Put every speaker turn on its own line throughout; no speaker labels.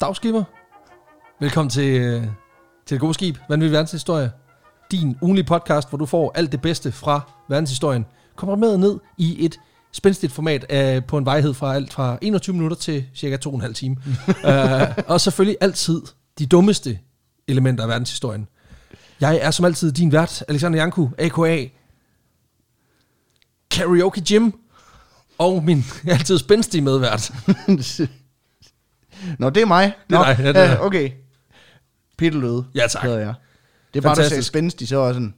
Dagskiver, velkommen til, øh, til Det Gode Skib, Vanvittig Verdenshistorie. Din ugenlige podcast, hvor du får alt det bedste fra verdenshistorien, komprimeret ned i et spændstigt format af, på en vejhed fra alt fra 21 minutter til cirka 2,5 timer. uh, og selvfølgelig altid de dummeste elementer af verdenshistorien. Jeg er som altid din vært, Alexander Janku, a.k.a. Karaoke Jim, og min altid spændstige medvært.
Nå, det er mig.
Det er
Nå,
dig, ja, det er dig.
okay. Peter Løde
Ja, tak.
hedder jeg. Det er bare, du sagde
Fantastisk.
spændstig, så var jeg sådan,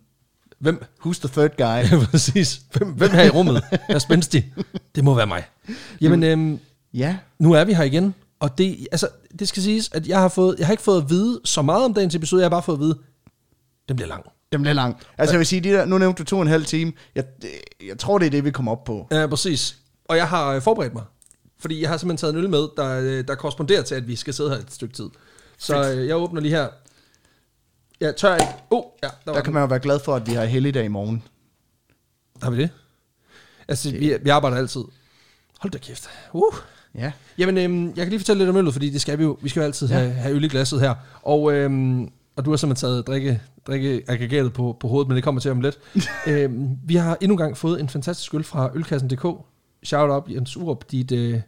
Hvem,
who's the third guy?
Ja, præcis. Hvem, hvem her i rummet er spændstig? Det må være mig. Jamen, øhm,
ja,
nu er vi her igen, og det, altså, det skal siges, at jeg har, fået, jeg har ikke fået at vide så meget om dagens episode, jeg har bare fået at vide, den bliver lang.
den bliver lang. Altså jeg vil sige, de der, nu nævnte du to og en halv time. Jeg, jeg tror, det er det, vi kommer op på.
Ja, præcis. Og jeg har øh, forberedt mig, fordi jeg har simpelthen taget en øl med, der, øh, der korresponderer til, at vi skal sidde her et stykke tid. Så øh, jeg åbner lige her. Jeg tør ikke. Oh, ja, der, var
Der kan
den.
man jo være glad for, at vi har helligdag i morgen.
Har vi det? Altså, vi, vi arbejder altid. Hold da kæft. Uh.
Ja.
Jamen, øhm, jeg kan lige fortælle lidt om øllet, fordi det skal vi jo. Vi skal jo altid ja. have, have øl i glasset her. Og, øhm, og du har simpelthen taget drikke, drikkeaggregatet på, på hovedet, men det kommer til om lidt. øhm, vi har endnu engang fået en fantastisk øl fra ølkassen.dk. Shout out Jens Urup, dit, øh,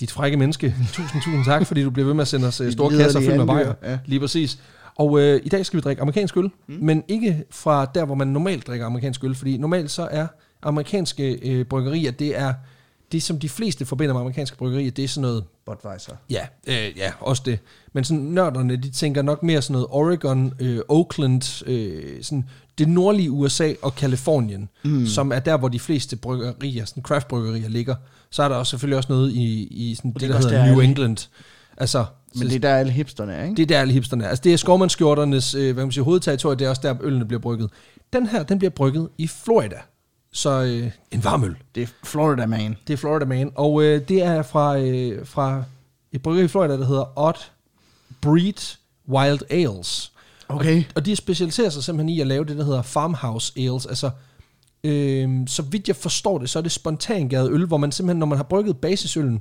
dit frække menneske. Tusind, tusind tak, fordi du bliver ved med at sende os øh,
Dit
store
liderlige
kasser fyldt med bajer.
andyr, ja.
Lige præcis. Og øh, i dag skal vi drikke amerikansk øl, mm. men ikke fra der, hvor man normalt drikker amerikansk øl, fordi normalt så er amerikanske øh, bryggerier, det er det, som de fleste forbinder med amerikanske bryggerier, det er sådan noget,
Budweiser.
ja, øh, ja, også det. Men sådan nørderne, de tænker nok mere sådan noget Oregon, øh, Oakland, øh, sådan det nordlige USA og Kalifornien, mm. som er der, hvor de fleste bryggerier, sådan craftbryggerier ligger. Så er der også selvfølgelig også noget i, i sådan det,
er
der
også
hedder
der,
New
alle-
England. Altså,
Men det er der alle hipsterne er, ikke?
det er der alle hipsterne er. Altså det er skovmandskjorternes øh, hvad kan man siger, hovedterritorie, det er også der ølene bliver brygget. Den her, den bliver brygget i Florida. Så øh, en varm øl.
Det er Florida Man.
Det er Florida Man. Og øh, det er fra, øh, fra et bryggeri i Florida, der hedder Odd Breed Wild Ales.
Okay.
Og de specialiserer sig simpelthen i at lave det, der hedder farmhouse ales. Altså, øh, så vidt jeg forstår det, så er det spontangæret øl, hvor man simpelthen, når man har brygget basisøllen,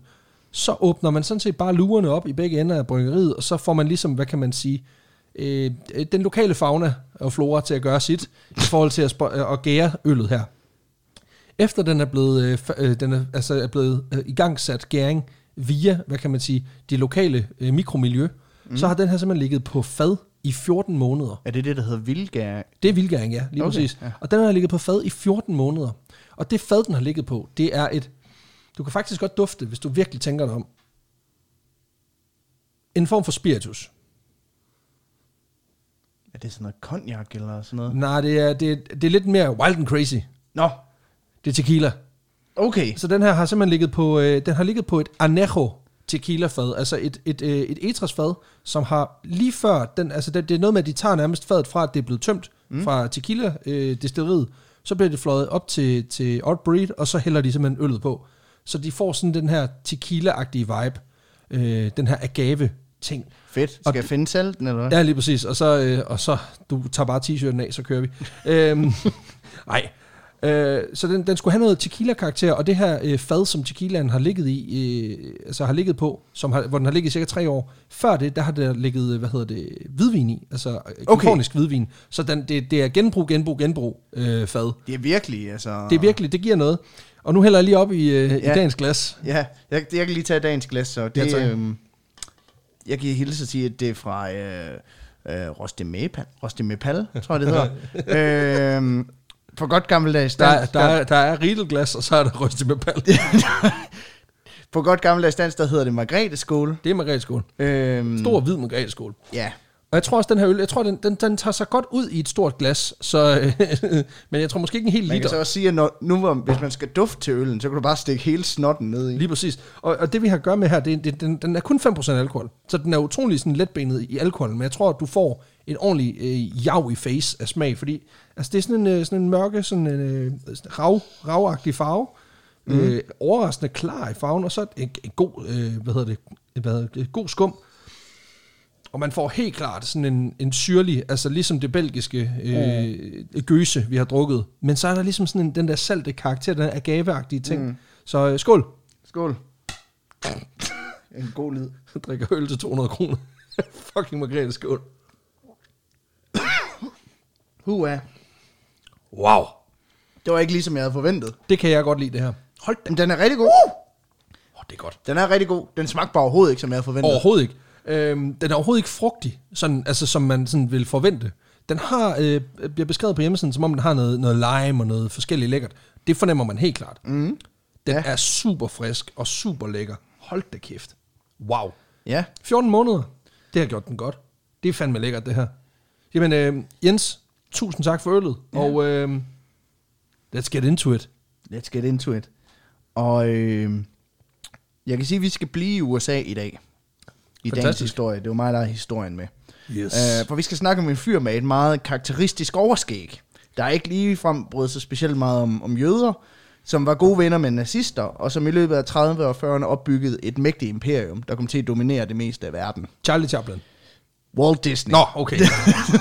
så åbner man sådan set bare lugerne op i begge ender af bryggeriet, og så får man ligesom, hvad kan man sige, øh, den lokale fauna og flora til at gøre sit, i forhold til at, spo- øh, at gære øllet her. Efter den er blevet, øh, fa- øh, den er, altså er blevet øh, igangsat gæring via, hvad kan man sige, det lokale øh, mikromiljø, mm. så har den her simpelthen ligget på fad i 14 måneder.
Er det det, der hedder vildgær?
Det er vildgæring, ja, lige okay,
Okay,
præcis. Ja.
ja.
Og den har ligget på fad i 14 måneder. Og det fad, den har ligget på, det er et... Du kan faktisk godt dufte, hvis du virkelig tænker dig om. En form for spiritus.
Er det sådan noget cognac eller sådan noget?
Nej, det er, det, er- det er lidt mere wild and crazy.
Nå,
Det er tequila.
okay.
Så den her har simpelthen ligget på, øh, den har ligget på et anejo tequila-fad, altså et, et, øh, et etras-fad, som har lige før, den, altså det, det er noget med, at de tager nærmest fadet fra, at det er blevet tømt mm. fra tequila øh, destilleriet, så bliver det fløjet op til, til Odd Breed, og så hælder de simpelthen øllet på. Så de får sådan den her tequila-agtige vibe, øh, den her agave-ting.
Fedt. Skal jeg finde salten, eller hvad?
Ja, lige præcis. Og så, øh, og så du tager bare t-shirten af, så kører vi. øhm, nej. Øh, så den, den skulle have noget tequila-karakter, og det her øh, fad, som tequilaen har ligget i, øh, altså har ligget på, som har, hvor den har ligget i cirka tre år, før det, der har der ligget, øh, hvad hedder det, hvidvin i, altså okay. kalifornisk hvidvin. Så den, det, det er genbrug, genbrug, genbrug øh, fad.
Det er virkelig, altså...
Det er virkelig, det giver noget. Og nu hælder jeg lige op i, øh, i
Ja.
dagens glas.
Ja, jeg, jeg kan lige tage dagens glas, så det...
Ja, tak.
Ja, øhm, jeg kan hilse og sige, at det er fra øh, øh, Rostemepal, Rostemepal, tror jeg det hedder. øhm, for godt gammeldags
Der, er-
dansk,
der, er, der er riedelglas, og så er der rystet med pal.
på godt gammeldags dansk, der hedder det Margrethe Skål.
Det er margretskål.
Øhm,
Stor hvid margretskål.
Ja,
Og jeg tror også, den her øl, jeg tror, den, den, den tager sig godt ud i et stort glas, så, øh, men jeg tror måske ikke en hel
man kan
liter.
så også sige, at når, nu hvor, hvis man skal dufte til øllen, så kan du bare stikke hele snotten ned i.
Lige præcis. Og, og det vi har at gøre med her, det, det, den, den er kun 5% alkohol. Så den er utrolig sådan letbenet i alkoholen, men jeg tror, at du får en ordentlig øh, jav i face af smag, fordi altså, det er sådan en, øh, sådan en mørke, sådan en øh, sådan rav, ravagtig farve, mm. øh, overraskende klar i farven, og så en, en god, øh, hvad hedder det, hvad hedder det, god skum. Og man får helt klart sådan en, en syrlig, altså ligesom det belgiske øh, gøse, vi har drukket. Men så er der ligesom sådan en, den der salte karakter, den der agaveagtige ting. Mm. Så øh, skål!
Skål. en god lyd.
Jeg drikker øl til 200 kroner. Fucking margrethe skål.
Hua.
Wow!
Det var ikke ligesom jeg havde forventet.
Det kan jeg godt lide, det her. Hold da.
Men den er rigtig god. Uh!
Oh, det er godt.
Den er rigtig god. Den smagte bare overhovedet ikke, som jeg havde forventet.
Overhovedet ikke. Øhm, den er overhovedet ikke frugtig, sådan, altså, som man sådan vil forvente. Den har, øh, bliver beskrevet på hjemmesiden, som om den har noget, noget lime og noget forskelligt lækkert. Det fornemmer man helt klart. Mm. Den
Ja.
ja. er super frisk og super lækker. Hold da kæft. Wow.
Ja.
14 måneder. Det har gjort den godt. Det er fandme lækkert, det her. Jamen, øh, Jens, tusind tak for øllet. Ja. Og øh, let's get into it.
Let's get into it. Og øh, jeg kan sige, at vi skal blive i USA i dag. I dagens
Fantastisk.
historie. Det var mig, der har historien med.
Yes.
Øh, for vi skal snakke om en fyr med et meget karakteristisk overskæg. Der er ikke ligefrem brød sig specielt meget om, om jøder, som var gode venner med nazister, og som i løbet af 30'erne og 40'erne opbyggede et mægtigt imperium, der kom til at dominere det meste af verden.
Charlie Chaplin.
Walt Disney.
Nå, okay.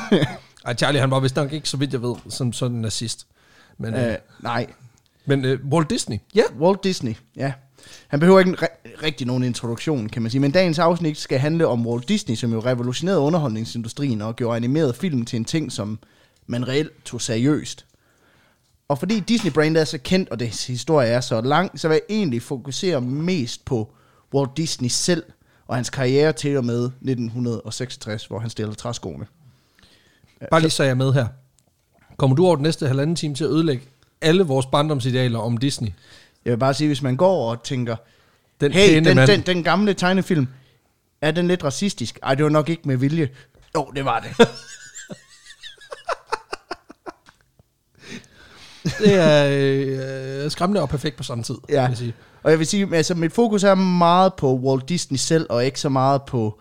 Ej, Charlie, han var vist nok ikke, så vidt jeg ved, som sådan en nazist. Men, øh.
Øh, nej,
men øh, Walt Disney, ja.
Walt Disney, ja. Han behøver ikke en ri- rigtig nogen introduktion, kan man sige. Men dagens afsnit skal handle om Walt Disney, som jo revolutionerede underholdningsindustrien og gjorde animeret film til en ting, som man reelt tog seriøst. Og fordi Disney-brandet er så kendt, og dets historie er så lang, så vil jeg egentlig fokusere mest på Walt Disney selv og hans karriere til og med 1966, hvor han stillede træskoene.
Bare lige så jeg er med her. Kommer du over den næste halvanden time til at ødelægge alle vores barndomsidealer om Disney?
Jeg vil bare sige, hvis man går og tænker,
Den
hey,
pæne
den,
mand.
den, den gamle tegnefilm, er den lidt racistisk? Ej, det var nok ikke med vilje. Jo, det var det.
Det er øh, øh, skræmmende og perfekt på samme tid, ja. vil jeg sige.
Og jeg vil sige, altså mit fokus er meget på Walt Disney selv, og ikke så meget på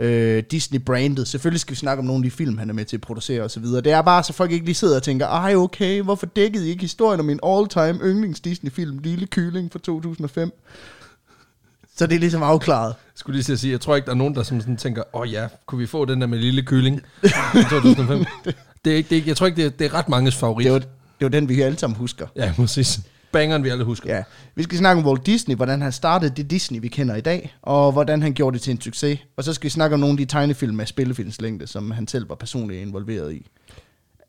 øh, Disney-brandet. Selvfølgelig skal vi snakke om nogle af de film, han er med til at producere osv. Det er bare, så folk ikke lige sidder og tænker, ej okay, hvorfor dækkede I ikke historien om min all-time yndlings Disney-film, Lille Kylling fra 2005? Så det er ligesom afklaret.
Jeg skulle lige til at sige, jeg tror ikke, der er nogen, der som sådan tænker, åh oh, ja, kunne vi få den der med lille kylling i 2005? det er ikke, det er ikke, jeg tror ikke, det er, det er ret manges favorit.
Det var, det var den, vi alle sammen husker.
Ja, præcis. Bangeren, vi alle husker.
Ja, vi skal snakke om Walt Disney, hvordan han startede det Disney, vi kender i dag, og hvordan han gjorde det til en succes. Og så skal vi snakke om nogle af de tegnefilm af spillefilmslængde, som han selv var personligt involveret i.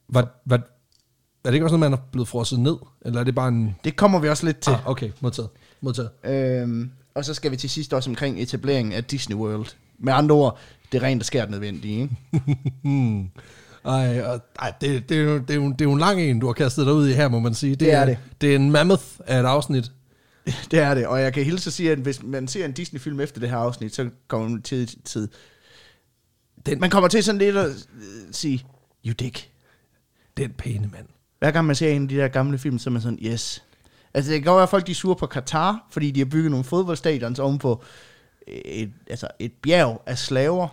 Var, var, er det ikke også noget, man er blevet frosset ned? Eller er det bare en...
Det kommer vi også lidt til.
Ah, okay, modtaget. modtaget.
Ah. Øhm, og så skal vi til sidst også omkring etableringen af Disney World. Med andre ord, det er rent og skært nødvendigt, ikke?
Hmm. Ej, og, ej det, det, er jo, det, er jo, det er jo en lang en, du har kastet dig ud i her, må man sige.
Det er det.
Det er en mammoth af et afsnit.
det er det, og jeg kan hilse at sige, at hvis man ser en Disney-film efter det her afsnit, så kommer man til, til
Den-
man kommer til sådan lidt at øh, sige, you dick.
Den pæne mand.
Hver gang man ser en af de der gamle film, så er man sådan, yes. Altså, det kan godt være, at folk de er sure på Katar, fordi de har bygget nogle fodboldstadions oven på et, altså et bjerg af slaver.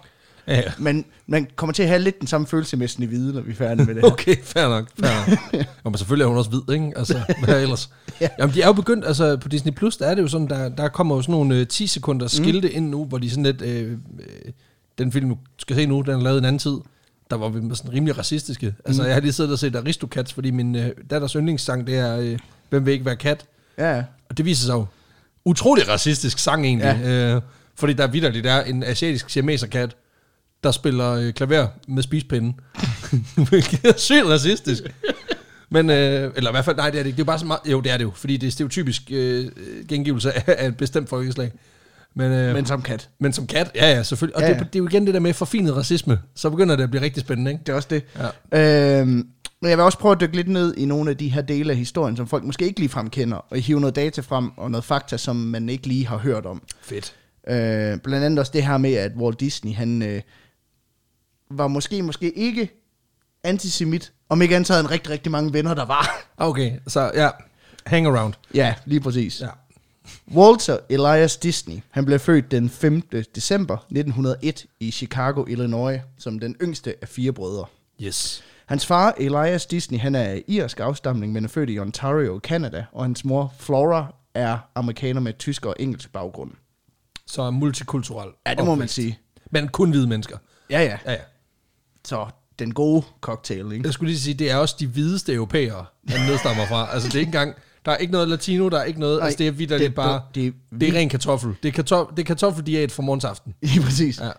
Ja, ja.
Men man kommer til at have lidt den samme følelse med sådan i hvide, når vi er færdige med det her.
Okay, fair nok. Fair nok. Og men selvfølgelig er hun også hvid, ikke? Altså, hvad ellers?
Ja.
ja. Jamen, de er jo begyndt, altså på Disney Plus, der er det jo sådan, der, der kommer jo sådan nogle øh, 10 sekunder skilte mm. ind nu, hvor de sådan lidt, øh, øh, den film, du skal se nu, den er lavet en anden tid, der var vi sådan rimelig racistiske. Altså,
Mm.
jeg har lige siddet og set Aristocats, fordi min øh, datters yndlingssang, det er, øh, hvem vil ikke være kat?
Ja, ja.
Og det viser sig jo utrolig racistisk sang egentlig. Ja. Øh, fordi der vidderligt er en asiatisk siameserkat, der spiller øh, klaver med spispinden. Hvilket er sygt racistisk. Men, øh, eller i hvert fald, nej, det er det ikke. Det er jo bare så meget, jo, det er det jo, fordi det er stereotypisk øh, gengivelse af, af et bestemt folkeslag. Men, øh, men,
men som kat.
men som kat, ja, ja, selvfølgelig. Og
Ja,
ja,
ja.
ja. Det, det er jo igen det der med forfinet racisme. Så begynder det at blive rigtig spændende, ikke?
Det er også det. Ja. Øhm, men jeg vil også prøve at dykke lidt ned i nogle af de her dele af historien, som folk måske ikke lige fremkender, og hive noget data frem og noget fakta, som man ikke lige har hørt om.
Fedt.
Øh, blandt andet også det her med, at Walt Disney, han øh, var måske, måske ikke antisemit, om ikke andet så havde han rigtig, rigtig mange venner, der var.
Ah, Okay, så ja, hang around.
ja, lige præcis. Ja.
Ja.
Walter Elias Disney, han blev født den 5. december 1901 i Chicago, Illinois, som den yngste af fire brødre.
Yes.
Hans far, Elias Disney, han er af irsk afstamning, men er født i Ontario, Canada, og hans mor, Flora, er amerikaner med tysk og engelsk baggrund.
Så multikulturel.
Ja, det må man
opvækst.
sige.
Men kun hvide mennesker.
Ja, ja.
Ja, ja.
Så den gode cocktail, ikke?
Jeg skulle lige sige, det er også de hvideste europæere, han nedstammer fra. Altså, det er ikke engang... Der er ikke noget latino, der er ikke noget...
Nej,
Nej, altså, det er
det er
vidderligt bare...
bu- det er
det er ren kartoffel. Det er, kartof, det er kartoffeldiæt fra morgensaften.
Lige præcis.
Ja.
Ja.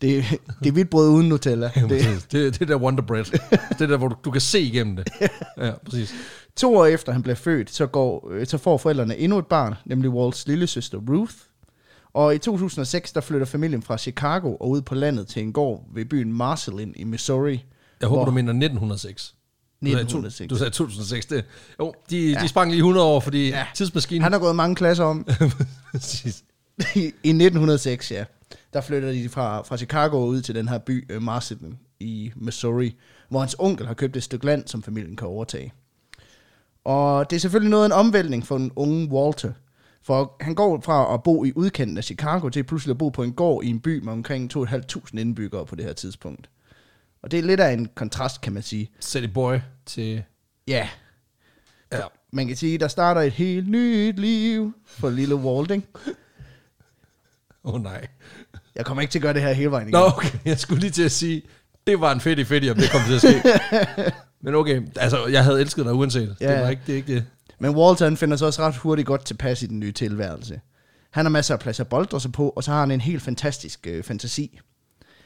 Det, det er hvidt brød uden Nutella. Det.
Det, det, det der Wonder Bread. det er der, hvor du, du kan se igennem det. Ja, præcis.
To år efter han bliver født, så, går, øh, så får forældrene endnu et barn, nemlig Walts lillesøster Ruth. Og i 2006, der flytter familien fra Chicago og ud på landet til en gård ved byen Marcelin i Missouri.
Jeg håber,
hvor-
du mener 1906. Du sagde to-
1906.
Du sagde 2006. Det, jo, de, ja. de sprang lige 100 år, fordi ja. tidsmaskinen...
Han har gået mange klasser om.
præcis.
I 1906, ja, der flytter de fra, fra Chicago ud til den her by, øh, Marcelin, i Missouri, hvor hans onkel har købt et stykke land, som familien kan overtage. Og det er selvfølgelig noget af en omvæltning for den unge Walter, for han går fra at bo i udkanten af Chicago til pludselig at bo på en gård i en by med omkring 2.500 indbyggere på det her tidspunkt. Og det er lidt af en kontrast, kan man sige.
City Boy til...
Ja,
Ja.
man kan sige, der starter et helt nyt liv for lille Walding.
Åh oh, nej.
Jeg kommer ikke til at gøre det her hele vejen igen.
Nå, okay. Jeg skulle lige til at sige, det var en fedt i fedt, om det kom til at ske. Men okay, altså, jeg havde elsket dig uanset. Ja.
Ja.
Det var ikke det. er Ikke det.
Men Walter han finder sig også ret hurtigt godt tilpas i den nye tilværelse. Han har masser af plads at boldre sig på, og så har han en helt fantastisk øh, fantasi.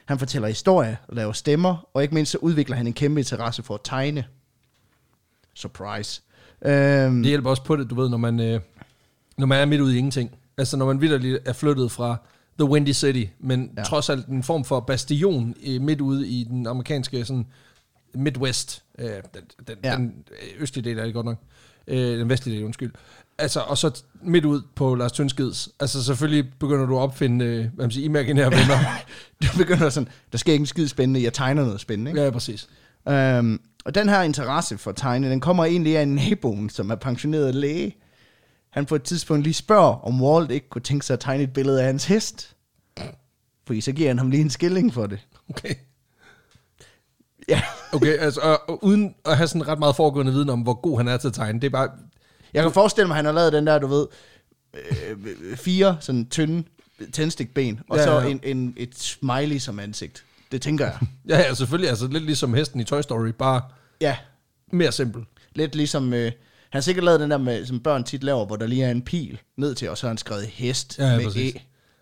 Han fortæller historier, laver stemmer, og ikke mindst så udvikler han en kæmpe interesse for at tegne. Surprise. Øhm,
det hjælper også på det, du ved, når man, øh, når man er midt ude i ingenting. Altså, når man vidderligt er flyttet fra The Windy City, men
Ja.
ja. trods alt en form for bastion øh, midt ude i den amerikanske sådan, Midwest. Øh, den, den,
Ja.
ja. den østlige del er det godt nok. Øh, den vestlige del, undskyld. Altså, og så t- midt ud på Lars Tønskeds. Altså, selvfølgelig begynder du at opfinde, øh, hvad man siger, imaginære venner.
du begynder sådan, der sker ikke en skid spændende, jeg tegner noget spændende. Ikke?
ja, præcis.
Øhm, og den her interesse for at tegne, den kommer egentlig af en naboen, som er pensioneret læge. Han på et tidspunkt lige spørger, om Walt ikke kunne tænke sig at tegne et billede af hans hest. Fordi så giver han ham lige en skilling for det.
Okay.
Ja.
Okay, altså, og, og uden at have sådan ret meget foregående viden om, hvor god han er til at tegne, det er bare...
Jeg kan forestille mig, at han har lavet den der, du ved, øh, fire sådan tynde tændstikben, og
Ja,
så
ja.
en, en, et smiley som ansigt. Det tænker jeg.
Ja, ja, selvfølgelig, altså lidt ligesom hesten i Toy Story, bare
Ja,
mere simpel.
lidt ligesom... Øh, han har sikkert lavet den der, med, som børn tit laver, hvor der lige er en pil ned til, og så har han skrevet hest
Ja, ja
med
præcis.
E.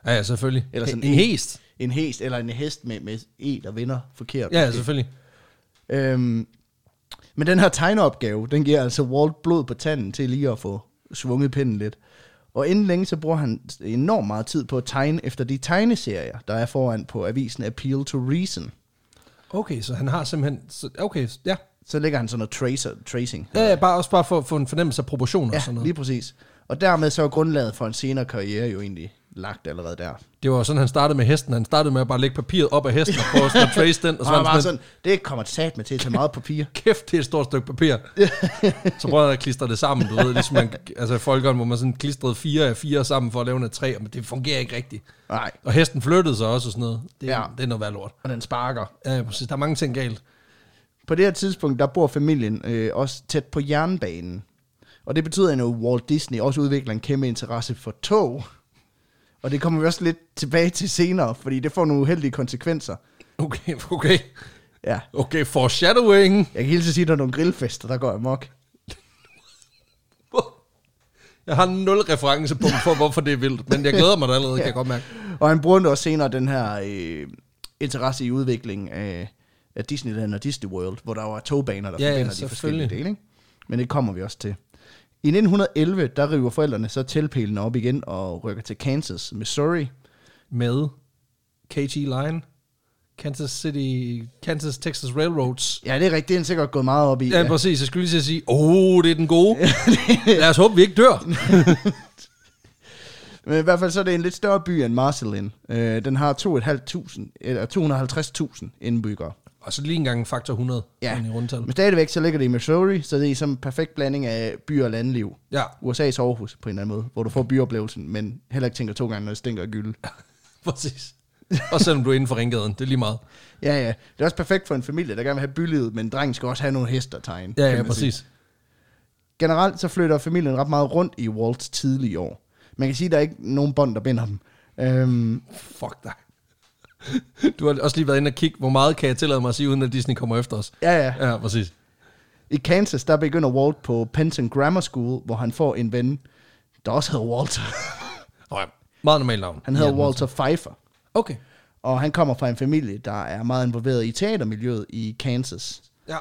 Ja, ja, selvfølgelig. E.
Eller sådan
en, en hest.
en hest eller en hest med, med E, der vinder forkert.
Ja, ja, selvfølgelig.
Øhm, men den her tegneopgave, den giver altså Walt blod på tanden til lige at få svunget pinden lidt. Og inden længe, så bruger han enormt meget tid på at tegne efter de tegneserier, der er foran på avisen Appeal to Reason.
Okay, så han har simpelthen... Så, okay, ja.
Så lægger han sådan noget tracer, tracing.
Ja, ja, bare, også bare for at få en fornemmelse af proportioner og sådan
Ja,
noget.
lige præcis. Og dermed så er grundlaget for en senere karriere jo egentlig lagt allerede der.
Det var jo sådan, han startede med hesten. Han startede med at bare lægge papiret op af hesten og prøve sådan at trace den. Og så
Og så
var han
bare
sådan,
sådan, det kommer til sat med til at tage meget papir.
kæft, det er et stort stykke papir. så prøvede han at klistre det sammen, du ved, ligesom man, altså i folkeren, hvor man sådan klistrede fire af fire sammen for at lave en af tre, men det fungerer ikke rigtigt.
Nej,
Og hesten flyttede sig også og sådan noget. Det,
Ja.
ja. det er noget værd lort.
og den sparker.
Ja, ja, præcis. Der er mange ting galt.
På det her tidspunkt, der bor familien øh, også tæt på jernbanen. Og det betyder jo, at Walt Disney også udvikler en kæmpe interesse for tog. Og det kommer vi også lidt tilbage til senere, fordi det får nogle uheldige konsekvenser.
Okay, okay.
Ja.
Okay, foreshadowing.
Jeg kan helt sige, at der er nogle grillfester, der går amok.
Jeg har nul referencepunkt for, hvorfor det er vildt, men jeg glæder mig da allerede, kan jeg godt mærke.
Og han bruger også senere den her øh, interesse i udviklingen af, af Disneyland og Disney World, hvor der var togbaner, der
Ja, ja,
ja, forbinder de forskellige
selvfølgelig.
dele. Ikke? Men det kommer vi også til. I 1911, der river forældrene så teltpælen op igen og rykker til Kansas, Missouri.
Med KT Line, Kansas City, Kansas Texas Railroads.
Ja, det er rigtigt. Det er han sikkert gået meget op i.
Ja, præcis. Jeg skulle lige til at sige, åh, oh, det er den gode. Lad os håbe, vi ikke dør.
Men i hvert fald så er det en lidt større by end Marcelin. Øh, den har 2.500 eller 250.000 indbyggere.
Og så lige engang en faktor 100
Ja.
sådan i rundtal.
Men stadigvæk så ligger det i Missouri, så det er sådan en perfekt blanding af by og landliv.
Ja,
USA's Aarhus på en eller anden måde, hvor du får byoplevelsen, men heller ikke tænker to gange, når det stinker af gylde.
præcis. Og selvom du er inden for ringgaden, det er lige meget.
Ja, ja. Det er også perfekt for en familie, der gerne vil have bylivet, men drengen skal også have nogle hester tegne.
Ja,
kan
ja,
man sige.
præcis.
Generelt så flytter familien ret meget rundt i Walt's tidlige år. Man kan sige, at der er ikke nogen bånd, der binder dem. Øhm,
Fuck dig. Du har også lige været inde og kigge, hvor meget kan jeg tillade mig at sige, uden at Disney kommer efter os.
Ja, ja.
Ja, præcis.
I Kansas, der begynder Walt på Penton Grammar School, hvor han får en ven, der også hedder Walter.
Nå ja, meget normalt navn.
Han hedder
Ja,
Walter Pfeiffer,
Okay.
og han kommer fra en familie, der er meget involveret i teatermiljøet i Kansas.
Ja.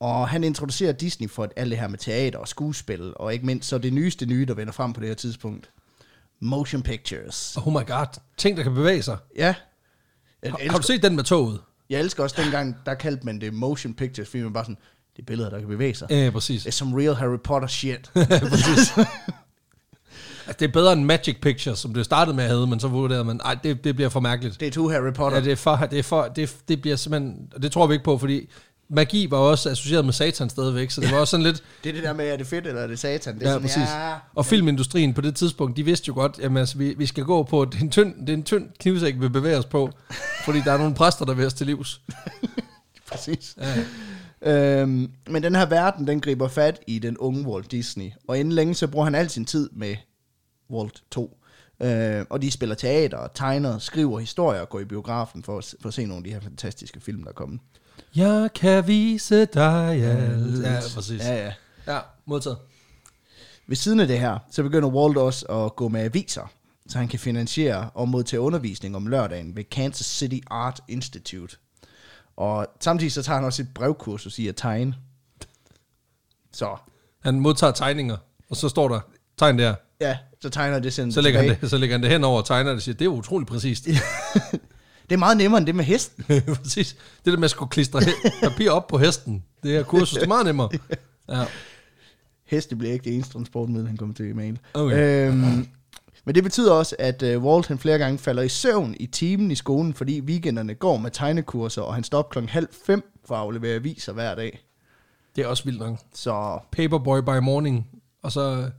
Og han introducerer Disney for alt det her med teater og skuespil, og ikke mindst så det nyeste nye, der vender frem på det her tidspunkt. Motion pictures.
Oh my god. Ting, der kan bevæge sig.
Ja. Jeg
Har, har
elsker,
du set den med toget?
jeg elsker også dengang, der kaldte man det motion pictures, fordi man bare sådan, det er billeder, der kan bevæge sig.
Ja, præcis.
Det er som real Harry Potter shit.
Altså, det er bedre end Magic Pictures, som det startede med at hedde, men så vurderede man, nej, det, det bliver for mærkeligt.
det er to Harry Potter.
Ja, det, er for, det, er for, det, det bliver simpelthen, og det tror vi ikke på, fordi magi var også associeret med satan stadigvæk, så det var også sådan lidt,
Det er det der med, er det fedt, eller er det satan? Det er
ja,
sådan,
præcis.
Ja,
Og filmindustrien på det tidspunkt, de vidste jo godt, at altså, vi, vi skal gå på, det er en tynd, det er en tynd knivsæk, vi bevæger os på, fordi der er nogle præster, der vil os til livs.
præcis.
Ja, ja.
Øhm, men den her verden, den griber fat i den unge Walt Disney. Og inden længe, så bruger han al sin tid med Walt 2. Øh, og de spiller teater, tegner, skriver historier og går i biografen for at, s- for at se nogle af de her fantastiske film, der er kommet.
Jeg kan vise dig alt. Ja, præcis.
Ja, ja.
Ja, modtaget.
Ved siden af det her, så begynder Walt også at gå med aviser, så han kan finansiere og modtage undervisning om lørdagen ved Kansas City Art Institute. Og samtidig så tager han også et brevkursus i at tegne. Så
Han modtager tegninger, og så står der, tegn der,
ja, så tegner det sådan
så lægger, han det, så lægger han det henover og tegner det og siger, det er utroligt præcist.
Det er meget nemmere end det med hesten.
Præcis. Det der med at skulle klistre he- papir op på hesten, det her kursus, det er meget nemmere. Ja.
Heste bliver ikke det eneste transportmiddel, han kommer til i mail.
Okay.
Øhm, men det betyder også, at øh, Walt han flere gange falder i søvn i timen i skolen, fordi weekenderne går med tegnekurser, og han står op klokken halv fem for at aflevere aviser hver dag.
Det er også vildt nok.
Så
Paperboy by morning, og så...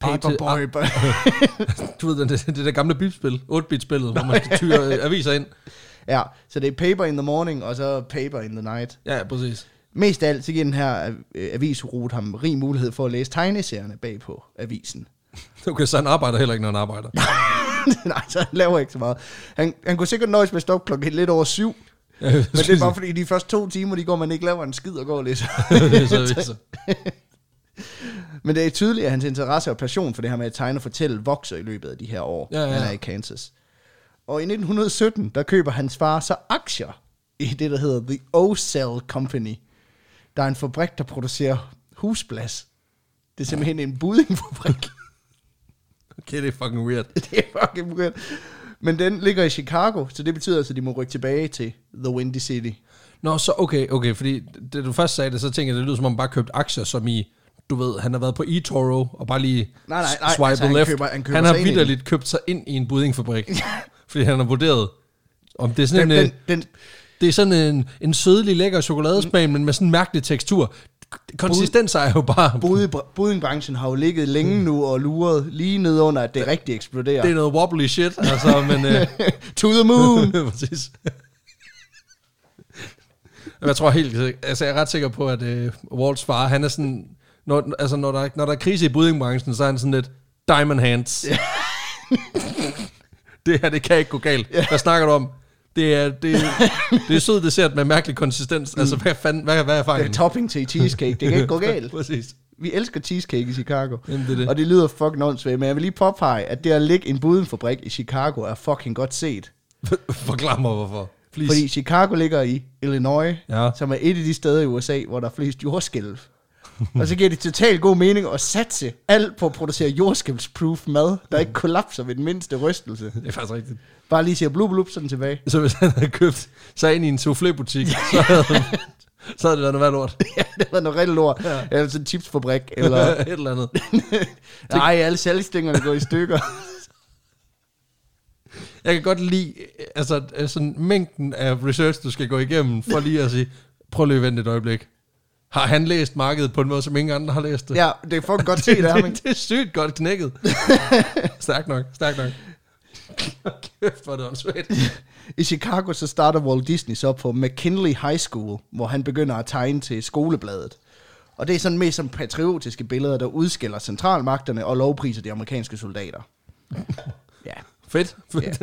Paperboy.
Arte-
boy.
Du ved, det, det der gamle bipspil, 8-bit-spillet, hvor man skal tyre øh, aviser ind.
ja, så det er paper in the morning, og så paper in the night.
Ja, præcis.
Mest af alt, så giver den her øh, avisrute ham rig mulighed for at læse tegneserierne bag på avisen.
Okay, så han arbejder heller ikke, når han arbejder.
Nej, så han laver ikke så meget. Han, han kunne sikkert nøjes med at stå op klokken lidt over syv,
Ja, men
men det er bare fordi, de første to timer, de går, man ikke laver en skid og går og læser.
så, så.
Men det er tydeligt, at hans interesse og passion for det her med at tegne og fortælle vokser i løbet af de her år,
Ja, ja, ja.
han er i Kansas. Og i 1917, der køber hans far så aktier i det, der hedder The Ocel Company. Der er en fabrik, der producerer husblas. Det er simpelthen en buddingfabrik.
Okay, det er fucking weird.
det er fucking weird. Men den ligger i Chicago, så det betyder altså, at de må rykke tilbage til The Windy City.
Nå, så okay, okay, fordi da du først sagde det, så tænkte jeg, det lyder som om han bare købte aktier, som i, du ved, han har været på eToro og bare lige
Nej, nej, nej,
swipet
altså, han
left.
køber- han køber
han
sig
har
ind i
vidderligt købt sig ind i en buddingfabrik, fordi han har vurderet, om det er sådan
Den,
en,
den,
øh,
den,
det er sådan en, en sødlig, lækker chokoladesmag, men med sådan en mærkelig tekstur. Konsistens er jo bare,
Bud- Budingbranchen har jo ligget længe nu og luret lige ned under, at det rigtig eksploderer.
det er noget wobbly shit, altså, men... Øh,
to the moon!
Præcis. jeg tror helt, altså jeg er ret sikker på, at øh, Walt's far, han er sådan, når, altså når der, når der er krise i buddingbranchen, så er han sådan lidt diamond hands. det her, det kan ikke gå galt. Hvad snakker du om? Det er, det, det er sød dessert med mærkelig konsistens. Altså, hvad, fanden, hvad, hvad er
Mm. Det
fejlen?
er topping til cheesecake, det kan ikke gå galt.
Præcis.
Vi elsker cheesecake i Chicago.
Jamen, det er det.
Og det lyder fucking åndssvagt, men jeg vil lige påpege, at det at ligge en budenfabrik i Chicago er fucking godt set.
Forklar mig, hvorfor. Please.
Fordi Chicago ligger i Illinois,
Ja.
som er et af de steder i USA, hvor der er flest jordskælv. og så giver det totalt god mening at satse alt på at producere jordskælvsproof mad, der ikke kollapser ved den mindste rystelse.
Det er faktisk rigtigt.
Bare lige siger blub blub sådan tilbage.
Så hvis han havde købt sig ind i en soufflébutik, så havde, så havde det været noget værd lort.
ja, det var noget rigtig lort. Ja.
Ja.
Eller sådan en chipsfabrik, eller
et eller andet.
Nej, alle salgstængerne går i stykker.
Jeg kan godt lide øh, altså, øh, sådan, mængden af research, du skal gå igennem, for lige at sige, prøv lige at vente et øjeblik. Har han læst markedet på en måde, som ingen andre har læst det?
ja, det er fucking godt set af ham. ikke?
det, det er sygt godt knækket. stærk nok, stærk nok. Kæft, hvor er det åndssvagt.
I Chicago så starter Walt Disney så på McKinley High School, hvor han begynder at tegne til skolebladet. Og det er sådan mest som patriotiske billeder, der udskiller centralmagterne og lovpriser de amerikanske soldater. ja.
Fedt. fedt.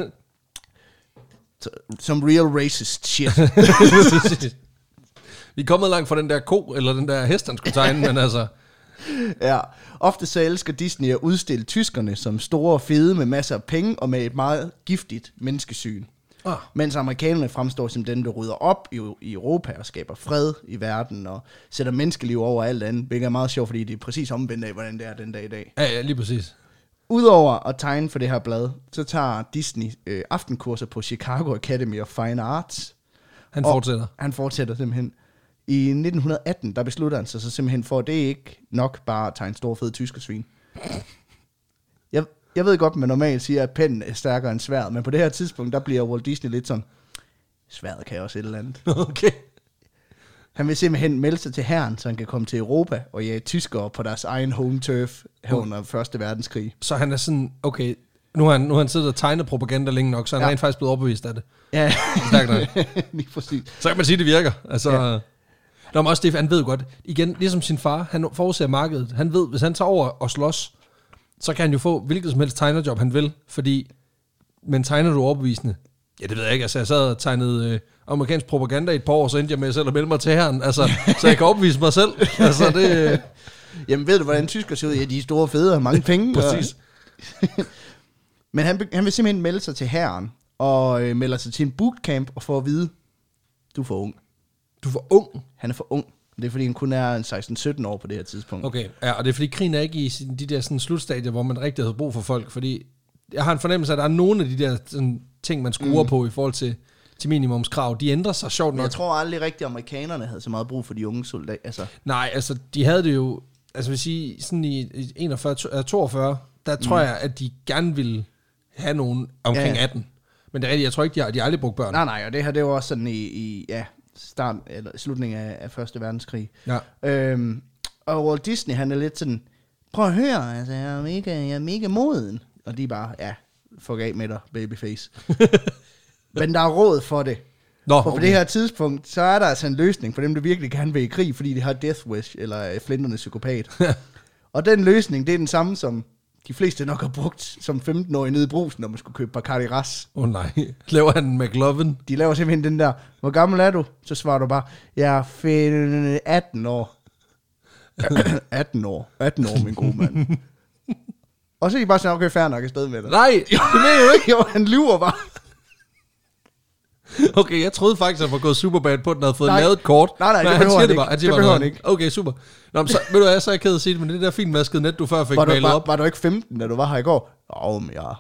Som real racist shit.
Vi er kommet langt fra den der ko, eller den der hest, han skulle tegne, men altså...
ja. Ofte så elsker Disney at udstille tyskerne som store og fede med masser af penge og med et meget giftigt menneskesyn.
Ah,
Mens amerikanerne fremstår som dem, der rydder op i, i Europa og skaber fred i verden og sætter menneskeliv over alt andet, hvilket er meget sjovt, fordi det er præcis omvendt af, hvordan det er den dag i dag.
ja, ja, lige præcis.
Udover at tegne for det her blad, så tager Disney øh, aftenkurser på Chicago Academy of Fine Arts.
Han
Og-
fortsætter.
Han fortsætter simpelthen. I 1918, der beslutter han sig så simpelthen for, at det er ikke nok bare at tegne store fede tyskersvin. Jeg, jeg ved godt, man normalt siger, at pennen er stærkere end sværet, men på det her tidspunkt, der bliver Walt Disney lidt sådan, sværet kan også et eller andet.
Okay.
Han vil simpelthen melde sig til herren, så han kan komme til Europa og jage tyskere på deres egen home turf her under Første Verdenskrig.
Så han er sådan, okay, nu har han, nu har han siddet og tegnet propaganda længe nok, så han er
Ja.
rent faktisk blevet overbevist af det.
Ja,
Stærkt nok.
lige præcis.
Så kan man sige, at det virker. Altså,
Ja.
ja. Nå, men også det, han ved jo godt. Igen, ligesom sin far, han forudser markedet. Han ved, hvis han tager over og slås, så kan han jo få hvilket som helst tegnerjob, han vil. Fordi, men tegner du overbevisende? Ja, det ved jeg ikke. Altså, jeg sad og tegnede øh, amerikansk propaganda i et par år, så endte jeg med selv at melde mig til herren. Altså, så jeg kan overbevise mig selv. Altså, det... Øh,
Jamen ved du, hvordan tysker ser ud? Ja, de er store fede og har mange penge.
præcis.
Og, men han, be- han vil simpelthen melde sig til herren, og øh, melder sig til en bootcamp, og får at vide, du er for ung.
Du var ung.
Han er for ung. Det er fordi, han kun er en 16-17 år på det her tidspunkt.
Okay, ja, og det er fordi krigen er ikke i sin- de der sådan, slutstadier, hvor man rigtig havde brug for folk, fordi jeg har en fornemmelse af, at der er nogle af de der sådan, ting, man skruer mm. på i forhold til, til minimumskrav, de ændrer sig sjovt
Men
nok.
jeg tror aldrig rigtigt, at amerikanerne havde så meget brug for de unge soldater. Altså,
Nej, altså de havde det jo, altså hvis I sådan i i 41, to- øh, 42, der tror jeg, at de gerne ville have nogen omkring
Mm. Ja, ja.
18. Men det er rigtigt, jeg tror ikke, de har, de har aldrig brugt børn.
nej, nej, og det her, det var også sådan i, i ja, start, eller slutningen af, af Første Verdenskrig.
Ja.
Øhm, og Walt Disney, han er lidt sådan, prøv at høre, altså, jeg er mega, jeg er mega moden. Og de er bare, ja, fuck af med dig, babyface. Men der er råd for det.
Nå,
Og på det her tidspunkt, så er der altså en løsning for dem, der virkelig gerne vil i krig, fordi de har Death Wish, eller øh, flinternes psykopat. og den løsning, det er den samme, som de fleste nok har brugt som 15-årige nede i brusen, når man skulle købe Bacardi Ras.
Åh oh, nej, laver han en McLovin?
De laver simpelthen den der, hvor gammel er du? Så svarer du bare, jeg er fin- 18 år. 18 år. 18 år, min gode mand. Og så er de bare sådan, okay, fair nok afsted med dig.
Nej,
det ved jo ikke. Jo, han lyver bare.
okay, jeg troede faktisk, at han var gået Superbad på, at den havde fået
Nej.
lavet et kort.
Nej, nej, det
han
behøver
siger
han
det
ikke.
bare. Han siger
Det
bare
behøver
noget
han
andet. Okay, super. Nå, men så, ved du hvad, så er jeg ked af at sige det, men det der finmaskede net, du før fik
Var du,
malet
var,
op.
var du ikke 15, da du var her i går? Åh, men jeg,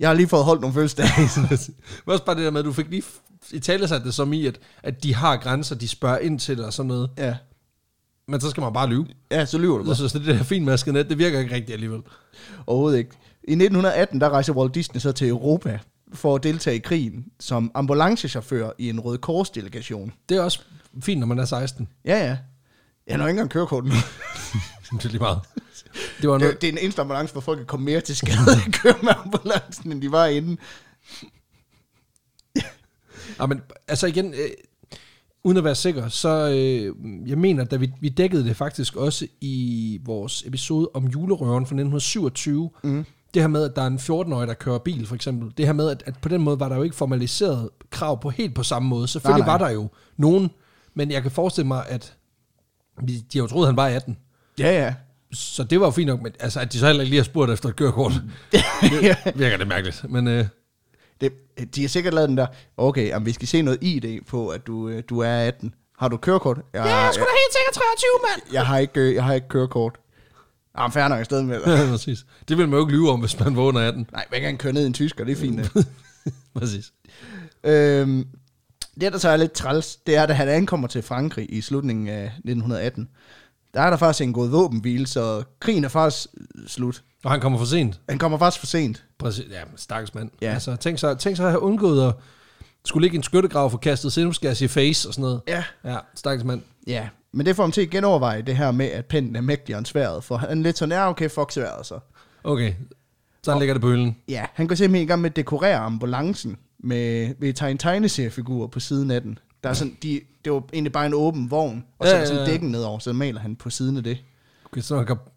jeg har lige fået holdt nogle fødselsdage.
Men også bare det der med, at du fik lige f- i tale sat det som i, at, at de har grænser, de spørger ind til det og sådan noget.
ja.
Men så skal man bare lyve.
ja, så lyver du bare.
Så, så det der finmaskede net, det virker ikke rigtigt alligevel.
Overhovedet ikke. I 1918, der rejser Walt Disney så til Europa for at deltage i krigen som ambulancechauffør i en Røde Kors-delegation.
Det er også fint, når man er 16.
Ja, ja. Jeg har ikke engang kørekort nu.
det er lige meget. Det var noget,
Det, det er en eneste ambulance, hvor folk kan komme mere til skade at køre med ambulancen, end de var inden.
Ja, men altså igen, øh, uden at være sikker, så øh, jeg mener, da vi, vi dækkede det faktisk også i vores episode om julerøven fra 1927, mm. det her med, at der er en 14-årig, der kører bil for eksempel, det her med, at, at på den måde var der jo ikke formaliseret krav på helt på samme måde. Selvfølgelig nej,
Nej, nej.
nej. var der jo nogen, men jeg kan forestille mig, at de, de har jo troet, at han var 18.
Ja, ja.
Så det var jo fint nok, men altså, at de så heller ikke lige har spurgt efter et kørekort, det virker det mærkeligt. Men øh,
det, de har sikkert lavet den der, okay, jamen, vi skal se noget ID på, at du, øh, du er 18. Har du kørekort? Jeg, ja, jeg,
da helt sikkert 23, mand!
jeg, har ikke, øh, jeg har ikke kørekort. Jamen, fair nok afsted med dig.
Ja, præcis. Det vil man jo ikke lyve om, hvis man vågner af den.
Nej, man kan ikke køre ned i en tysker, det er fint. øh.
Præcis.
Øhm, det, der så er lidt træls, det er, da han ankommer til Frankrig i slutningen af 1918, der er der faktisk en god våbenhvile, så krigen er faktisk øh, slut.
Og han kommer for sent.
Han kommer faktisk for sent.
Præcis. Ja, men stakkels mand.
Ja.
Ja. Altså, tænk så, tænk så at have undgået at skulle ligge i en skyttegrav for kastet senumsgas i face og sådan noget.
Ja.
Ja, stakkels mand.
Ja, men det får ham til at genoverveje det her med, at pennen er mægtigere end sværet, for han er lidt sådan, ja, okay, fuck sværet så.
Okay, så han ligger det på hylden.
Ja, han går simpelthen i gang med at dekorere ambulancen med, ved at tegne tegneseriefigur på siden af den. Der er sådan, de, det var egentlig bare en åben vogn, og så
Ja,
er der sådan
ja,
en
ja.
dækken nedover, så maler han på siden af det.
Okay, så han går,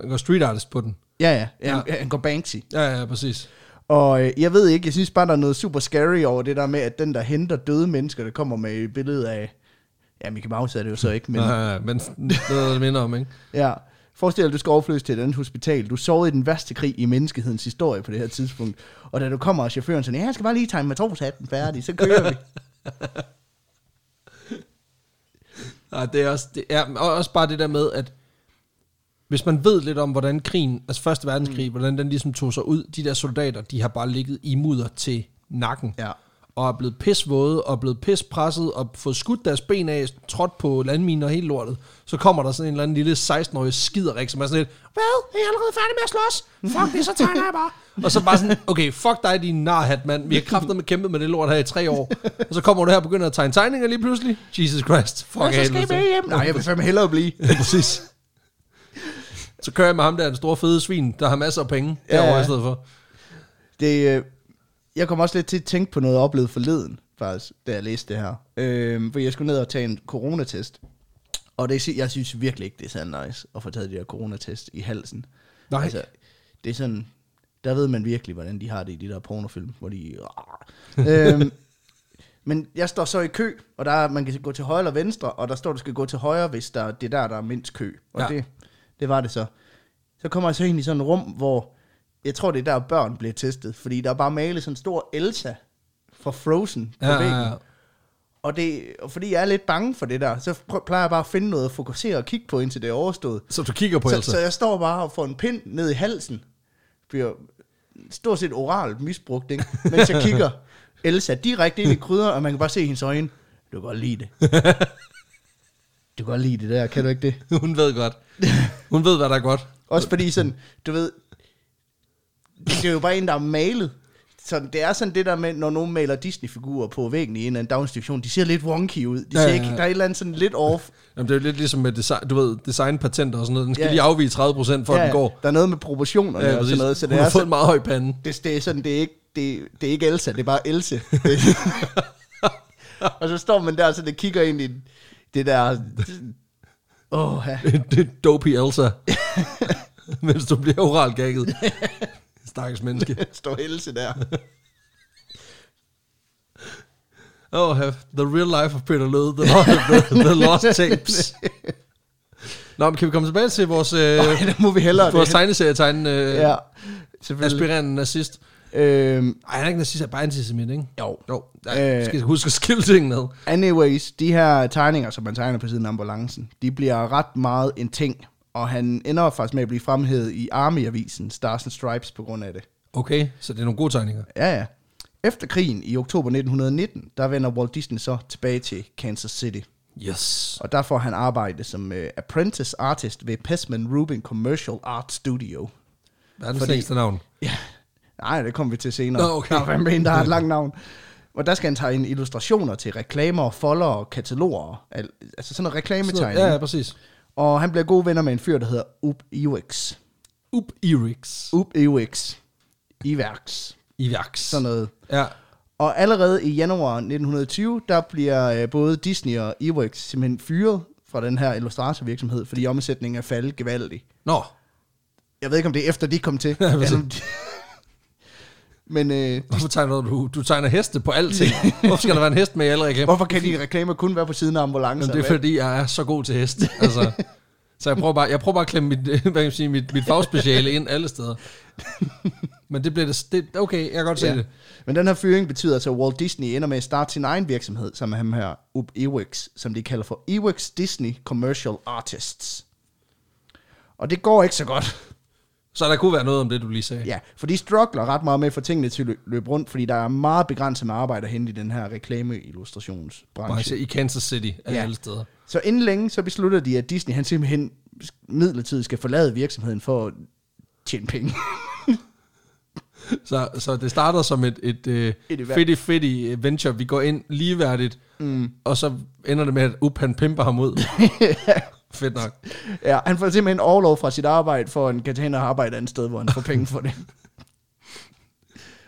han går street artist på den.
Ja, ja, ja.
Ja.
Han, han går Banksy.
Ja, ja, præcis.
Og øh, jeg ved ikke, jeg synes bare, der er noget super scary over det der med, at den, der henter døde mennesker, der kommer med et billede af... Ja, Mickey Mouse er det jo så ikke, men...
Men, nej, nej, men noget, der minder om, ikke?
Ja. Forestil dig, at du skal overflyttes til et andet hospital. Du sovede i den værste krig i menneskehedens historie på det her tidspunkt. Og da du kommer, og chaufføren sådan, ja, jeg skal bare lige tegne matroshatten færdig, så kører vi.
Nej, det er også, det er, og også bare det der med, at hvis man ved lidt om, hvordan krigen, altså Første Verdenskrig, mm. hvordan den ligesom tog sig ud, de der soldater, de har bare ligget i mudder til nakken,
Ja.
og er blevet pisvåde, og er blevet pispresset, og fået skudt deres ben af, trådt på landminer og hele lortet, så kommer der sådan en eller anden lille 16-årig skiderik, som er sådan lidt, hvad, er I allerede færdig med at slås? Fuck det, så tegner jeg bare. og så bare sådan, okay, fuck dig, din narhat, mand. Vi har kraftet med kæmpet med det lort her i tre år. og så kommer du her og begynder at tegne tegninger lige pludselig. Jesus Christ. Fuck
Og så
af
skal I
helvede.
med hjem. Nej, jeg vil fandme hellere blive.
Præcis. Så kører jeg med ham der, den store fede svin, der har masser af penge ja, derovre
ja.
i stedet for.
Det, øh, jeg kom også lidt til at tænke på noget, jeg oplevede forleden, faktisk, da jeg læste det her. Øh, for jeg skulle ned og tage en coronatest. Og det, sy- jeg synes virkelig ikke, det er så nice at få taget det her coronatest i halsen.
Nej.
Altså, det er sådan, der ved man virkelig, hvordan de har det i de der pornofilm, hvor de... øhm, men jeg står så i kø, og der, er- man kan gå til højre eller venstre, og der står, du skal gå til højre, hvis der, det er der, der er mindst kø. Og
Ja.
ja. det, det var det så. Så kommer jeg så ind i sådan et rum, hvor jeg tror, det er der, børn bliver testet, fordi der er bare malet sådan en stor Elsa fra Frozen på
Ja,
væggen.
ja, ja.
Og, det, og fordi jeg er lidt bange for det der, så prø- plejer jeg bare at finde noget at fokusere og kigge på, indtil det er overstået.
Så du kigger på
så,
Elsa.
så jeg står bare og får en pind ned i halsen. Bliver stort set oralt misbrugt, ikke? mens jeg kigger Elsa direkte ind i krydder, og man kan bare se hendes øjne. Du kan godt lide det. Du kan godt lide det der, kan du ikke det?
Hun ved godt. Hun ved, hvad der er godt.
Også fordi sådan, du ved, det er jo bare en, der er malet. Så det er sådan det der med, når nogen maler Disney-figurer på væggen i en eller anden daginstitution, de ser lidt wonky ud. De
Ja,
ser
ja,
ikke,
ja.
der er et eller andet sådan lidt off.
Jamen, det er jo lidt ligesom med design, du ved, designpatenter og sådan noget. Den skal
Ja.
lige afvige 30 procent, for ja, den går.
Der er noget med proportionerne ja, og sådan noget. Så
Hun
det
har
er,
fået en
sådan,
meget høj pande.
det, det er sådan, det er ikke, det, det er ikke Elsa, det er bare Else. og så står man der, så det kigger ind i det der... Åh, ja.
det er dopey Elsa. Mens du bliver oralt gagget. Stakkels menneske.
står Else der.
Oh, have the real life of Peter Lød, the, the, the lost tapes. Nå, men kan vi komme tilbage til vores, øh,
Nej, der må vi hellere
vores
det.
tegneserietegn, øh, ja,
Ja, selvfølgelig.
aspirerende nazist?
Øhm,
Ej, han er ikke nazist, han er bare antisemit, ikke?
jo.
Jo,
Øh.
jeg skal huske at skille tingene ad.
Anyways, de her tegninger, som man tegner på siden af ambulancen, de bliver ret meget en ting. Og han ender faktisk med at blive fremhævet i Army-avisen Stars and Stripes på grund af det.
Okay, så det er nogle gode tegninger.
Ja, ja. Efter krigen i oktober 1919, der vender Walt Disney så tilbage til Kansas City.
Yes.
Og der får han arbejde som uh, apprentice artist ved Pesman Rubin Commercial Art Studio.
Verdens
Fordi-
længste navn.
Ja. Nej, det kommer vi til senere.
Nå, okay.
Der er fandme en, der har et langt navn. Og der skal han tegne illustrationer til reklamer, folder og kataloger. Al- Altså sådan noget reklametegning.
Ja, ja, præcis.
Og han bliver gode venner med en fyr, der hedder Up Iwix.
Up Erix.
Up Iwix. Iverx.
Ivaks.
Sådan noget.
Ja.
Og allerede i januar 1920, der bliver øh, både Disney og Iwix simpelthen fyret fra den her illustratorvirksomhed, fordi omsætningen er faldet gevaldigt.
Nå,
Jeg ved ikke, om det er efter, de kom til.
Ja, præcis.
eller om de- Men øh,
hvorfor tegner du? Du tegner heste på alting. Hvorfor skal der være en hest med i alle reklamer?
hvorfor kan de reklamer kun være på siden af ambulancer?
Jamen, det er
hvad?
fordi, jeg er så god til hest. Altså, så jeg prøver bare, jeg prøver bare at klemme mit, hvad kan man sige, mit, mit fagspeciale ind alle steder. Men det bliver det, det okay, jeg kan godt se ja.
Ja.
det.
Men den her fyring betyder så, at Walt Disney ender med at starte sin egen virksomhed, som er ham her, Up Iwix, som de kalder for Iwix Disney Commercial Artists. Og det går ikke så godt.
Så der kunne være noget om det, du lige sagde.
Ja, for de struggler ret meget med at få tingene til at lø- løbe rundt, fordi der er meget begrænset med arbejde at hente i den her
Branche
reklameillustrationsbranche.
I Kansas City af ja.
Ja.
alle steder.
Så inden længe, så beslutter de, at Disney han simpelthen midlertidigt skal forlade virksomheden for at tjene penge.
Så, så det starter som et, et, øh,
Et event.
fedt, fedt venture. Vi går ind ligeværdigt, mm. og så ender det med, at Up han pimper ham ud. Fedt nok.
Ja, han får simpelthen overlov fra sit arbejde, for han kan tage hen og arbejde et andet sted, hvor han får penge for det.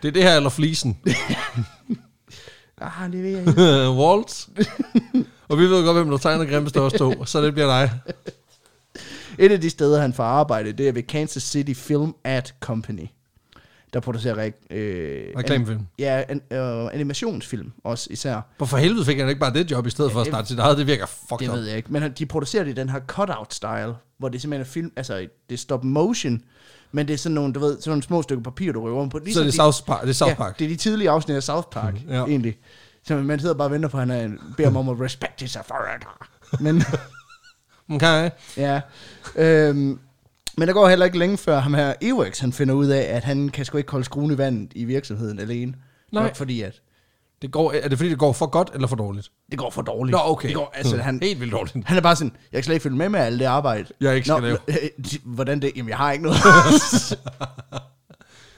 Det er det her, eller flisen.
ah, det ved jeg ikke.
Waltz. og vi ved godt, hvem der tegner grimmest af os to, så det bliver dig.
Et af de steder, han får arbejde, det er ved Kansas City Film Ad Company. der producerer re- øh,
Reklamefilm.
An, ja, an, øh, animationsfilm også især.
Hvorfor helvede fik han ikke bare det job, i stedet for at
det-
starte sit eget? Det virker fucked
Det
up.
ved jeg ikke. Men han- de producerer det i den her cut-out-style, hvor det simpelthen er film, altså det er stop motion, men det er sådan nogle, du ved, sådan nogle små stykker papir, du rykker om på.
Så
Ligesom
det er South Park. Det er South Park.
Ja, det er de tidlige afsnit af South Park,
Mhm,
mm,
ja.
ja. egentlig. Så man sidder bare og venter på, at han er, beder mig om at respect his authority. Men
Okay.
ja, øhm, men der går heller ikke længe før ham her Ewex, han finder ud af, at han kan sgu ikke holde skruen i vandet i virksomheden alene.
Nej.
Nok fordi, at
Det går, er det fordi, det går for godt eller for dårligt?
det går for dårligt.
Nå, okay.
Det går, altså,
Mm.
han,
Helt vildt dårligt.
han er bare sådan, jeg kan slet ikke følge med med alt det arbejde.
Jeg ikke skal lave.
lave. Hvordan det? Jamen, jeg har ikke noget.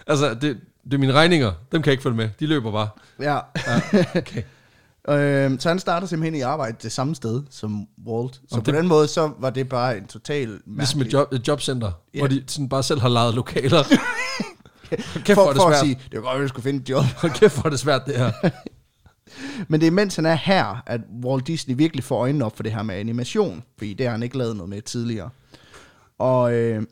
Altså, det, det er mine regninger. Dem kan jeg ikke følge med. De løber bare.
ja.
Ah, Okay.
Øhm, så han starter simpelthen i arbejde det samme sted som Walt. Så
Om
Om
det-
på den måde, så var det bare en total
Ligesom
mærkelig-
et, job, et jobcenter,
Ja.
hvor de sådan bare selv har lejet lokaler. Kæft, hvor
for,
er det
for at
svært.
sige, det var godt, at jeg skulle finde et job.
Hold kæft, hvor er det svært, det her.
Men det er mens han er her, at Walt Disney virkelig får øjnene op for det her med animation, fordi det har han ikke lavet noget med tidligere. Og øh,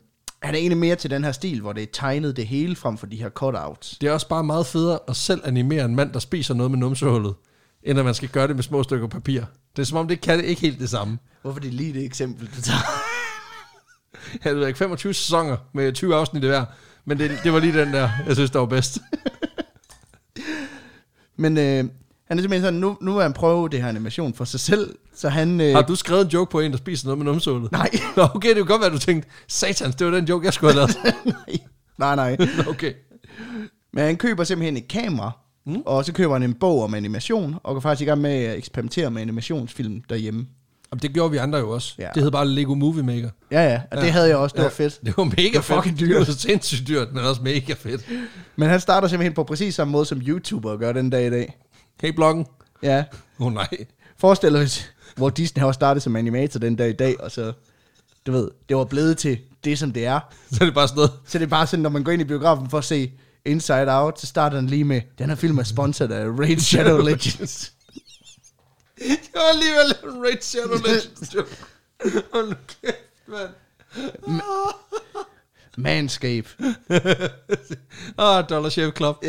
han er egentlig mere til den her stil, hvor det er tegnet det hele frem for de her cutouts.
Det er også bare meget federe at selv animere en mand, der spiser noget med numsehullet, end at man skal gøre det med små stykker papir. Det er som om, det kan ikke helt det samme.
Hvorfor det er lige det eksempel, du tager?
Jeg ved ikke, 25 sæsoner med 20 afsnit i hver. Men det, det var lige den der, jeg synes, der var bedst.
Men øh, han er simpelthen sådan, nu, nu vil han prøve det her animation for sig selv, så han... Øh,
Har du skrevet en joke på en, der spiser noget med numsehullet?
Nej,
Nå, okay, det kunne godt være, du tænkte, satans, det var den joke, jeg skulle have lavet.
nej, nej.
Nå, okay.
Men han køber simpelthen et kamera, mm. og så køber han en bog om animation, og går faktisk i gang med at eksperimentere med animationsfilm derhjemme.
Jamen, det gjorde vi andre jo også. Ja.
Ja.
Det hed bare Lego Movie Maker.
Ja, ja, og det
Ja.
havde jeg også, det var
Ja.
fedt.
Det var mega
var
fedt.
fucking
Det
dyrt.
var sindssygt dyrt, men også mega fedt.
Men han starter simpelthen på præcis samme måde, som YouTuber gør den dag i dag.
Hey, bloggen.
Ja,
Åh oh, nej.
forestil dig, hvor Disney har også startet som animator den dag i dag, og så, du ved, det var blevet til det, som det er.
Så er det bare sådan noget.
Så det er bare sådan, når man går ind i biografen for at se Inside Out, så starter den lige med, den her film er sponsoret af Raid Shadow Legends.
Jeg var alligevel en Raid Shadow Legends joke. Hold nu kæft, mand.
Manscape.
Åh, oh, Dollar Shave Club.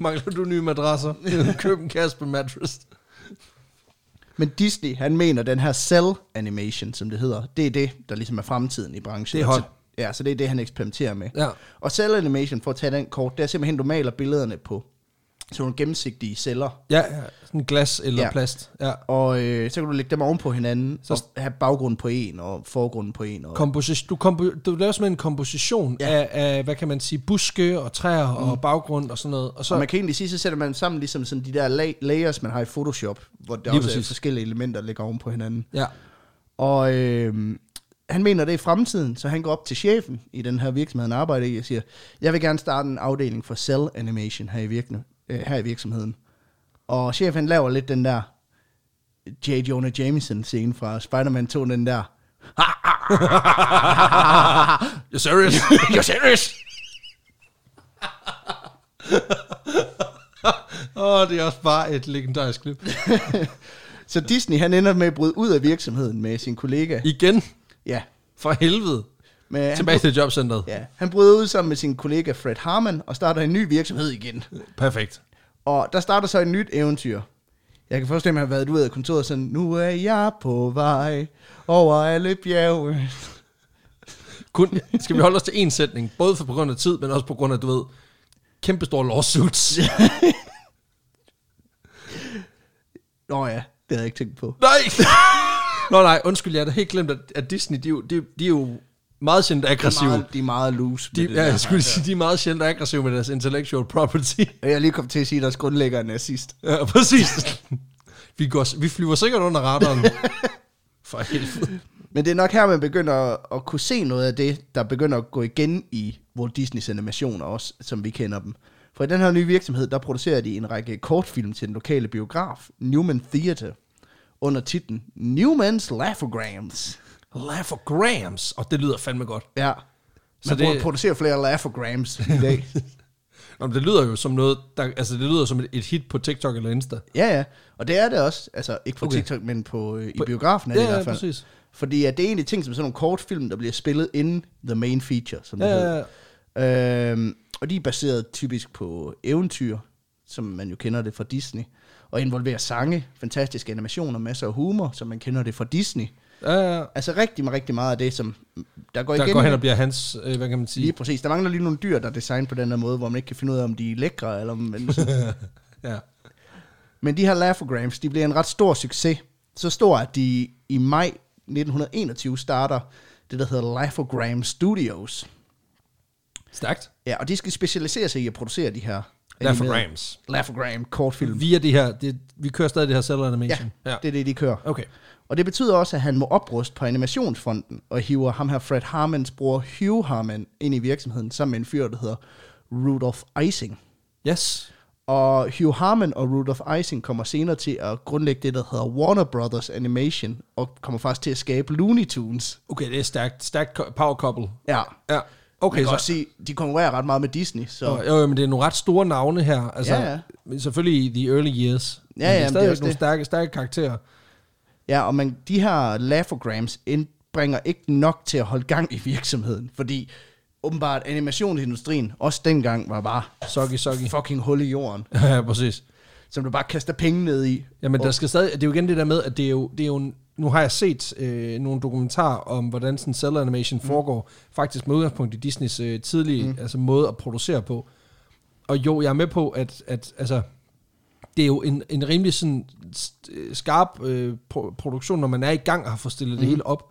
Mangler du nye madrasser? Køb en Casper mattress.
Men Disney, han mener, den her cell animation, som det hedder, det er det, der ligesom er fremtiden i branchen. Altså,
Det er hot.
Ja, så det er det, han eksperimenterer med.
Ja.
Og cell animation, for at tage den kort, det er simpelthen, du maler billederne på sådan nogle gennemsigtige celler.
Ja, ja, sådan glas eller ja.
Ja.
plast. Ja.
Og øh, så kan du lægge dem oven på hinanden,
Så-
så og have baggrunden på en, og forgrunden på en. Og,
Komposi- du, kompo- du laver sådan en komposition ja.
Ja.
af, af, hvad kan man sige, buske og træer mm. og baggrund og sådan noget. Og så,
og man kan egentlig sige, så sætter man sammen ligesom sådan de der la- layers, man har i Photoshop, hvor der
Lige
også
præcis.
er forskellige elementer, der ligger oven på hinanden.
ja.
Og øh, han mener, det er fremtiden, så han går op til chefen i den her virksomhed, han arbejder i, og siger, jeg vil gerne starte en afdeling for cell animation her i, virkne, øh, her i virksomheden. Og chefen han laver lidt den der J. Jonah Jameson scene fra Spider-Man 2, den der.
You're serious? You're serious? Åh, oh, det er også bare et legendarisk klip.
Så Disney, han ender med at bryde ud af virksomheden med sin kollega.
Igen,
Ja,
for helvede.
med, han,
Tilbage til jobcentret.
ja, han bryder ud sammen med sin kollega Fred Harmon og starter en ny virksomhed igen.
Perfekt.
Og der starter så et nyt eventyr. Jeg kan forestille mig, at han har været ud af kontoret sådan, nu er jeg på vej over alle bjerge.
Kun, skal vi holde os til én sætning? Både for på grund af tid, men også på grund af, du ved, kæmpestore lawsuits.
Nå ja, det havde jeg ikke tænkt på.
Nej! Nå nej, undskyld, jeg har da helt glemt, at, at Disney, de, er jo- de, de er jo meget sjældent
De er
aggressive.
meget, de er meget loose.
De,
med det
ja,
der.
jeg skulle sige, de er meget sjældent aggressive med deres intellectual property.
Og jeg er lige kom til at sige, at deres grundlægger er nazist.
Ja, præcis. Vi, går, vi flyver sikkert under radaren. For helvede.
Men det er nok her, man begynder at, at kunne se noget af det, der begynder at gå igen i Walt Disneys animationer også, som vi kender dem. For i den her nye virksomhed, der producerer de en række kortfilm til den lokale biograf, Newman Theater, under titlen Newman's Laughograms.
Laughograms. Og det lyder fandme godt.
Ja.
Så
Man
det-
så det... producerer flere laughograms i dag.
Nå, men det lyder jo som noget, der, altså det lyder som et, et hit på TikTok eller Insta.
ja, ja. Og det er det også. Altså, ikke på
Okay.
okay. TikTok, men på, øh, i biografen er det
Ja,
i
ja,
hvert fald.
præcis.
Fordi at det er egentlig ting som sådan nogle kortfilm, der bliver spillet inden the main feature, som det
Ja,
hedder.
ja, ja.
Øhm, Og de er baseret typisk på eventyr, som man jo kender det fra Disney, og involverer sange, fantastiske animationer, masser af humor, som man kender det fra Disney.
Ja, ja.
Altså rigtig, rigtig meget af det, som der går
Der
igen.
går hen og bliver hans, øh, hvad kan man sige?
Lige præcis. Der mangler lige nogle dyr, der er designet på den her måde, hvor man ikke kan finde ud af, om de er lækre. Eller om, men,
Ja.
men de her Laughograms, de bliver en ret stor succes. Så stor, at de i maj 1921 starter det, der hedder Laughogram Studios.
Stærkt.
Ja, og de skal specialisere sig i at producere de her...
Laughograms.
Laughogram kortfilm.
Via det her, det, vi kører stadig det her cell
Ja,
animation.
Mm. ja, det er det, de kører.
Okay.
Og det betyder også, at han må opruste på animationsfonden og hiver ham her Fred Harmans bror Hugh Harman ind i virksomheden sammen med en fyr, der hedder Rudolf Ising.
Yes.
Og Hugh Harman og Rudolf Ising kommer senere til at grundlægge det, der hedder Warner Brothers Animation, og kommer faktisk til at skabe Looney Tunes.
Okay, det er stærkt. Stærkt ko- power couple.
Ja.
Ja.
Okay, Man
Okay,
kan
så,
også sige, de konkurrerer ret meget med Disney, så...
Jo, jo, men det er nogle ret store navne her. Altså,
Ja, ja.
ja, ja. Selvfølgelig i the early years. men
ja,
det er
men det er
stadig
også
nogle
det.
stærke, stærke karakterer.
Ja, og man, de her lafograms indbringer ikke nok til at holde gang i virksomheden, fordi åbenbart animationsindustrien også dengang var bare
Soggy, soggy.
fucking hul i jorden,
ja, præcis.
som du bare kaster penge ned i.
Jamen, der
og,
skal stadig, det er jo igen det der med, at det er jo, det er jo en, nu har jeg set øh, nogle dokumentarer om, hvordan sådan cell animation foregår, faktisk med udgangspunkt i Disneys øh, tidlige mm. altså, måde at producere på. Og jo, jeg er med på, at, at altså, det er jo en, en rimelig sådan, st- øh, skarp øh, pro- produktion, når man er i gang og har fået stillet mm. det hele op.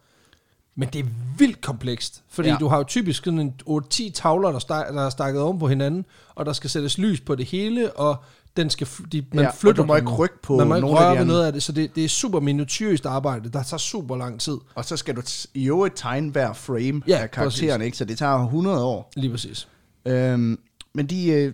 Men det er vildt komplekst, fordi
Ja.
ja. du har jo typisk sådan en 8-10 tavler, der, stak, der er stakket oven på hinanden, og der skal sættes lys på det hele, og den skal, f- de, man
Ja,
ja,
og
flytter
du må
den
ikke
jo.
rykke på
Man må ikke
nogle af de
røre ved
andre.
noget af det, så det, det er super minutiøst arbejde, der tager super lang tid.
og så skal du t- i øvrigt tegne hver frame ja,
Ja,
af karakteren, ikke? så det tager 100 år.
Lige præcis.
Øhm, men de, øh,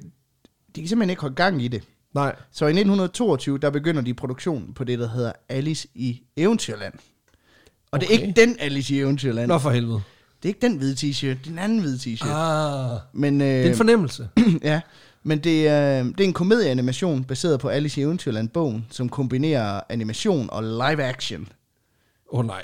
de kan simpelthen ikke holde gang i det.
Nej.
Så i 1922, der begynder de produktionen på det, der hedder Alice i Eventyrland. Og okay. det er
Okay.
ikke den Alice i Eventyrland.
Nå for helvede.
Det er ikke den hvide t-shirt, det er den anden hvide t-shirt. Ah.
Ah,
Men, øh,
det er en fornemmelse.
ja, men det, øh, det er en komedieanimation baseret på Alice i Eventyrland-bogen, som kombinerer animation og live action.
Åh oh, nej.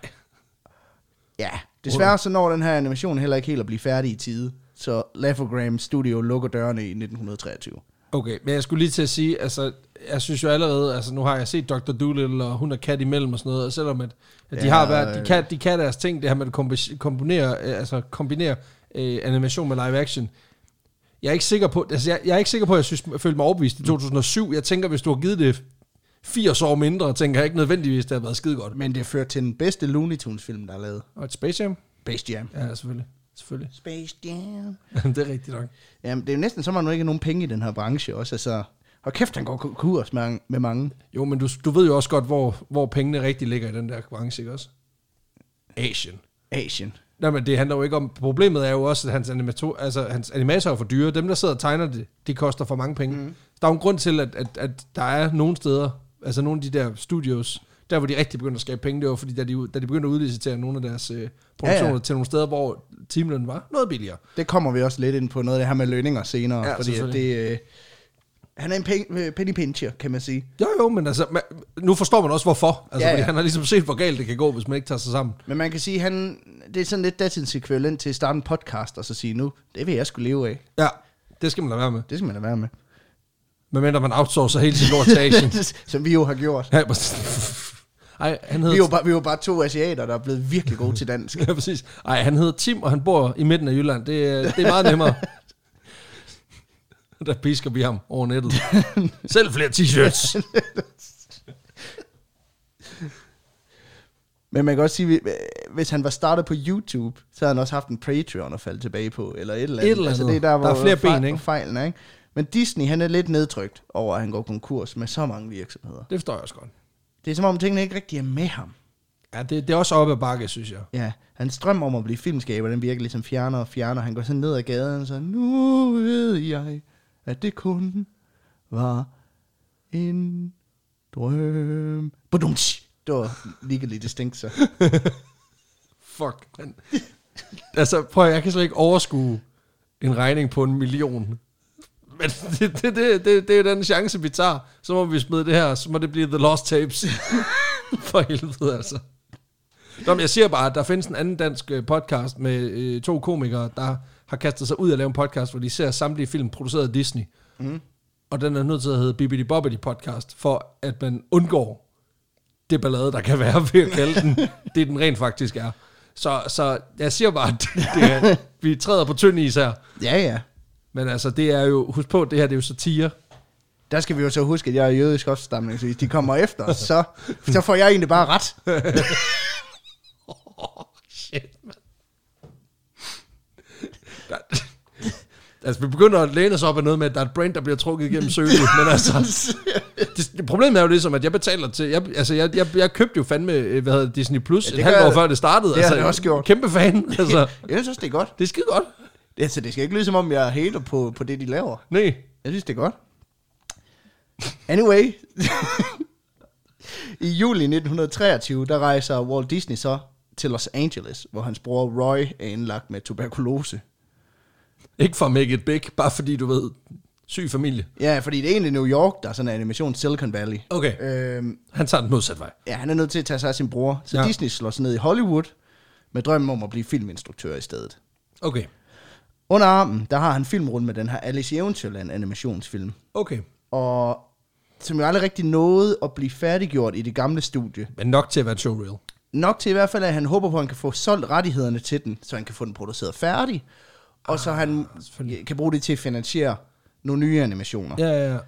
Ja, desværre så når den her animation heller ikke helt at blive færdig i tide, så Laughogram Studio lukker dørene i 1923.
Okay, men jeg skulle lige til at sige, altså, jeg synes jo allerede, altså nu har jeg set Dr. Doolittle og hun og Kat imellem og sådan noget, og selvom at, at de
Ja,
har været, de
øh.
kan, de kan deres ting, det her med at kombi- kombinere, øh, altså kombinere øh, animation med live action, jeg er ikke sikker på, altså jeg, jeg er ikke sikker på, at jeg, synes, jeg følte mig overbevist i 2007. Jeg tænker, hvis du har givet det 80 år mindre, tænker jeg ikke nødvendigvis, det har været skide godt.
Men det fører til den bedste Looney Tunes-film, der er lavet.
Og et Space Jam?
Space Jam.
Ja, selvfølgelig. Selvfølgelig.
Space Jam.
Jamen, det er rigtigt nok.
Jamen, det er jo næsten som om, at der ikke er nogen penge i den her branche også. Altså, og kæft, han går konkurs med, med mange.
Jo, men du, du ved jo også godt, hvor, hvor pengene rigtig ligger i den der branche, ikke også? Asian.
Asien.
Nej, men det handler jo ikke om... Problemet er jo også, at hans, animator, altså, hans animatorer er for dyre. Dem, der sidder og tegner det, det koster for mange penge. Mm. Der er jo en grund til, at, at, at der er nogle steder, altså nogle af de der studios, der hvor de rigtig begyndte at skabe penge, det var fordi, da de, da de begyndte at udlicitere nogle af deres øh, produktioner
Ja,
ja,
ja.
ja. til nogle steder, hvor timelønnen var noget billigere.
Det kommer vi også lidt ind på noget af det her med lønninger senere, ja,
Ja,
fordi at det, øh, han er en penge, øh, penny pincher, kan man sige.
Jo, jo, men altså, man, nu forstår man også hvorfor. Altså, ja, ja.
Ja, ja.
Fordi han har ligesom set, hvor galt det kan gå, hvis man ikke tager sig sammen.
Men man kan sige, han, det er sådan lidt datidens ekvivalent til at starte en podcast og så sige, nu, det vil jeg skulle leve af.
Ja, det skal man lade være med.
Det skal man da være med.
Medmindre man outsourcer hele sin lort til Asien.
Som vi jo har gjort.
Ja, præcis. Ej, han hedder...
Vi er jo bare, vi er jo bare to asiater, der er blevet virkelig gode til dansk.
Ja, præcis. Ej, han hedder Tim, og han bor i midten af Jylland. Det, er- det er meget nemmere. Der pisker vi ham over nettet. Selv flere t-shirts.
Men man kan også sige, at hvis han var startet på YouTube, så havde han også haft en Patreon at falde tilbage på, eller et eller andet.
Et eller
Altså, det er
andet.
der, hvor
Der er flere
fejl-
ben, ikke?
fejlen er, ikke? Men Disney, han er lidt nedtrykt over, at han går konkurs med så mange virksomheder.
Det forstår jeg også godt.
Det er som om tingene ikke rigtig er med ham.
Ja, det, det er også op ad bakke, synes jeg.
Ja, hans drøm om at blive filmskaber, den virker ligesom fjerner og fjerner. Han går sådan ned ad gaden og så, nu ved jeg, at det kun var en drøm. Badumtsch! Det var legally distinct, så.
Fuck. Men, altså, prøv at, jeg kan slet ikke overskue en regning på en million. Men det, det, det, det, det er den chance, vi tager. Så må vi smide det her, så må det blive The Lost Tapes. For helvede, altså. Nå, men jeg siger bare, at der findes en anden dansk øh, podcast med øh, to komikere, der har kastet sig ud og lavet en podcast, hvor de ser samtlige film produceret af Disney. Mm. Og den er nødt til at hedde Bibidi Bobbidi podcast, for at man undgår det ballade, der kan være ved at kalde den, det den rent faktisk er. Så, så jeg siger bare, at det, det er, vi træder på tynd is her.
Ja, ja.
Men altså, det er jo, husk på, det her det er jo satire.
Der skal vi jo så huske, at jeg er jødisk opstamning, så hvis de kommer efter os, så, så får jeg egentlig bare ret.
Oh, shit, man. Der, altså, vi begynder at læne os op af noget med, at der er et brand, der bliver trukket igennem sølet, men altså, det, det, problemet er jo ligesom, at jeg betaler til, jeg, altså, jeg, jeg, jeg købte jo fandme, øh, hvad hedder det, Disney Plus ja,
det
et
gør
halvt år
jeg.
før det startede.
Det har
altså,
jeg også gjort.
Kæmpe fan, altså.
Jeg synes, det er godt.
Det er skide godt.
Altså, det skal ikke lyde som om, jeg hater på, på det, de laver.
Nej.
Jeg synes, det er godt. Anyway. I juli 1923, der rejser Walt Disney så til Los Angeles, hvor hans bror Roy er indlagt med tuberkulose.
Ikke for at make it big, bare fordi du ved, syg familie.
Ja, fordi det er egentlig New York, der er sådan en animation Silicon Valley.
Okay.
Øhm,
Han tager den modsatte vej.
ja, han er nødt til at tage sig af sin bror, så
Ja.
ja. Disney slår sig ned i Hollywood med drømmen om at blive filminstruktør i stedet.
Okay.
Under armen, der har han filmrundt med den her Alice i Eventyrland animationsfilm.
Okay.
og som jo aldrig rigtig nåede at blive færdiggjort i det gamle studie.
Men nok til at være et showreel.
Nok til i hvert fald, at han håber på, at han kan få solgt rettighederne til den, så han kan få den produceret færdig, og så han
selvfølgelig.
kan bruge det til at finansiere nogle nye animationer. Ja.
Ja, ja, ja.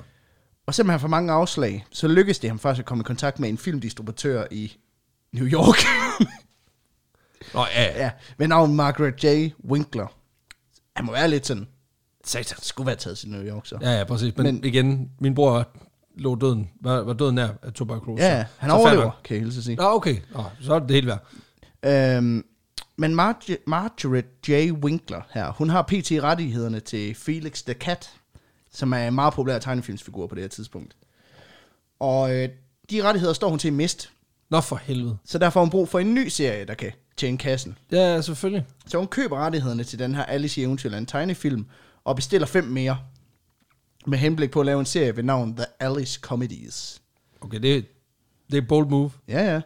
Og selvom han får mange afslag, så lykkes det ham faktisk at komme i kontakt med en filmdistributør i New York,
Nå, ja, ja.
ja, ved navn Margaret J. Winkler. Han må være lidt sådan,
Satan.
han skulle være taget til New York så.
Ja, ja, præcis. Men, men
Men-
igen, min bror lå døden, var, var døden nær af tuberkulose.
Ja, han
Så
overlever,
fair
kan jeg hilse at sige.
nok. Nå, okay. Nå, så er det det hele værd.
Øhm, men Marge- Margaret J. Winkler her, hun har pt. rettighederne til Felix the Cat, som er en meget populær tegnefilmsfigur på det her tidspunkt. Og øh, de rettigheder står hun til at miste,
Nå, for helvede.
så derfor har hun brug for en ny serie, der kan tjene kassen.
Ja, ja, selvfølgelig.
Så hun køber rettighederne til den her Alice i Eventyrland tegnefilm, og bestiller fem mere, med henblik på at lave en serie ved navn The Alice Comedies.
Okay, det, det er et bold move.
Ja, ja.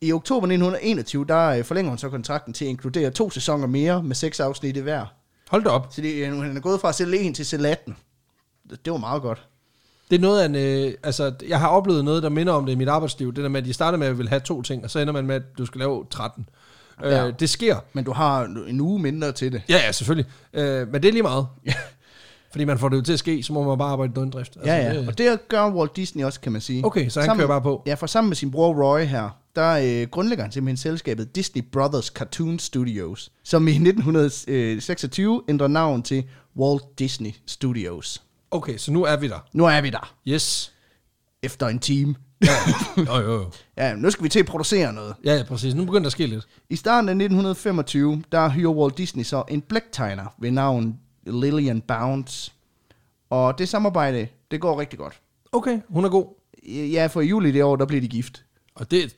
I oktober 1921, der øh, forlænger hun så kontrakten til at inkludere to sæsoner mere med seks afsnit i hver.
Hold da op.
Så det, øh, han er gået fra at sælge 1 til at sælge 18. Det, det var meget godt.
Det er noget af en, øh, altså, jeg har oplevet noget, der minder om det i mit arbejdsliv. Det der med, at de starter med at vil have to ting, og så ender man med, at du skal lave 13. Ja.
Ja.
Øh, det sker.
Men du har en- en uge mindre til det.
Ja, ja, selvfølgelig. Øh, men det er lige meget. Fordi man får det jo til at ske, så må man bare arbejde i døgndrift.
Altså, ja, ja.
Det,
Og det gør Walt Disney også, kan man sige.
Okay, så han kører bare på.
Ja, for sammen med sin bror Roy her, der øh, grundlægger han simpelthen selskabet Disney Brothers Cartoon Studios, som i 1926 ændrer navn til Walt Disney Studios.
okay, så nu er vi der.
Nu er vi der,
Yes.
efter en time.
Ja, jo, jo, jo.
Ja, nu skal vi til at producere noget.
Ja, ja, præcis. Nu begynder der at ske lidt.
I starten af 1925, der hyrer Walt Disney så en blæktegner ved navn Lillian Bounce. Og det samarbejde, det går rigtig godt.
Okay, hun er god.
Ja, for i juli det år, der bliver de gift.
Og det,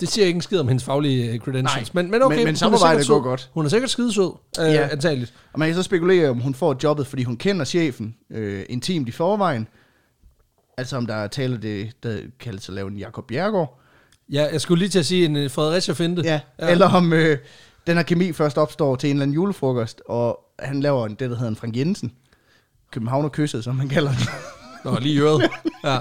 det siger ikke en skid om hendes faglige øh, credentials.
Nej,
men, men okay,
men- men
hun er
samarbejdet
sikkert sød.
går godt.
Hun er sikkert skidesød, øh, ja.
Ja.
antageligt.
Og man kan så spekulere, om hun får jobbet, fordi hun kender chefen øh, intimt i forvejen. Altså om der er tale det, der kaldes at lave en Jacob Bjergård.
Ja, jeg skulle lige til at sige en øh, Fredericia-finte.
Ja, eller om øh, den her kemi først opstår til en eller anden julefrokost, og han laver en, det, der hedder en Frank Jensen. København og kysset, som man kalder den.
Nå, lige i øret. Ja.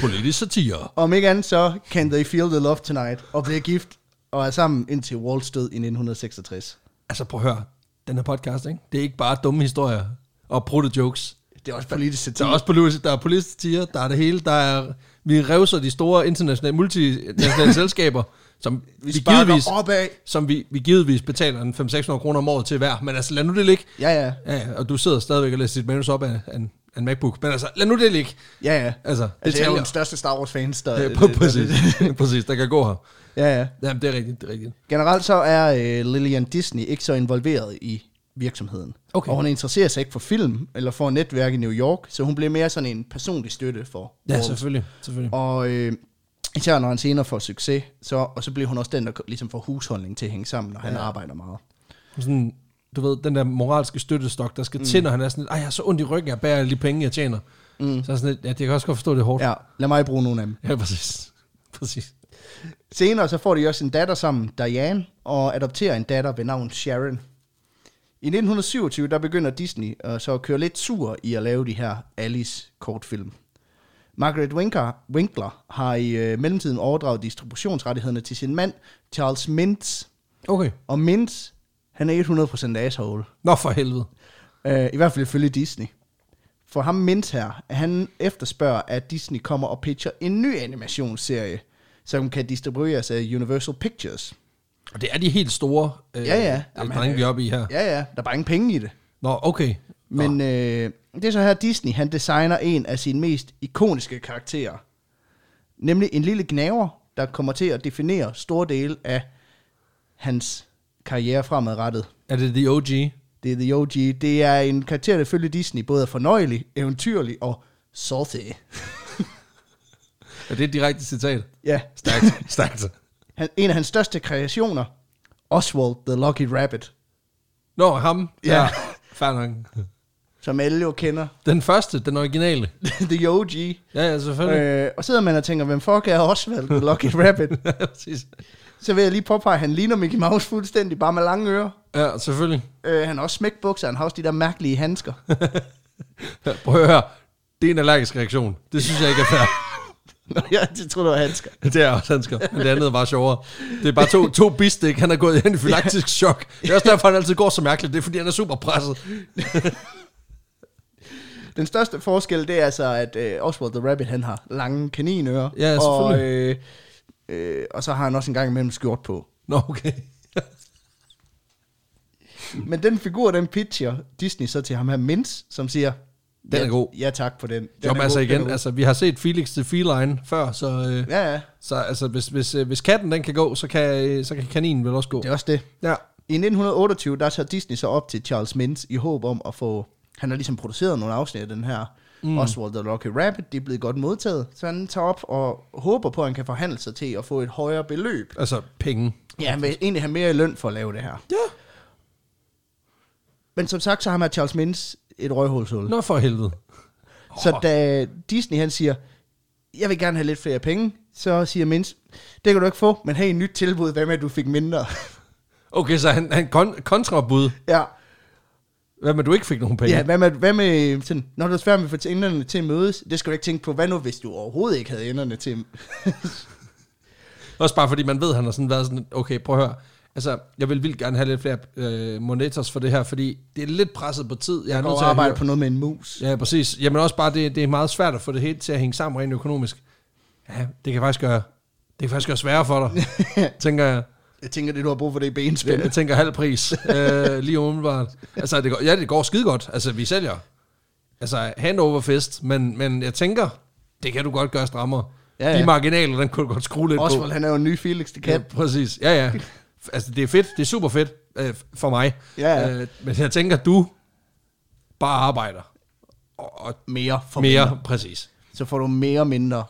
Politisk satire.
Om ikke andet så kan they feel the love tonight og bliver gift og er sammen indtil Walls død i 1966.
Altså, prøv at høre. Den her podcast, ikke? Det er ikke bare dumme historier og brudte jokes.
Det er også politisk
Der er
satire.
også politisk, der er politisk satire, der er det hele, der er... Vi revser de store internationale, multinationale selskaber, som vi,
Vi
vi
sparker
givetvis,
opad.
som vi, vi givetvis betaler en 500-600 kroner om året til hver. Men altså, lad nu det ligge.
Ja, ja.
Ja, og du sidder stadigvæk og læser dit manus op af af en, af en MacBook. Men altså, lad nu det ligge.
Ja, ja.
Altså, det
altså, jeg er jo
taler.
den største Star Wars-fans, der...
Ja, pr- præcis. præcis, der kan gå her.
Ja, ja.
Jamen, det er rigtigt, det er rigtigt.
Generelt så er øh, Lillian Disney ikke så involveret i virksomheden.
Okay.
Og hun interesserer sig ikke for film eller for netværk i New York, så hun bliver mere sådan en personlig støtte for
Ja,
Walt.
selvfølgelig, selvfølgelig.
Og øh, især når han senere får succes, så, og så bliver hun også den, der ligesom får husholdning til at hænge sammen, når ja. han arbejder meget.
Sådan, du ved, den der moralske støttestok, der skal mm. til, når han er sådan lidt, ej, jeg har så ondt i ryggen, jeg bærer alle de penge, jeg tjener. Mm. Så er sådan lidt, ja, det kan jeg også godt forstå, det er hårdt.
Ja, lad mig bruge nogle af dem.
ja præcis. præcis.
Senere så får de også en datter sammen, Diane, og adopterer en datter ved navn Sharon. I 1927, der begynder Disney øh, så at køre lidt sur i at lave de her Alice-kortfilm. Margaret Winkler, Winkler har i øh, mellemtiden overdraget distributionsrettighederne til sin mand, Charles Mintz.
Okay.
Og Mintz, han er 100% asshole.
Nå for helvede.
Øh, I hvert fald ifølge Disney. For ham Mint her, han efterspørger, at Disney kommer og pitcher en ny animationsserie, som kan distribueres af Universal Pictures.
Og det er de helt store øh,
Ja, ja.
Jamen,
Jamen,
drenge, vi er oppe i her. Ja.
Ja, ja, der er bare ingen penge i det.
Nå, okay. Men,
Men øh, det er så her, Disney han designer en af sine mest ikoniske karakterer. Nemlig en lille gnaver, der kommer til at definere store dele af hans karriere fremadrettet.
er det The OG?
Det er The OG. Det er en karakter, der følger Disney både er fornøjelig, eventyrlig og salty.
Er det et direkte citat?
Ja,
Stærkt. Stærkt.
han, en af hans største kreationer, Oswald the Lucky Rabbit,
Nå, ham.
Ja.
Ja. Fair nok.
som alle jo kender.
Den første, den originale.
The OG.
Ja, ja, selvfølgelig.
Øh, og sidder man og tænker, hvem fuck er Oswald the Lucky Rabbit?
Ja, præcis.
Så vil jeg lige påpege, at han ligner Mickey Mouse fuldstændig, bare med lange ører.
Ja, selvfølgelig.
Øh, han har også smækbukser, han har også de der mærkelige handsker.
Ja, Prøv at høre. Det er en allergisk reaktion. Det synes jeg ikke er fair.
Nå, jeg det troede, det var handsker.
Det er også dansker, men det andet er bare sjovere. Det er bare to, to bistik, han er gået i anafylaktisk chok. Det er også derfor, han altid går så mærkeligt. Det er, fordi han er super presset.
Den største forskel, det er altså, at øh, Oswald the Rabbit, han har lange kaninører.
Ja,
og,
selvfølgelig.
øh, øh, og så har han også en gang imellem skjort på.
Nå, okay.
Men den figur, den pitcher Disney så til ham her, Mintz, som siger...
Den
ja,
er god."
Ja, tak for den. den
Jo,
er
men altså
god, den er
igen,
god.
altså, vi har set Felix the Feline før, så, øh,
Ja, ja.
så altså, hvis, hvis, øh, hvis katten den kan gå, så kan, øh, så kan kaninen vel også gå.
Det er også det.
Ja.
I 1928, der tager Disney så op til Charles Mintz i håb om at få... Han har ligesom produceret nogle afsnit af den her mm. Oswald the Lucky Rabbit. Det er blevet godt modtaget. Så han tager op og håber på, at han kan forhandle sig til at få et højere beløb.
Altså, penge.
Ja, han vil egentlig have mere i løn for at lave det her.
Ja.
Men som sagt, så har man Charles Mintz et røghulshul.
Nå, for helvede.
Så da Disney han siger, jeg vil gerne have lidt flere penge, så siger Mintz, det kan du ikke få, men hey, et nyt tilbud, hvad med, at du fik mindre?
Okay, så han, han kon- kontrabud.
ja,
Hvad med, du ikke fik nogen penge?
ja hvad, med, hvad med sådan, når du er svært med at få enderne til at mødes, det skal du ikke tænke på, hvad nu, hvis du overhovedet ikke havde enderne til
Også bare fordi man ved, at han har sådan været sådan, okay, prøv at høre. Altså, jeg vil vildt gerne have lidt flere øh, monitors for det her, fordi det er lidt presset på tid. Jeg er nødt
at
til at
arbejde
hyre-
på noget med en mus.
Ja, præcis. Jamen også bare, det, det er meget svært at få det helt til at hænge sammen rent økonomisk. Ja, det kan faktisk gøre, det kan faktisk gøre sværere for dig, tænker jeg.
Jeg tænker, det du har brug for, det er benspænd.
Jeg tænker halv pris, øh, lige umiddelbart. Altså, det går, ja, det går skide godt. Altså, vi sælger. Altså, hand over fist, men, men jeg tænker, det kan du godt gøre strammere.
Ja, ja.
De marginaler, den kunne du godt skrue lidt på.
Oswald, han er jo en ny Felix the
Ja,
Cat.
præcis. Ja, ja. F- Altså, det er fedt. Det er super fedt øh, f- for mig.
Ja, ja.
Øh, men jeg tænker, du bare arbejder. Og, og
Mere for
mere,
mindre.
præcis.
Så får du mere mindre.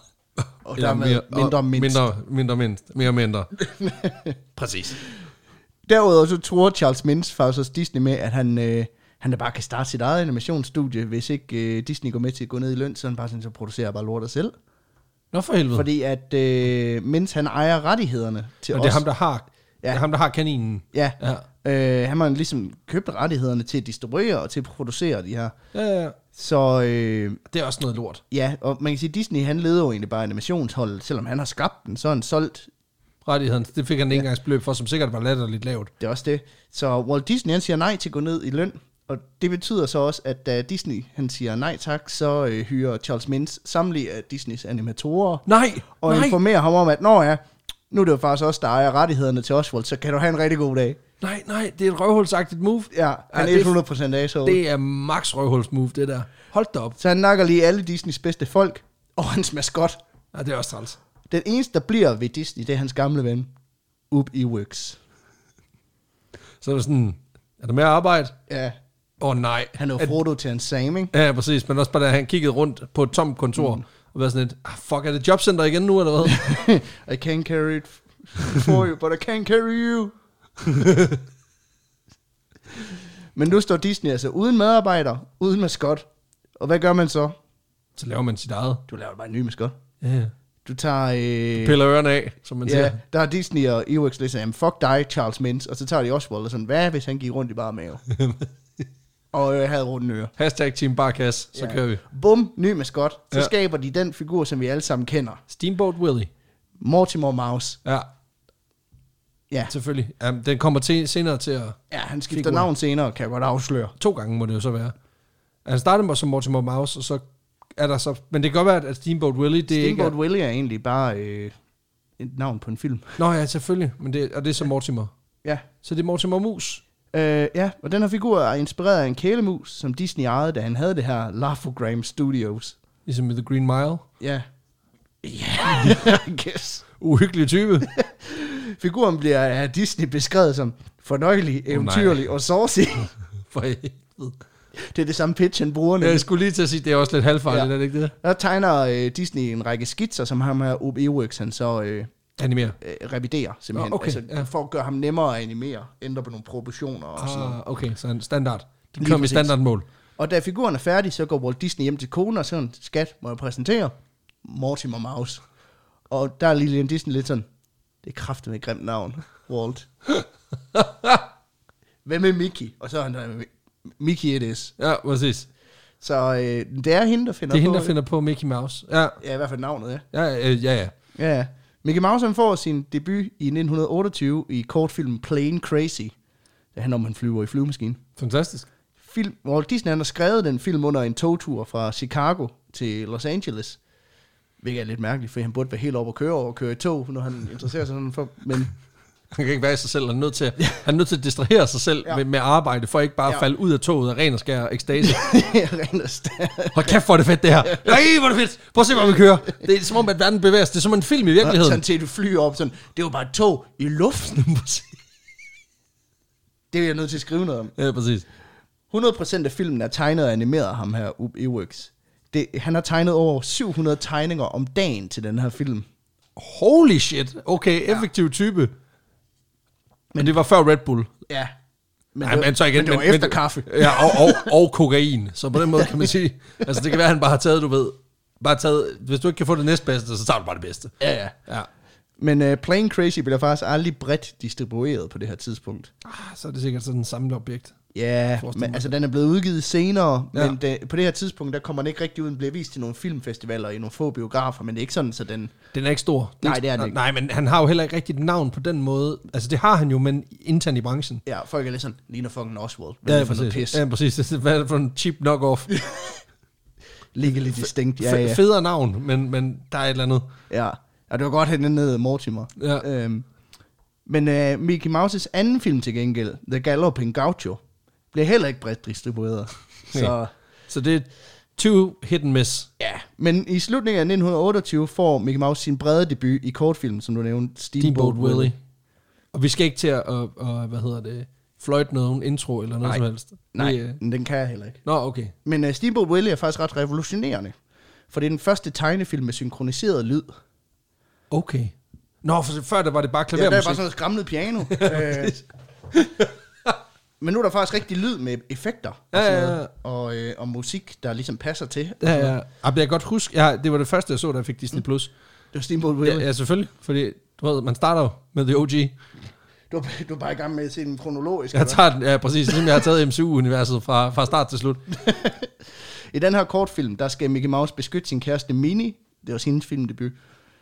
Og
Eller
dermed
mere- og
mindre mindst.
Mindre, mindre mindst. Mere mindre. præcis.
Derudover så tror Charles Mintz faktisk også Disney med, at han, øh, han da bare kan starte sit eget animationsstudie, hvis ikke øh, Disney går med til at gå ned i løn, så han bare sådan, så producerer jeg bare lortet selv.
Nå for helvede. Fordi
Fordi at øh, Mintz, han ejer rettighederne til
og
os.
det er ham, der har, ja.
Ja.
det er ham, der har kaninen.
Ja,
Ja.
øh, han har ligesom købt rettighederne til at distribuere og til at producere de her.
Ja, ja, ja.
Så øh,
Det er også noget lort.
ja, og man kan sige, at Disney han leder jo egentlig bare animationsholdet, selvom han har skabt den, så har han solgt
Rettigheden, det fik han ikke engang beløb for, som sikkert var latterligt lavt.
Det er også det. Så Walt Disney han siger nej til at gå ned i løn, og det betyder så også, at da Disney han siger nej tak, så øh, hyrer Charles Mintz samtlige af Disneys animatorer,
Nej,
og
nej,
informerer ham om, at når ja, nu er det jo faktisk også der ejer rettighederne til Oswald, så kan du have en rigtig god dag.
nej, nej, det er et røvhulsagtigt move.
Ja, han
Ja, det-
er 100% asshole.
Det er max røvhulsmove, det der. Hold da op.
Så han nakker lige alle Disneys bedste folk, og hans maskot.
Ja, det er også træls.
Den eneste, der bliver ved Disney, det er hans gamle ven, Up Ewigs.
Så er det sådan, er der mere arbejde?
Ja,
Åh oh, nej.
han er jo
At-
Frodo til en Sam, ikke?
Ja, præcis. Men også bare da han kiggede rundt på et tomt kontor, mm. og var sådan lidt, ah, fuck, er det jobcenter igen nu, eller hvad?
I can carry it for you, but I can carry you. Men nu står Disney altså uden medarbejder, uden maskot. Og hvad gør man så?
så laver man sit eget.
Du laver bare en ny maskot.
Ja.
Du tager... Øh,
Piller ørerne af, som man
ja,
siger.
der har Disney og Ewoks lidt sådan, fuck dig, Charles Mintz. Og så tager de Oswald og sådan, hvad hvis han gik rundt i bare mave? og øh, havde rundt øre.
Hashtag Team Barkas, så
Ja.
kører vi.
Bum, ny maskot. Så
Ja.
ja. skaber de den figur, som vi alle sammen kender.
Steamboat Willie.
Mortimer Mouse.
Ja,
Ja,
selvfølgelig. Jamen, den kommer til, senere til at...
ja han skifter
Figur.
navn senere, kan jeg godt afsløre.
To gange må det jo så være. Altså, Han starter med som Mortimer Mouse, og så er der så... Men det kan godt være, at Steamboat Willie, det
Det
ikke
Steamboat
er...
ikke... Willie er egentlig bare øh, et navn på en film.
Nå ja, selvfølgelig. Men det, og det er så Mortimer.
Ja.
Så det er Mortimer Mus.
Øh, ja, og den her figur er inspireret af en kælemus, som Disney ejede, da han havde det her Laugh-O-Gram Studios.
Ligesom i The Green Mile.
Ja. Ja, I guess.
Uhyggelig type.
Figuren bliver af Disney beskrevet som fornøjelig, eventyrlig og saucy.
For helvede.
Det er det samme pitch, han bruger.
Jeg
nemlig.
skulle lige til at sige, det er også lidt halvfarligt,
Ja.
ja. er det ikke det?
Der tegner øh, Disney en række skitser, som ham her Ob Ewerks, han så øh,
Animere.
øh, reviderer simpelthen.
Nå, okay,
altså,
ja.
For at gøre ham nemmere at animere, ændre på nogle proportioner og sådan noget.
Ah, okay, så en standard. De
Lige
kom i
præcis.
standardmål.
Og da figuren er færdig, så går Walt Disney hjem til konen og sådan, skat, må jeg præsentere Mortimer Mouse. Og der er Lillian Disney lidt sådan, det er kraftigt med et grimt navn, Walt. Hvad med Mickey? Og så er han der, Mickey it is.
Ja, præcis.
Så øh, det er hende, der finder
Det er hende,
på
der finder på Mickey Mouse. Ja,
Ja, i hvert fald navnet, ja.
ja, ja. ja, ja.
Ja, ja. Mickey Mouse han får sin debut i 1928 i kortfilmen Plane Crazy. Det handler om, at han flyver i flyvemaskinen.
Fantastisk.
film, Walt Disney han har skrevet den film under en togtur fra Chicago til Los Angeles. Hvilket er lidt mærkeligt, for han burde være helt oppe at køre og køre i tog, når han interesserer sig sådan for... Men
Han kan ikke være i sig selv. Han er nødt til at, han er nødt til at distrahere sig selv ja.
Ja.
med, med, arbejde, for ikke bare at
Ja.
falde ud af toget af ren og skær ekstase.
rent og stærkt.
Hold kæft, hvor er det fedt, det her. Nej, hvor er det fedt. Prøv at se, hvor vi kører. Det er som om, at verden bevæger sig. Det er som en film i virkeligheden.
Sådan til du flyer op sådan, det var bare et tog i luften. det er jeg nødt til at skrive noget om.
Ja, præcis.
100% af filmen er tegnet og animeret af ham her, Ub Ewerks. Det, han har tegnet over 700 tegninger om dagen til den her film.
Holy shit. Okay, effektiv type. Men det var før Red Bull.
Ja. Men,
Nej, men, så igen,
men det var
men-
efter
men-
kaffe.
Ja, og, og, og kokain. Så på den måde kan man sige, altså det kan være, at han bare har taget, du ved, bare taget, hvis du ikke kan få det næstbedste, så tager du bare det bedste.
Ja, ja.
Ja.
Men uh, Plane Crazy blev faktisk aldrig bredt distribueret på det her tidspunkt.
Ah, så er det sikkert sådan et samlet objekt.
Ja,
Forestil mig
men, altså den er blevet udgivet senere,
Ja.
ja. men det, på det her tidspunkt, der kommer den ikke rigtig ud. Den bliver vist i nogle filmfestivaler i nogle få biografer, men det er ikke sådan, så den...
Den er ikke stor. er
Nej,
ikke-
det er den ikke.
Nej, men han har jo heller ikke rigtigt et navn på den måde. Altså det har han jo, men internt i branchen.
Ja, folk er lidt sådan, ligner fucking Oswald. Hvad ja, er det for noget pis?
Ja, præcis. Hvad er det for en cheap knockoff?
Ligger lidt distinkt, ja,
Ja,
ja.
Federe navn, men, men der er et eller andet.
ja. Og det var godt, at han ned Mortimer.
Ja.
Øhm, men uh, Mickey Mouses anden film til gengæld, The Galloping Gaucho, blev heller ikke bredt distribueret. så...
Så det er two hit and miss.
Ja, men i slutningen af 1928 får Mickey Mouse sin brede debut i kortfilmen, som du nævnte,
Steamboat Willie. Og vi skal ikke til at, og, og, hvad hedder det, fløjte nogen intro eller noget
Nej.
som helst.
Nej,
Vi, øh,
men den kan jeg heller ikke.
Nå, okay.
Men uh, Steamboat Willie er faktisk ret revolutionerende, for det er den første tegnefilm med synkroniseret lyd.
Okay. Nå, for før der var det bare
Ja, der er bare
klavermusik.
sådan noget skramlet piano. øh. Men nu er der faktisk rigtig lyd med effekter og,
Ja,
sådan
ja, ja.
noget, og, øh, og musik, der ligesom passer til.
Ja, ja. Ej, men jeg kan godt huske, ja, det var det første, jeg så, da jeg fik
Mm.
Disney+. Plus.
Det var Steamboat
Ja,
Willie.
ja, selvfølgelig, fordi du ved, man starter jo med The OG.
Du, var- du er bare i gang med at se den kronologisk.
Jeg
eller
tager den, ja, præcis, ligesom jeg har taget MCU-universet fra, fra start til slut.
I den her kortfilm, der skal Mickey Mouse beskytte sin kæreste Minnie, det var hendes filmdebut,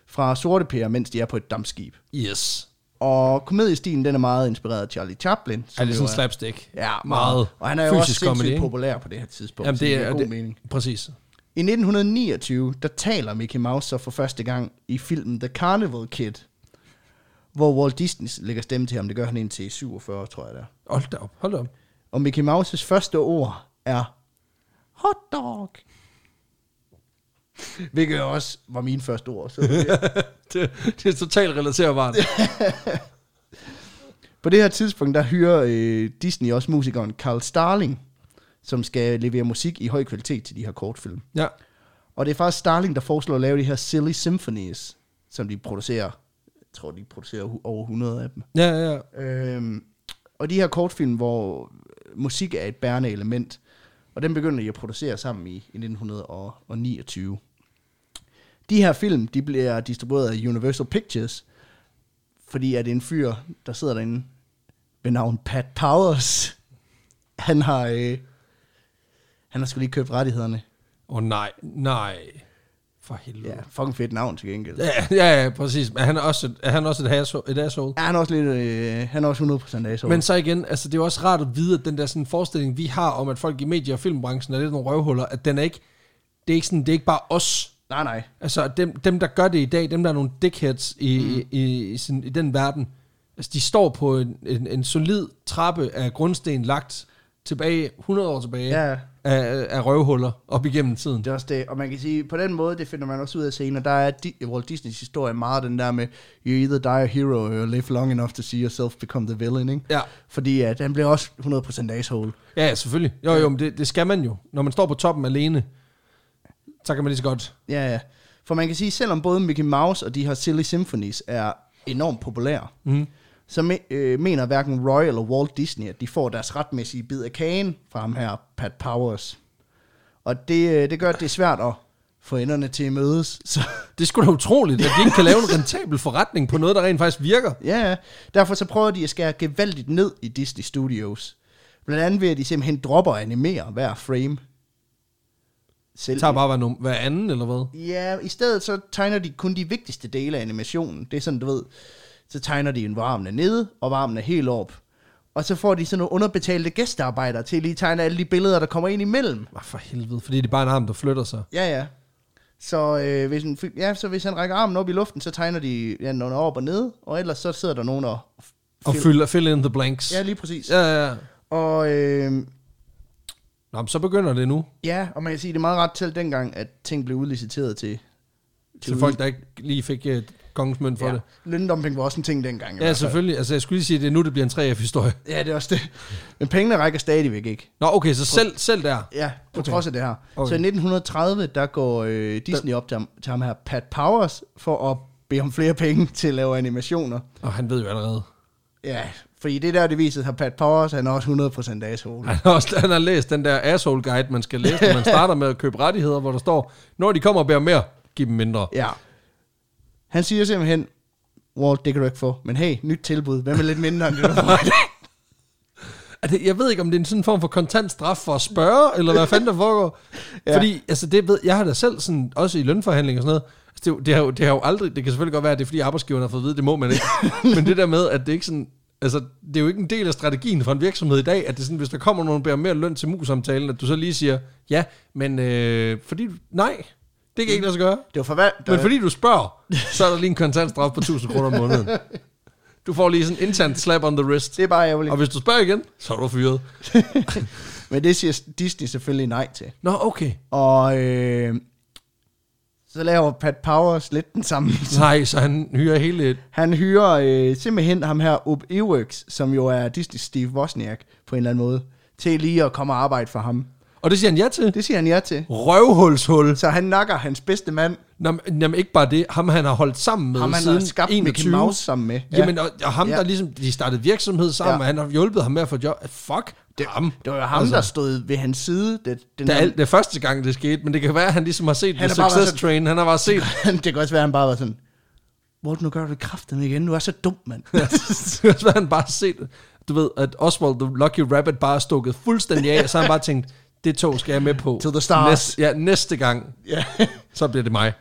fra sorte pærer, mens de er på et dammskib.
Yes.
Og komediestilen, den er meget inspireret af Charlie Chaplin.
Er det
jo
sådan slapstick?
Ja,
Meget
meget. Og han er jo også
fysisk comedy,
sindssygt
ikke?
populær på det her tidspunkt.
Jamen,
så
det
giver
er,
god
det,
mening.
præcis.
I 1929, der taler Mickey Mouse så for første gang i filmen The Carnival Kid, hvor Walt Disney lægger stemme til ham. Det gør han indtil 47, tror jeg det er.
Hold da op, hold da op.
Og Mickey Mouses første ord er hotdog. Hvilket også var min første ord. Så
Det, det er totalt relaterbart.
på det her tidspunkt, der hyrer øh, Disney også musikeren Carl Starling, som skal levere musik i høj kvalitet til de her kortfilm.
Ja.
Og det er faktisk Starling, der foreslår at lave de her Silly Symphonies, som de producerer. Jeg tror, de producerer hu- over 100 af dem.
Ja, ja, ja.
Øhm, og de her kortfilm, hvor musik er et bærende element, og den begynder de at producere sammen i, i 1929. De her film, de bliver distribueret af Universal Pictures, fordi at en fyr, der sidder derinde ved navn Pat Powers, han har, øh, han har sgu lige købt rettighederne.
Åh oh, nej, nej. For helvede.
Ja, fucking fedt navn til gengæld. Ja.
Ja, ja, ja præcis. Men han er også, et- er han også et, hasso, et asshole.
Er han også lidt, øh, han er også 100% af så.
Men så igen, altså det er jo også rart at vide, at den der sådan forestilling, vi har om, at folk i medie- og filmbranchen er lidt nogle røvhuller, at den er ikke, det er ikke sådan, det er ikke bare os.
nej, nej.
Altså at dem, dem der gør det i dag, dem der er nogle dickheads i, mm. i, i, i, sådan, i den verden, altså de står på en, en, en solid trappe af grundsten lagt tilbage, 100 år tilbage,
Ja.
af, af røvhuller op igennem tiden.
Det er også det, og man kan sige, på den måde, det finder man også ud af senere, der er Di- Walt Disneys historie meget den der med, you either die a hero or live long enough to see yourself become the villain, ikke?
Ja.
Fordi at han bliver også 100% asshole.
Ja, ja, selvfølgelig. Jo, jo, men det, det skal man jo. Når man står på toppen alene, så kan man lige så godt.
Ja, ja. For man kan sige, selvom både Mickey Mouse og de her Silly Symphonies er enormt populære,
Mm.
så me- øh, mener hverken Roy eller Walt Disney, at de får deres retmæssige bid af kagen fra ham her, Pat Powers. Og det, øh, det gør, at det er svært at få enderne til at mødes. Så,
Det er sgu da utroligt, at de ikke kan lave en rentabel forretning på noget, der rent faktisk virker.
ja, ja. derfor så prøver de at skære gevaldigt ned i Disney Studios. Blandt andet ved, at de simpelthen dropper og animerer hver frame. Selv
Det tager bare hver, num- hver anden, eller hvad?
Ja, i stedet så tegner de kun de vigtigste dele af animationen. Det er sådan, du ved, så tegner de en, hvor armen er nede, og hvor armen er helt op. Og så får de sådan nogle underbetalte gæstearbejdere til at lige tegne alle de billeder, der kommer ind imellem.
Hvad for helvede, fordi det er bare en arm, der flytter sig.
Ja, ja. Så, øh, hvis, en, ja, så hvis han rækker armen op i luften, så tegner de ja, nogle op og ned, og ellers så sidder der nogen og...
Og fylder, fill in the blanks.
Ja, lige præcis. Ja.
ja, ja. ja.
Og øh,
Nå, men så begynder det nu.
ja, og man kan sige, det er meget ret til dengang, at ting blev udliciteret til...
Til folk, der ikke lige fik uh, kongens mønt for ja. det.
Løndumping var også en ting dengang. i
Ja,
hvert fald.
selvfølgelig. Altså, jeg skulle lige sige, at det er nu, det bliver en 3F-historie.
Ja, det er også det. Men pengene rækker stadigvæk ikke.
Nå, okay, så selv, selv der.
Ja,
Okay.
på okay. trods af det her. Okay.
Okay.
Så i 1930, der går øh, Disney op til ham, til ham her, Pat Powers, for at bede om flere penge til at lave animationer.
Og han ved jo allerede.
Ja, fordi det der, det viser sig, Pat Powers, han er også 100% asshole.
Han har, også, han har læst den der asshole guide, man skal læse, når man starter med at købe rettigheder, hvor der står, når de kommer og beder mere, giv dem mindre.
Ja. Han siger simpelthen, Walt, det kan du ikke få, men hey, nyt tilbud, hvad med lidt mindre end det, du får?
Er det, jeg ved ikke, om det er en sådan form for kontant straf for at spørge, eller hvad fanden der foregår.
Ja.
ja. Fordi, altså det ved, jeg har da selv sådan, også i lønforhandlinger og sådan noget, altså, det, er jo- det, har jo, det har jo aldrig, det kan selvfølgelig godt være, at det er fordi arbejdsgiveren har fået at vide, det må man ikke. Men det der med, at det ikke sådan, altså det er jo ikke en del af strategien for en virksomhed i dag, at det er sådan, hvis der kommer nogen og beder mere løn til mus-samtalen, at du så lige siger, ja, men øh, fordi, du- nej, det kan ikke lade sig gøre.
Det var forvalgt.
Men fordi du spørger, så er der lige en kontantstraf på 1000 kroner om måneden. Du får lige sådan en intern slap on the wrist.
Det er bare ærgerligt.
Og hvis du spørger igen, så er du fyret.
Men det siger Disney selvfølgelig nej til.
Nå, okay.
Og øh, så laver Pat Powers lidt den samme
Nej, så han hyrer hele...
Han hyrer øh, simpelthen ham her, Up Ewerks, som jo er Disney Steve Wozniak på en eller anden måde, til lige at komme og arbejde for ham.
Og det siger han ja til.
Det siger han ja til.
Røvhulshul.
Så han nakker hans bedste mand,
Nå, men- Jamen, ikke bare det. Ham, han har holdt sammen med
ham han har
siden
skabt 21.
21.
Mickey Mouse sammen med.
Ja. Jamen, og, og ham,
Ja.
der ligesom... De startede virksomhed sammen,
Ja.
ja. og han har hjulpet ham med at få job. Fuck det, ham.
det var jo ham, altså, der stod ved hans side. Det, den
Det er,
her,
alt- det er første gang, det skete, men det kan være, at han ligesom har set
Han
The
har bare været
Success
sådan-
Train. Han har bare set
det kan også være, at han bare var sådan, Walt, nu gør du det kraften igen. Du er så dum, mand.
Så har han bare set, du ved, at Oswald the Lucky Rabbit bare er stukket fuldstændig af, og så har han bare tænkt, det tog skal jeg med på.
To the stars.
Næste, ja, næste gang,
ja.
så bliver det mig.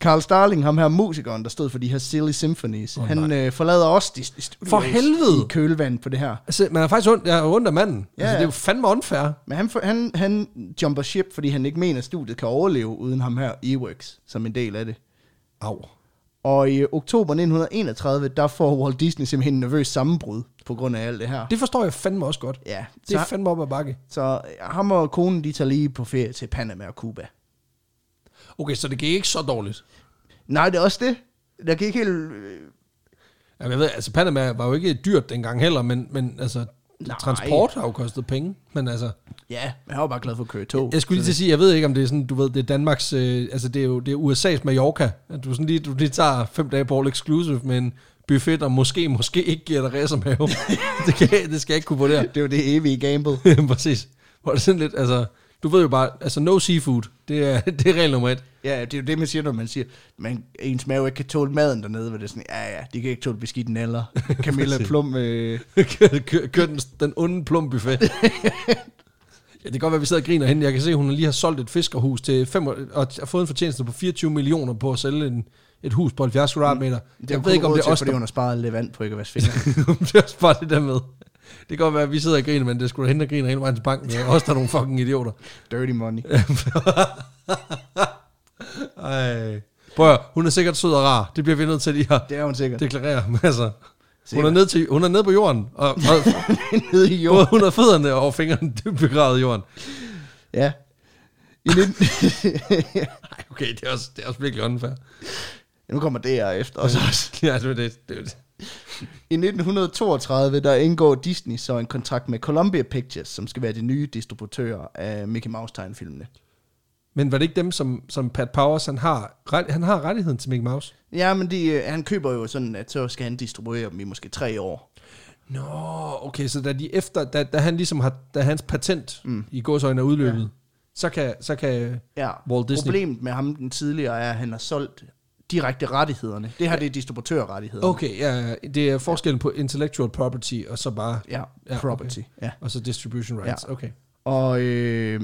Carl Starling, ham her musikeren, der stod for de her Silly Symphonies, oh, han øh, forlader også Disney Studios
For helvede!
i kølvand på det her.
Altså, man er faktisk ondt, jeg er ondt af manden. Ja,
Ja,
altså, det er jo
ja.
fandme unfair.
Men han, han, han jumper ship, fordi han ikke mener, at studiet kan overleve uden ham her, Eworks, som en del af det.
Au.
Og i oktober 1931, der får Walt Disney simpelthen en nervøs sammenbrud på grund af alt det her.
Det forstår jeg fandme også godt.
Ja,
Det
så,
er fandme op ad bakke.
så ham og konen, de tager lige på ferie til Panama og Cuba.
Okay, så det gik ikke så dårligt.
Nej, det er også det. Der gik helt... øh,
Jamen, jeg ved, altså Panama var jo ikke dyrt dengang heller, men, men altså,
Nej.
Nej. transport har jo kostet penge. Men altså,
Ja, men han var bare glad for at køre i tog.
jeg skulle lige til at sige, jeg ved ikke, om det er sådan, du ved, det er Danmarks, øh, altså det er jo det er USA's Mallorca. At du sådan lige, du lige tager fem dage på all exclusive med en buffet, der måske, måske ikke giver dig racermave. det, kan, det skal jeg ikke kunne vurdere.
Det var det evige gamble.
Præcis. Hvor er det sådan lidt, altså, du ved jo bare, altså no seafood, Det er, det er regel nummer et.
Ja, det er jo det, man siger, når man siger, man, ens mave ikke kan tåle maden dernede, hvor det er sådan, ja, ja, de kan ikke tåle beskidten eller Camilla
Præcis.
Plum, øh,
Kør- kør, kør den, den onde plumbuffet. ja, det kan godt være, at vi sidder og griner hende. Jeg kan se, at hun lige har solgt et fiskerhus til fem, og og har fået en fortjeneste på 24 millioner på at sælge en, et hus på 70 kvadratmeter.
Mm. det er
jeg ved ikke, om det er os,
fordi
der
hun har sparet lidt vand på ikke at vaske fingre.
om det er også bare det der med. Det kan godt være, at vi sidder og griner, men det skulle da hende, der griner hele vejen til banken. Det er også der er nogle fucking idioter.
Dirty money.
Ej. Prøv at, høre, hun er sikkert sød og rar. Det bliver vi nødt til lige at
Det er hun sikkert.
deklarere. Men altså, hun er,
Sikkert.
nede til, hun er nede på jorden, og, og
nede i
Jo.
jorden.
Hun har fødderne og fingrene dybt begravet i jorden.
Ja. I 19...
Nej, okay, det er også, det er også virkelig unfair.
nu kommer det her efter os også.
Ja, det er det. det, er det.
I 1932, der indgår Disney så en kontrakt med Columbia Pictures, som skal være de nye distributører af Mickey Mouse tegnefilmene.
Men var det ikke dem, som, som Pat Powers, han har, ret- han har rettigheden til Mickey Mouse?
Ja, men de, øh, han køber jo sådan, at så skal han distribuere dem i måske tre år.
Nå, okay, så da, de efter, da, da han ligesom har, da hans patent mm. i gåsøjne er udløbet, ja. så kan, så kan
Ja.
Walt Disney...
Problemet med ham den tidligere er, at han har solgt direkte rettighederne. Det her, det er distributørrettighederne.
Okay, ja, det er forskellen på intellectual property og så bare...
Ja,
Ja, okay.
property. Ja.
Og så distribution rights,
Ja.
ja. okay.
Og øh,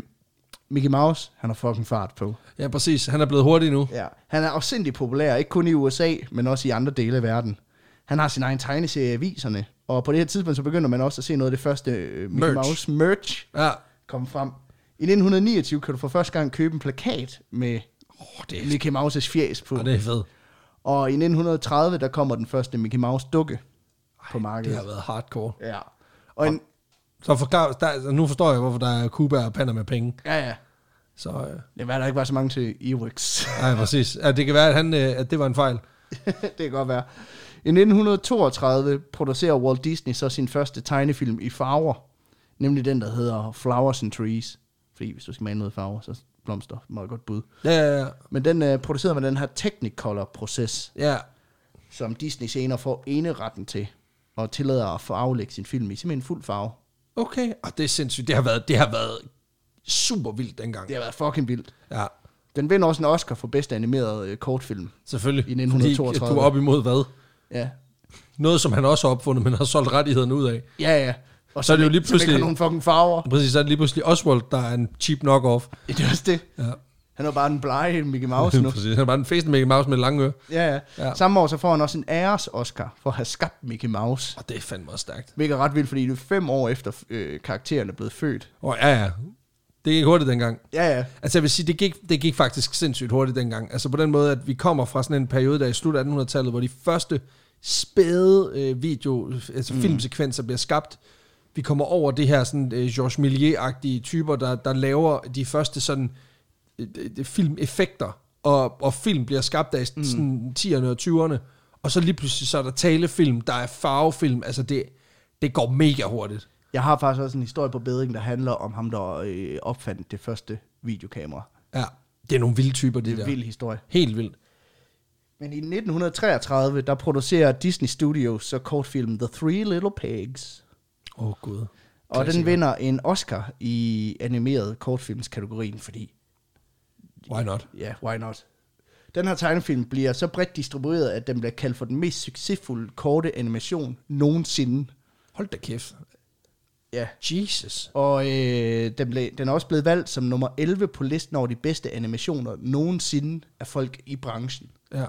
Mickey Mouse, han har fucking fart på.
Ja, præcis. Han er blevet hurtig nu.
Ja. Han er afsindig populær, ikke kun i USA, men også i andre dele af verden. Han har sin egen tegneserie i aviserne, og på det her tidspunkt så begynder man også at se noget af det første øh, Mickey
Merch.
Mouse merch
Ja.
komme frem. I 1929 kan du for første gang købe en plakat med
Oh, det, er,
Mickey Mouses fjæs på.
oh, det er fedt.
Og i 1930 der kommer den første Mickey Mouse dukke på markedet.
Det har været hardcore.
Ja. Og en,
Så forklar, der, altså, nu forstår jeg, hvorfor der er Cuba og Panama penge.
ja, ja.
Så, øh,
Det var der ikke var så mange til Ewoks.
nej, præcis. Ja, det kan være, at, han, øh, at det var en fejl.
det kan godt være. I 1932 producerer Walt Disney så sin første tegnefilm i farver, nemlig den, der hedder Flowers and Trees. Fordi hvis du skal male noget i farver, så blomster meget godt bud.
Ja, ja, ja.
Men den øh, producerede med den her Technicolor-proces,
ja.
som Disney senere får eneretten til, og tillader at få aflægge sin film i simpelthen fuld farve.
Okay, og det er sindssygt. Det har været, det har været super vildt dengang.
Det har været fucking vildt.
Ja,
Den vinder også en Oscar for bedste animeret øh, kortfilm.
selvfølgelig.
I 1932.
Fordi øh, du er op imod hvad?
Ja,
Noget, som han også har opfundet, men har solgt rettigheden ud af.
ja, ja. Og
Så er det jo lige
som ikke har
pludselig-
nogen fucking farver.
Præcis, så er det lige pludselig Oswald, der er en cheap knockoff.
Ja, det er også det.
Ja.
Han er bare den blege Mickey Mouse nu.
Præcis. Han er bare en fæsen Mickey Mouse med lange ører.
Ja, ja.
Ja.
ja. Samme år så får han også en æres Oscar for at have skabt Mickey Mouse.
Og det er fandme også stærkt.
Hvilket er ret vildt, fordi det er fem år efter øh, karakteren er blevet født.
Og ja, ja. Det gik hurtigt dengang.
Ja, ja.
Altså jeg vil sige, det gik, det gik faktisk sindssygt hurtigt dengang. Altså på den måde, at vi kommer fra sådan en periode, der i slut af 1800-tallet, hvor de første spæde øh, video, altså mm. filmsekvenser bliver skabt. Vi kommer over det her sådan øh, Georges Millier-agtige typer, der, der laver de første sådan øh, øh, filmeffekter, og, og film bliver skabt af mm. sådan 10'erne og 20'erne, og så lige pludselig så er der talefilm, der er farvefilm, altså det, det går mega hurtigt.
Jeg har faktisk også en historie på bedring, der handler om ham, der øh, opfandt det første videokamera.
Ja, det er nogle vilde typer, det,
Det er
der.
en vild historie.
Helt vildt.
Men i 1933, der producerer Disney Studios så kortfilmen The Three Little Pigs.
Åh oh, gud.
Og
Klassiker.
den vinder en Oscar i animeret kortfilmskategorien, fordi
Why not?
Ja, yeah, why not? Den her tegnefilm bliver så bredt distribueret, at den bliver kaldt for den mest succesfulde korte animation nogensinde.
Hold da kæft.
Ja.
Jesus.
Og øh, den, blev, den er også blevet valgt som nummer 11 på listen over de bedste animationer nogensinde af folk i branchen.
Ja.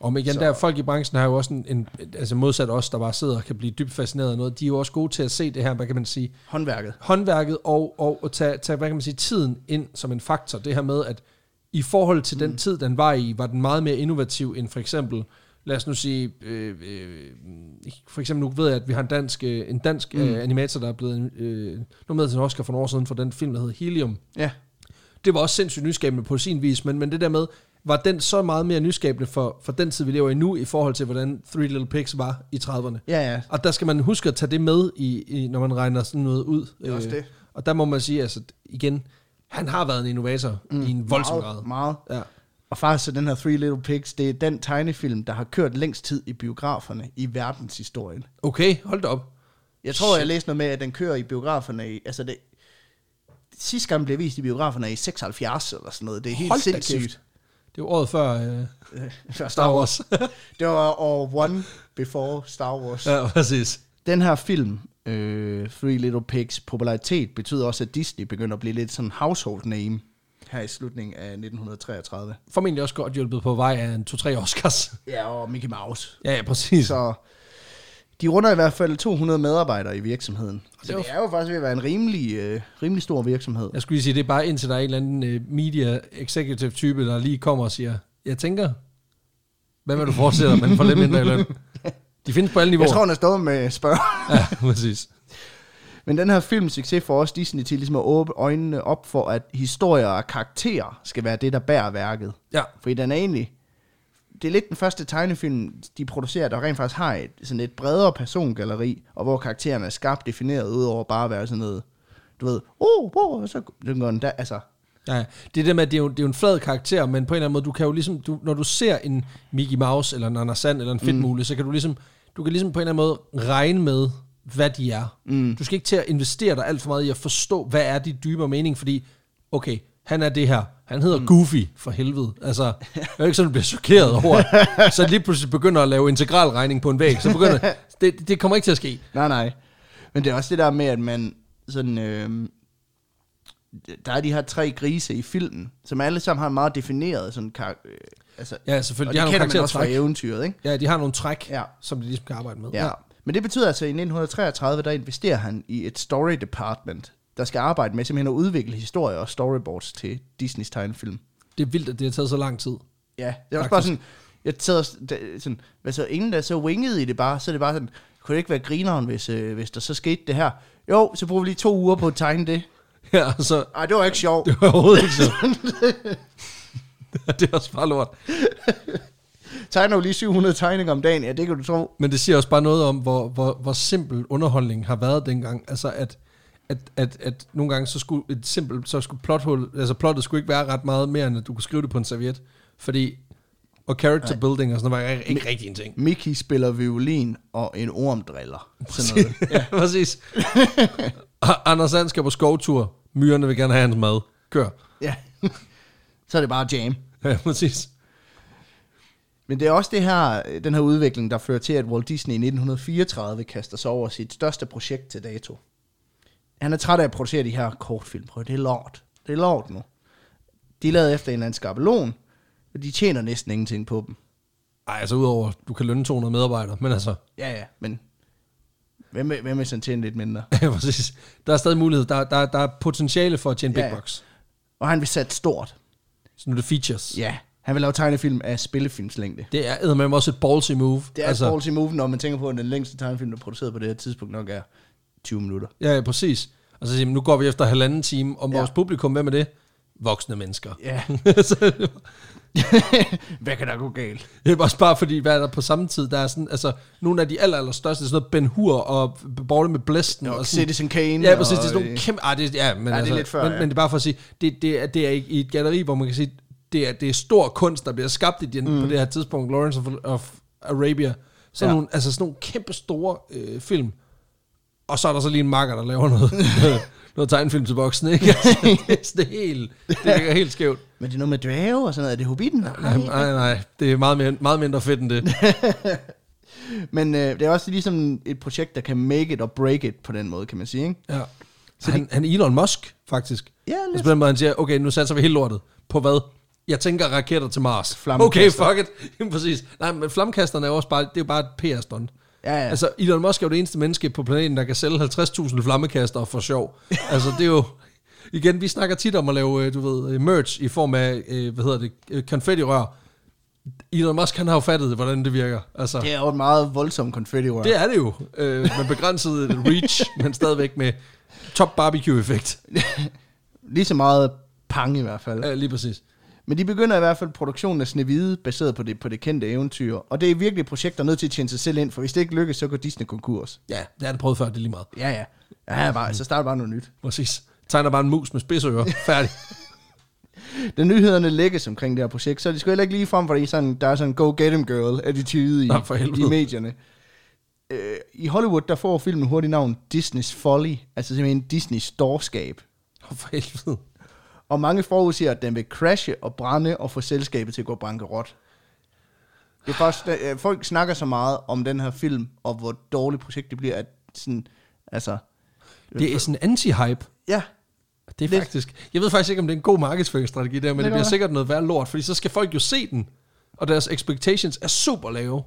Og men igen,
Så-
der folk i branchen har jo også en, en, altså modsat os, der bare sidder og kan blive dybt fascineret af noget, de er jo også gode til at se det her, hvad kan man sige,
Håndværket.
håndværket og, og, og tage, tage, hvad kan man sige, tiden ind som en faktor. Det her med, at i forhold til mm. den tid, den var i, var den meget mere innovativ end for eksempel, lad os nu sige, øh, øh, for eksempel nu ved jeg, at vi har en dansk, øh, en dansk mm. øh, animator, der er blevet øh, nomineret til en Oscar for nogle år siden for den film, der hedder Helium.
Ja.
det var også sindssygt nyskabende på sin vis, men, men det der med, var den så meget mere nyskabende for, for den tid, vi lever i nu, i forhold til, hvordan Three Little Pigs var i 30'erne.
Ja, ja.
Og der skal man huske at tage det med, i, i når man regner sådan noget ud. Øh,
er også det.
Og der må man sige, altså igen, han har været en innovator mm, i en voldsom grad.
Meget, meget.
Ja.
Og faktisk så den her Three Little Pigs, det er den tegnefilm, der har kørt længst tid i biograferne i verdenshistorien.
Okay, hold da op.
Jeg tror, jeg læste noget med, at den kører i biograferne i, altså det, sidste gang den blev vist i biograferne i 76 eller sådan noget. Det er helt
Hold da kæft.
sindssygt.
Det var året før øh,
Før
Star Wars.
Det var år one before Star Wars.
ja, præcis.
Den her film, øh, Three Little Pigs, popularitet betyder også, at Disney begynder at blive lidt sådan household name her i slutningen af 1933.
Formentlig også godt hjulpet på vej af en 2-3 Oscars.
Ja, og Mickey Mouse.
Ja, ja, præcis.
Så de runder i hvert fald 200 medarbejdere i virksomheden. Så
Det var-
det er jo faktisk ved at være en rimelig, øh, rimelig stor virksomhed.
Jeg skulle lige sige, det er bare indtil der er en eller anden øh, media executive type, der lige kommer og siger, jeg tænker, hvad vil du fortsætte, man får lidt mindre i løn? De findes på alle niveauer.
Jeg tror, han er stået med spørg.
Ja, præcis.
Men den her films succes får også Disney til ligesom at åbne øjnene op for, at historier og karakterer skal være det, der bærer værket.
Ja,
Fordi den er egentlig... Det er lidt den første tegnefilm, de producerer, der rent faktisk har et, sådan et bredere persongalleri, og hvor karaktererne er skarpt defineret, udover bare at være sådan noget, du ved, oh, oh, og så den går den der, altså,
ja, ja. det er det med, at det er, jo, det er jo en flad karakter, men på en eller anden måde, du kan jo ligesom, du, når du ser en Mickey Mouse, eller en Anders Sand, eller en Fedtmule, mm. så kan du ligesom, du kan ligesom på en eller anden måde regne med, hvad de er. Mm. Du skal ikke til at investere dig alt for meget i at forstå, hvad er de dybere mening, fordi, okay, han er det her. Han hedder mm. Goofy, for helvede. Altså, det er jo ikke sådan, du bliver chokeret over, at- så lige pludselig begynder at lave integralregning på en væg. Så begynder, det, det kommer ikke til at ske.
Nej, nej. Men det er også det der med, at man sådan... Øh, der er de her tre grise i filmen, som alle sammen har en meget defineret sådan kar- øh, altså,
Ja,
og
selvfølgelig.
det
De har
kender
nogle
man også fra
karaktertræk.
eventyret, ikke?
Ja, de har nogle træk,
Ja.
ja. som de ligesom kan arbejde med.
Ja. ja. Men det betyder altså, at i 1933, der investerer han i et story department, der skal arbejde med simpelthen at udvikle historier og storyboards til Disneys tegnefilm.
Det er vildt, at det har taget så lang tid.
Ja, det er også bare sådan, jeg tager sådan, hvad så, ingen der er så winget i det bare, så er det bare sådan, kunne det ikke være grineren, hvis, øh, hvis der så skete det her? Jo, så bruger vi lige to uger på at tegne det.
Ja, og så...
Ej, det var ikke sjovt.
Det var overhovedet ikke sådan. det er også bare lort.
tegner jo lige 700 tegninger om dagen, ja, det kan du tro.
Men det siger også bare noget om, hvor, hvor, hvor simpel underholdning har været dengang. Altså, at, at, at, at nogle gange, så skulle et simpelt, så skulle plothul, altså plottet skulle ikke være ret meget mere, end at du kunne skrive det på en serviet. Fordi, og character Nej. building og sådan noget, var ikke rigtig en ting.
Mickey spiller violin, og en orm driller. Sådan noget.
ja, præcis. og Anders Sand skal på skovtur. Myrerne vil gerne have hans mad. Kør.
ja. så er det bare jam.
Ja, præcis.
Men det er også det her, øh, den her udvikling, der fører til, at Walt Disney i 1934 kaster sig over sit største projekt til dato. Han er træt af at producere de her kortfilm. Prøv, at- det er lort. Det er lort nu. De er lavet efter en eller anden skabelon, og de tjener næsten ingenting på dem.
Ej, altså udover, du kan lønne 200 medarbejdere, men altså...
Ja, ja, men hvem, vil- hvem vil sådan tjene lidt mindre?
Ja, præcis. Der er stadig mulighed. Der, der, der er potentiale for at tjene big
Ja, ja.
bucks.
Og han vil sætte stort.
Så nu er det features.
Ja, han vil lave tegnefilm af spillefilmslængde.
Det er eddermame også et ballsy move.
Det er altså, et ballsy move, når man tænker på, at den længste tegnefilm, der er produceret på det her tidspunkt, nok er 20 minutter.
Ja, ja, præcis. Og så siger man, nu går vi efter halvanden time om
Ja.
ja. vores publikum. Hvem er det? Voksne mennesker.
Ja,
så,
hvad kan der gå galt?
det er også bare fordi, hvad er der på samme tid? Der er sådan, altså, nogle af de aller, aller største, sådan noget Ben Hur og Borte med Blæsten.
Og
og sådan,
Citizen Kane.
Ja, præcis. Det er
og-
sådan nogle kæmpe... Ah, det, ja, men,
er
altså,
lidt før,
men,
ja.
men det er bare for at sige, det, det, er, det er ikke i et galleri, hvor man kan sige, det er, det er stor kunst, der bliver skabt i den, mm. på det her tidspunkt. Lawrence of, of Arabia. Sådan,
Ja.
ja. nogle, altså sådan nogle kæmpe store øh, film. Og så er der så lige en makker, der laver noget, noget tegnfilm til voksne. Ikke? Altså, det, er sådan helt, det ligger helt skævt.
Men det er noget med dvæve og sådan noget. Er det Hobbiten?
Nej, nej, nej. Det er meget, mere, meget mindre fedt end det.
Men øh, det er også ligesom et projekt, der kan make it og break it på den måde, kan man sige. Ikke?
Ja. Så han, han er Elon Musk, faktisk.
Ja, lidt.
Altså på den måde, han siger, okay, nu satser vi helt lortet. På hvad? Jeg tænker raketter til Mars. Okay,
Flammekaster.
fuck it. Jamen, præcis. Nej, men flammekasterne er jo også bare, det er jo bare et PR-stunt.
Ja, ja.
Altså, Elon Musk er jo det eneste menneske på planeten, der kan sælge 50.000 flammekaster for sjov. altså, det er jo... Igen, vi snakker tit om at lave, øh, du ved, øh, merch i form af, øh, hvad hedder det, øh, konfettirør. Elon Musk, han har jo fattet, hvordan det virker. Altså,
Det er jo et meget voldsomt konfetti -rør.
det er det jo. Øh, med begrænset reach, men stadigvæk med top barbecue-effekt.
Lige så meget pang i hvert fald.
Ja, lige præcis.
Men de begynder i hvert fald produktionen af Snevide, baseret på det, på det kendte eventyr. Og det er virkelig et projekt, der er nødt til at tjene sig selv ind, for hvis det ikke lykkes, så går Disney konkurs.
Ja, det har det prøvet før, det er lige meget.
Ja, ja. Ja, bare, så starter bare noget nyt.
Præcis. Tegner bare en mus med spidsører. Færdig.
Da nyhederne lægges omkring det her projekt, så er de sgu heller ikke lige frem, fordi sådan, der er sådan en go get em girl attitude i,
Nå, for helvede.
i medierne. Øh, I Hollywood, der får filmen hurtigt navn Disney's Folly, altså simpelthen Disneys dårskab.
for helvede.
Og mange forudsiger, at den vil crashe og brænde og få selskabet til at gå bankerot. Det er faktisk, øh, folk snakker så meget om den her film, og hvor dårligt projekt det bliver, at sådan, altså...
Det er sådan anti-hype.
Ja,
Det er
Lidt.
faktisk... Jeg ved faktisk ikke, om det er en god markedsføringsstrategi der, men det,
kan
det bliver
være.
sikkert noget værd lort, fordi så skal folk jo se den, og deres expectations er super lave.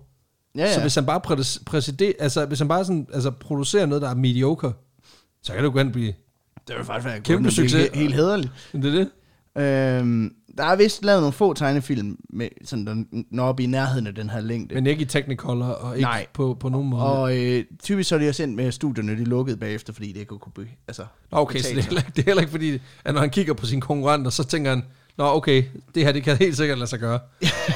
ja, ja.
Så hvis han bare, præ- præside, altså, hvis han bare sådan, altså, producerer noget, der er mediocre, så kan det jo gerne blive...
det vil faktisk være
Kæmpe
godt, men det er
succes.
he- Helt hederligt.
Men Det er det.
Øhm, der er vist lavet nogle få tegnefilm, med, sådan, der når op i nærheden af den her længde.
Men ikke i Technicolor og ikke
Nej.
på, på nogen måde. Og,
Og øh, typisk så er de også ind med at studierne, de lukkede bagefter, fordi det ikke kunne be, altså,
okay, så
betale
det er,
sig.
heller, ikke- det er heller ikke fordi, at når han kigger på sine konkurrenter, så tænker han, Nå, okay, det her, det kan helt sikkert lade sig gøre.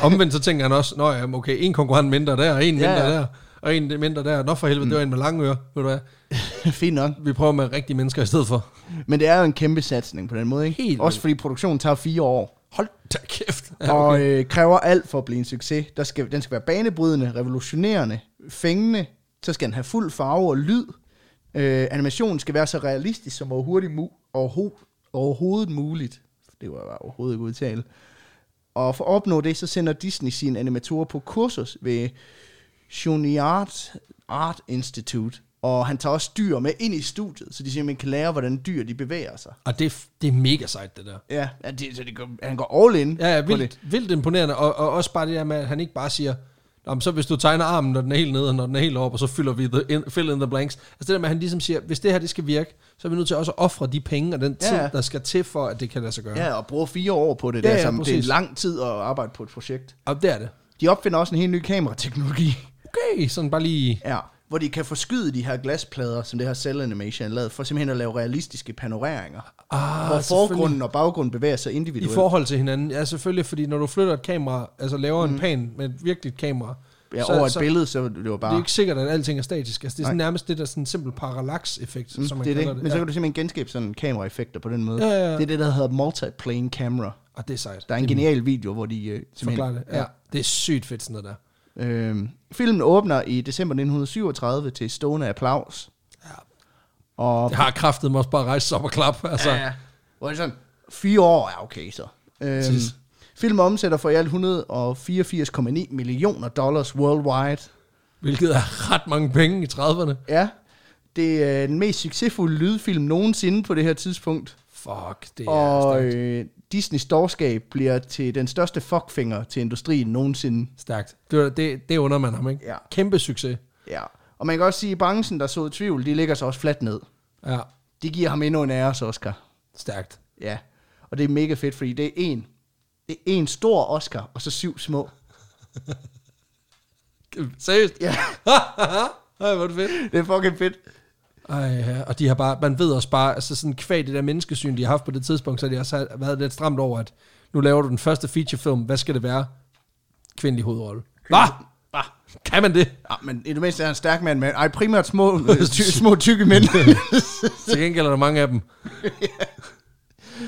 Omvendt så tænker han også, Nå ja, okay, en konkurrent mindre der, og en mindre
Ja,
ja,
ja.
ja. der, og en mindre der. Nå for helvede, mm. det var en med lange ører, ved du hvad?
Fint nok.
Vi prøver med rigtige mennesker i stedet for.
Men det er jo en kæmpe satsning på den måde, ikke?
Helt
Også fordi produktionen tager fire år.
Hold da kæft.
Ja, okay. Og øh, kræver alt for at blive en succes. Der skal, den skal være banebrydende, revolutionerende, fængende. Så skal den have fuld farve og lyd. Øh, animationen skal være så realistisk som overhovedet, mu- overho- overhovedet muligt. Det var jeg bare overhovedet ikke udtale. Og for at opnå det, så sender Disney sine animatorer på kursus ved Juniart Art Institute. Og han tager også dyr med ind i studiet, så de simpelthen kan lære, hvordan dyr de bevæger sig.
Og det, er f- det er mega sejt, det der.
Ja, ja, det, så det går, han går all in.
Ja, ja
på
vildt, vildt imponerende. Og, og også bare det der med, at han ikke bare siger, Nå, men så hvis du tegner armen, når den er helt nede, og når den er helt op, og så fylder vi the in, fill in the blanks. Altså det der med, at han ligesom siger, hvis det her det skal virke, så er vi nødt til også at ofre de penge og den tid,
Ja, ja.
der skal til for, at det kan lade sig gøre.
Ja, og bruger fire år på det.
Ja,
Ja, der,
ja,
som, det er
præcis.
lang tid at arbejde på et projekt.
Og det er det.
De opfinder også en helt ny kamerateknologi.
Okay, sådan bare lige...
Ja, hvor de kan forskyde de her glasplader, som det her cell animation er lavet, for simpelthen at lave realistiske panoreringer.
Ah,
hvor
selvfølgelig.
forgrunden og baggrunden bevæger sig
I
individuelt.
forhold til hinanden. Ja, selvfølgelig, fordi når du flytter et kamera, altså laver mm. en pan med et virkeligt kamera,
ja, over et billede, så er det var
Det er
bare...
ikke sikkert, at alting er statisk. Altså, det er sådan
Nej.
nærmest det der sådan simpel parallax-effekt, som
mm,
man
det er
kalder
det.
det.
Men
ja.
så kan du simpelthen genskabe sådan kameraeffekter på den måde.
Ja, ja, ja.
Det er det, der hedder multiplane camera.
Og Ah, det er sejt.
Der er en genial video, hvor de øh,
Forklar det. Ja. Det er sygt fedt sådan noget der.
Øhm, filmen åbner i december 1937 til stående applaus.
Ja.
Og
Det har kraftet mig også bare at rejse sig op og klappe. Altså.
ja. Hvor er det sådan, fire år er okay så. Øhm,
Præcis.
film omsætter for i alt 184,9 millioner dollars worldwide.
Hvilket er ret mange penge i 30'erne.
Ja, det er den mest succesfulde lydfilm nogensinde på det her tidspunkt.
Fuck, det er
Ja, og
stærkt.
øh, Disneys dårskab bliver til den største fuckfinger til industrien nogensinde.
stærkt. Det, var- det, det under man ham, ikke?
Ja.
Kæmpe succes.
Ja. Og man kan også sige, at branchen, der så tvivl, de ligger sig også fladt ned.
Ja,
Det giver ham endnu en æres, Oscar.
stærkt.
Ja, og det er mega fedt, fordi det er en, det er en stor Oscar, og så syv små.
Seriøst?
Ja,
Ej, hvor er det fedt.
det er fucking fedt.
Ej, ja. Og de har bare, man ved også bare, altså sådan kvad det der menneskesyn, de har haft på det tidspunkt, så har de også har været lidt stramt over, at nu laver du den første featurefilm, hvad skal det være? Kvindelig hovedrolle. Hva? Hva? Kan man det?
Ja, men i det mindste er han stærk mand, men ej, primært små, øh, ty, små tykke mænd.
Til gengæld er der mange af dem.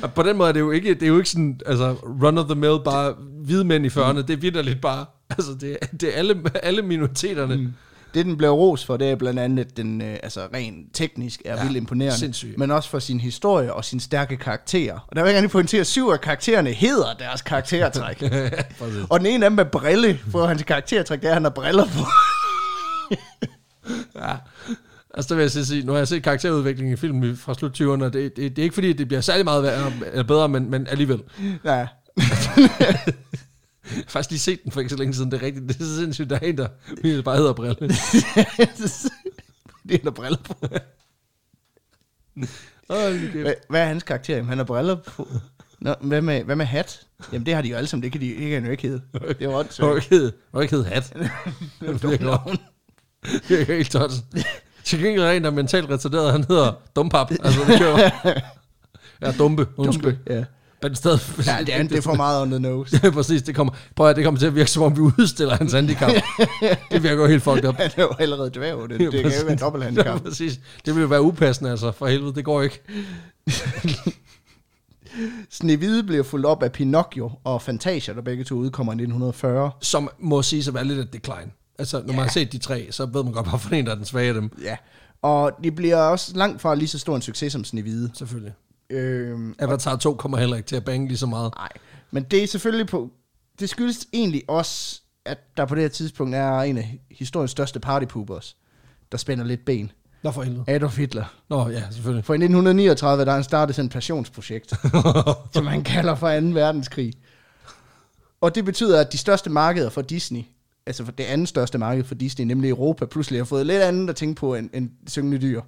Og på den måde er det jo ikke, det er jo ikke sådan, altså run of the mill, bare hvide mænd i 40'erne, det er vidderligt bare, altså det, er- det er alle, alle minoriteterne. Mm.
det, den blev ros for, det er blandt andet, at den øh, altså, rent teknisk er ja,
Ja,
vildt imponerende.
sindssygt.
Men også for sin historie og sine stærke karakterer. Og der vil jeg gerne lige pointere, at syv af karaktererne hedder deres karaktertræk. og den ene af dem er brille, for hans karaktertræk, det er, at han har briller på.
Ja. Altså, der vil jeg så sige, nu har jeg set karakterudviklingen i filmen fra slut 20'erne, og det, det, det, er ikke fordi, det bliver særlig meget værre, eller bedre, men, men alligevel.
ja.
Jeg har faktisk lige set den for ikke så længe siden, det er rigtigt, det er så sindssygt, der er en, der virkelig bare hedder Brille.
det er, han har briller på.
Hold kæft.
Hvad, hvad er hans karakter? Jamen, han har briller på. Nå, hvad med, hvad med hat? Jamen, det har de jo alle sammen. Det kan, de, det kan han jo ikke hedde. Det er jo
Det var
åndssvagt.
ikke hedde, det var ikke hedde hat. det er klovn. Det er helt tosset. Til gengæld er der en, der er mentalt retarderet, han hedder Dumpap. Altså, det kører. Ja, dumpe, undskyld.
Ja.
Men stadig,
Ja, det er, det er for meget under nose.
Ja, præcis, det kommer, prøv at høre, det kommer til at virke, som om vi udstiller hans handicap. det virker jo helt fucked up.
Han er jo allerede dværg. Det, det kan jo
præcis.
ikke være
Ja,
dobbelthandicap.
præcis. Det vil jo være upassende, altså. For helvede, det går ikke.
Snevide bliver fuldt op af Pinocchio og Fantasia, der begge to udkommer i 1940.
Som må sige at være lidt et decline. Altså, når man har set de tre, så ved man godt, hvorfor en der er den svage af dem.
Ja. Og det bliver også langt fra lige så stor en succes som Snevide.
Selvfølgelig.
Øhm,
Avatar 2 kommer heller ikke til at bange lige så meget.
Nej, men det er selvfølgelig på... Det skyldes egentlig også, at der på det her tidspunkt er en af historiens største partypoopers, der spænder lidt ben.
Nå for helvede.
Adolf Hitler.
Nå ja, selvfølgelig.
For i 1939, der han startede sådan et passionsprojekt, som han kalder for 2. verdenskrig. Og det betyder, at de største markeder for Disney, altså for det andet største marked for Disney, nemlig Europa, pludselig har fået lidt andet at tænke på end, end syngende dyr.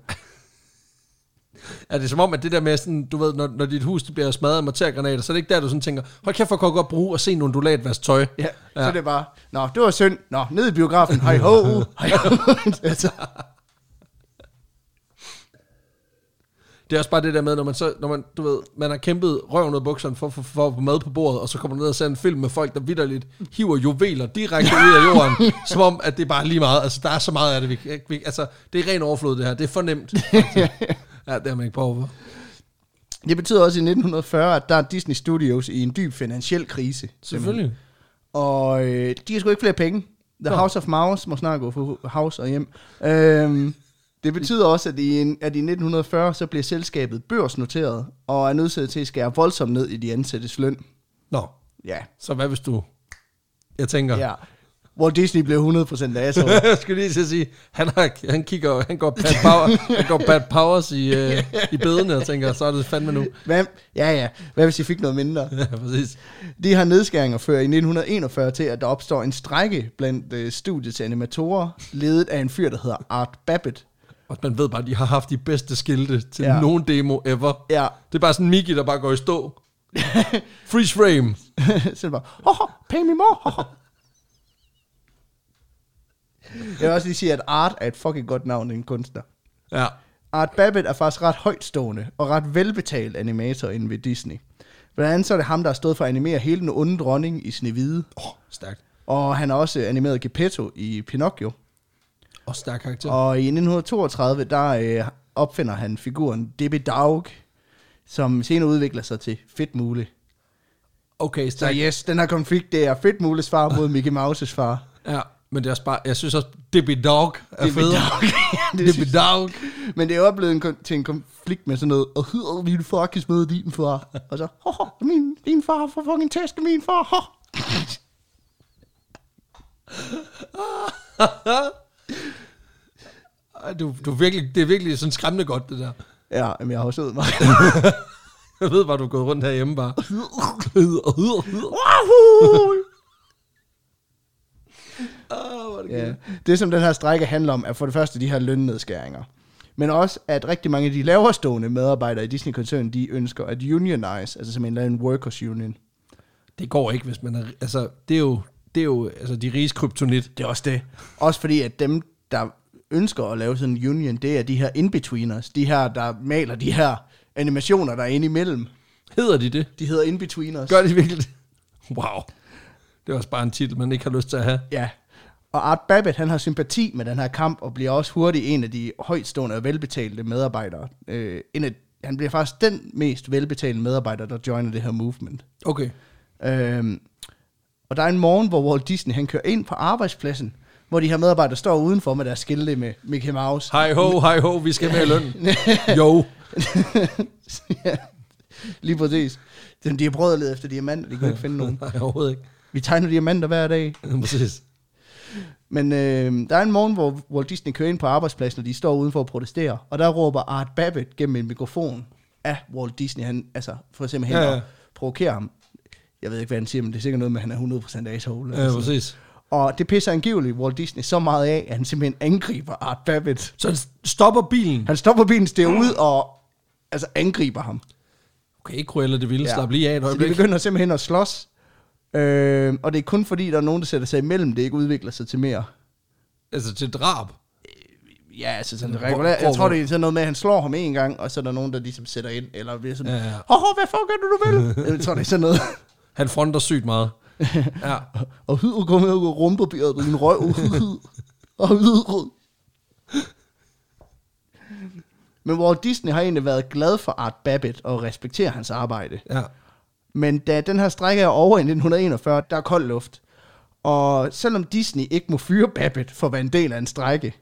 Er det som om, at det der med sådan, du ved, når, når dit hus det bliver smadret af mortergranater, så er det ikke der, du sådan tænker, hold kæft, hvor kan jeg godt bruge at se en undulat vaske tøj.
Ja, ja. så det er bare, nå, det var synd. Nå, ned i biografen. Hej ho, hej ho. altså,
Det er også bare det der med, når man så, når man, du ved, man har kæmpet røven ud af bukserne for, for, for, at få mad på bordet, og så kommer man ned og ser en film med folk, der vidderligt hiver juveler direkte ud af jorden, som om, at det er bare lige meget. Altså, der er så meget af det, vi, kan- vi altså, det er ren overflod, det her. Det er for nemt. ja, det er man ikke på for.
Det betyder også i 1940, at der er Disney Studios i en dyb finansiel krise.
Selvfølgelig.
Og øh, de har sgu ikke flere penge. The
Nå.
House of Mouse må snart gå fra house og hjem. Øhm, det betyder også, at i, en- at i 1940, så bliver selskabet børsnoteret, og er nødsaget til at skære voldsomt ned i de ansattes løn.
Nå,
Ja,
så hvad hvis du... Jeg tænker...
ja. Walt Disney blev 100% asshole.
jeg skulle lige til at sige, han, har, han kigger, han går Pat, Power, han går Pat Powers i, øh, i bedene og tænker, så er det fandme nu.
Hvad? Ja, ja. Hvad hvis de fik noget mindre?
Ja, præcis.
De her nedskæringer fører i 1941 til, at der opstår en strække blandt øh, studiets animatorer, ledet af en fyr, der hedder Art Babbitt.
Og man ved bare, at de har haft de bedste skilte til
Ja.
ja. nogen demo ever.
Ja,
Det er bare sådan Miki, der bare går i stå. Freeze frame.
så det bare, ho, ho, pay me more, ho, ho. Jeg vil også lige sige, at Art er et fucking godt navn til en kunstner.
Ja.
Art Babbitt er faktisk ret højtstående og ret velbetalt animator inde ved Disney. Blandt andet så er det ham, der har stået for at animere hele den onde dronning i Snevide,
Oh, stærkt.
og han har også animeret Geppetto i Pinocchio.
Og stærk karakter. Oh.
Og i 1932, der øh, opfinder han figuren Debbie Dog, som senere udvikler sig til Fedtmule.
Okay,
Så
stærkt.
yes, den her konflikt, det er Fedtmules far mod Mickey Mouses far.
Ja, men det er også bare, jeg synes også, Debbie Dog er
Debbie
fed.
Dog. Ja, det
Debbie
synes-
Dog.
Men det er jo blevet en, kon- til en konflikt med sådan noget, og hedder min far kan smide din far. Og så, ho, ho, min, din far får fucking tæsk af min far. Ho.
Ej, Du, du er virkelig, det er virkelig sådan skræmmende godt, det der.
Ja, men jeg har også mig.
Jeg ved bare, du er gået rundt herhjemme bare. Åh, hvor er det
ja.
genialt.
Det, som den her strække handler om, er for det første de her lønnedskæringer. Men også, at rigtig mange af de laverstående medarbejdere i Disney-koncernen, de ønsker at unionize, altså som en eller anden workers union.
Det går ikke, hvis man er... Altså, det er jo, det er jo altså, de riges kryptonit.
Det er også det. Også fordi, at dem, der ønsker at lave sådan en union, det er de her in-betweeners. De her, der maler de her animationer, der er inde imellem.
Hedder de det?
De hedder in-betweeners.
Gør de virkelig det? Wow. Det er også bare en titel, man ikke har lyst til at have.
Ja. Og Art Babbitt, han har sympati med den her kamp, og bliver også hurtigt en af de højtstående og velbetalte medarbejdere. Øh, en af, han bliver faktisk den mest velbetalte medarbejder, der joiner det her movement.
Okay.
Øh, og der er en morgen, hvor Walt Disney han kører ind på arbejdspladsen, hvor de her medarbejdere står udenfor med deres skilte med Mickey Mouse.
Hej ho, hej ho, vi skal med i løn. Jo.
ja, lige præcis. Dem, de har prøvet at lede efter diamanter, de kan ikke finde nogen.
Nej, overhovedet ikke.
Vi tegner diamanter hver dag.
Præcis.
Men øh, der er en morgen, hvor Walt Disney kører ind på arbejdspladsen, og de står udenfor og protesterer. Og der råber Art Babbitt gennem en mikrofon af Walt Disney, han, altså for simpelthen
Ja,
ja,
ja.
ja. at provokere ham. Jeg ved ikke, hvad han siger, men det er sikkert noget med, at han er 100% asshole.
Ja,
eller sådan.
præcis.
og det pisser angiveligt Walt Disney så meget af, at han simpelthen angriber Art Babbitt.
Så han stopper bilen.
Han stopper bilen, stiger ud og altså, angriber ham.
Okay, ikke Cruella det vilde. Slap lige af et
Så de
øjeblik.
begynder simpelthen at slås. Øh, og det er kun fordi, der er nogen, der sætter sig imellem, det ikke udvikler sig til mere.
Altså til drab. Øh,
Ja, altså sådan
Hvor-
regulært.
hvor-
Jeg tror, det er sådan noget med, at han slår ham en gang, og så er der nogen, der ligesom sætter ind, eller bliver sådan,
Ja,
ja,
ja.
ja. Åh, hvad fuck er det, du vil? jeg tror, det er sådan noget.
Han fronter sygt meget. Ja.
og hyd, kom her ud og rumperbjørn på din røv. og hyd. Men Walt Disney har egentlig været glad for Art Babbitt og respekterer hans arbejde.
Ja.
Men da den her strække er over i 1941, der er kold luft. Og selvom Disney ikke må fyre Babbitt for at være en del af en strække,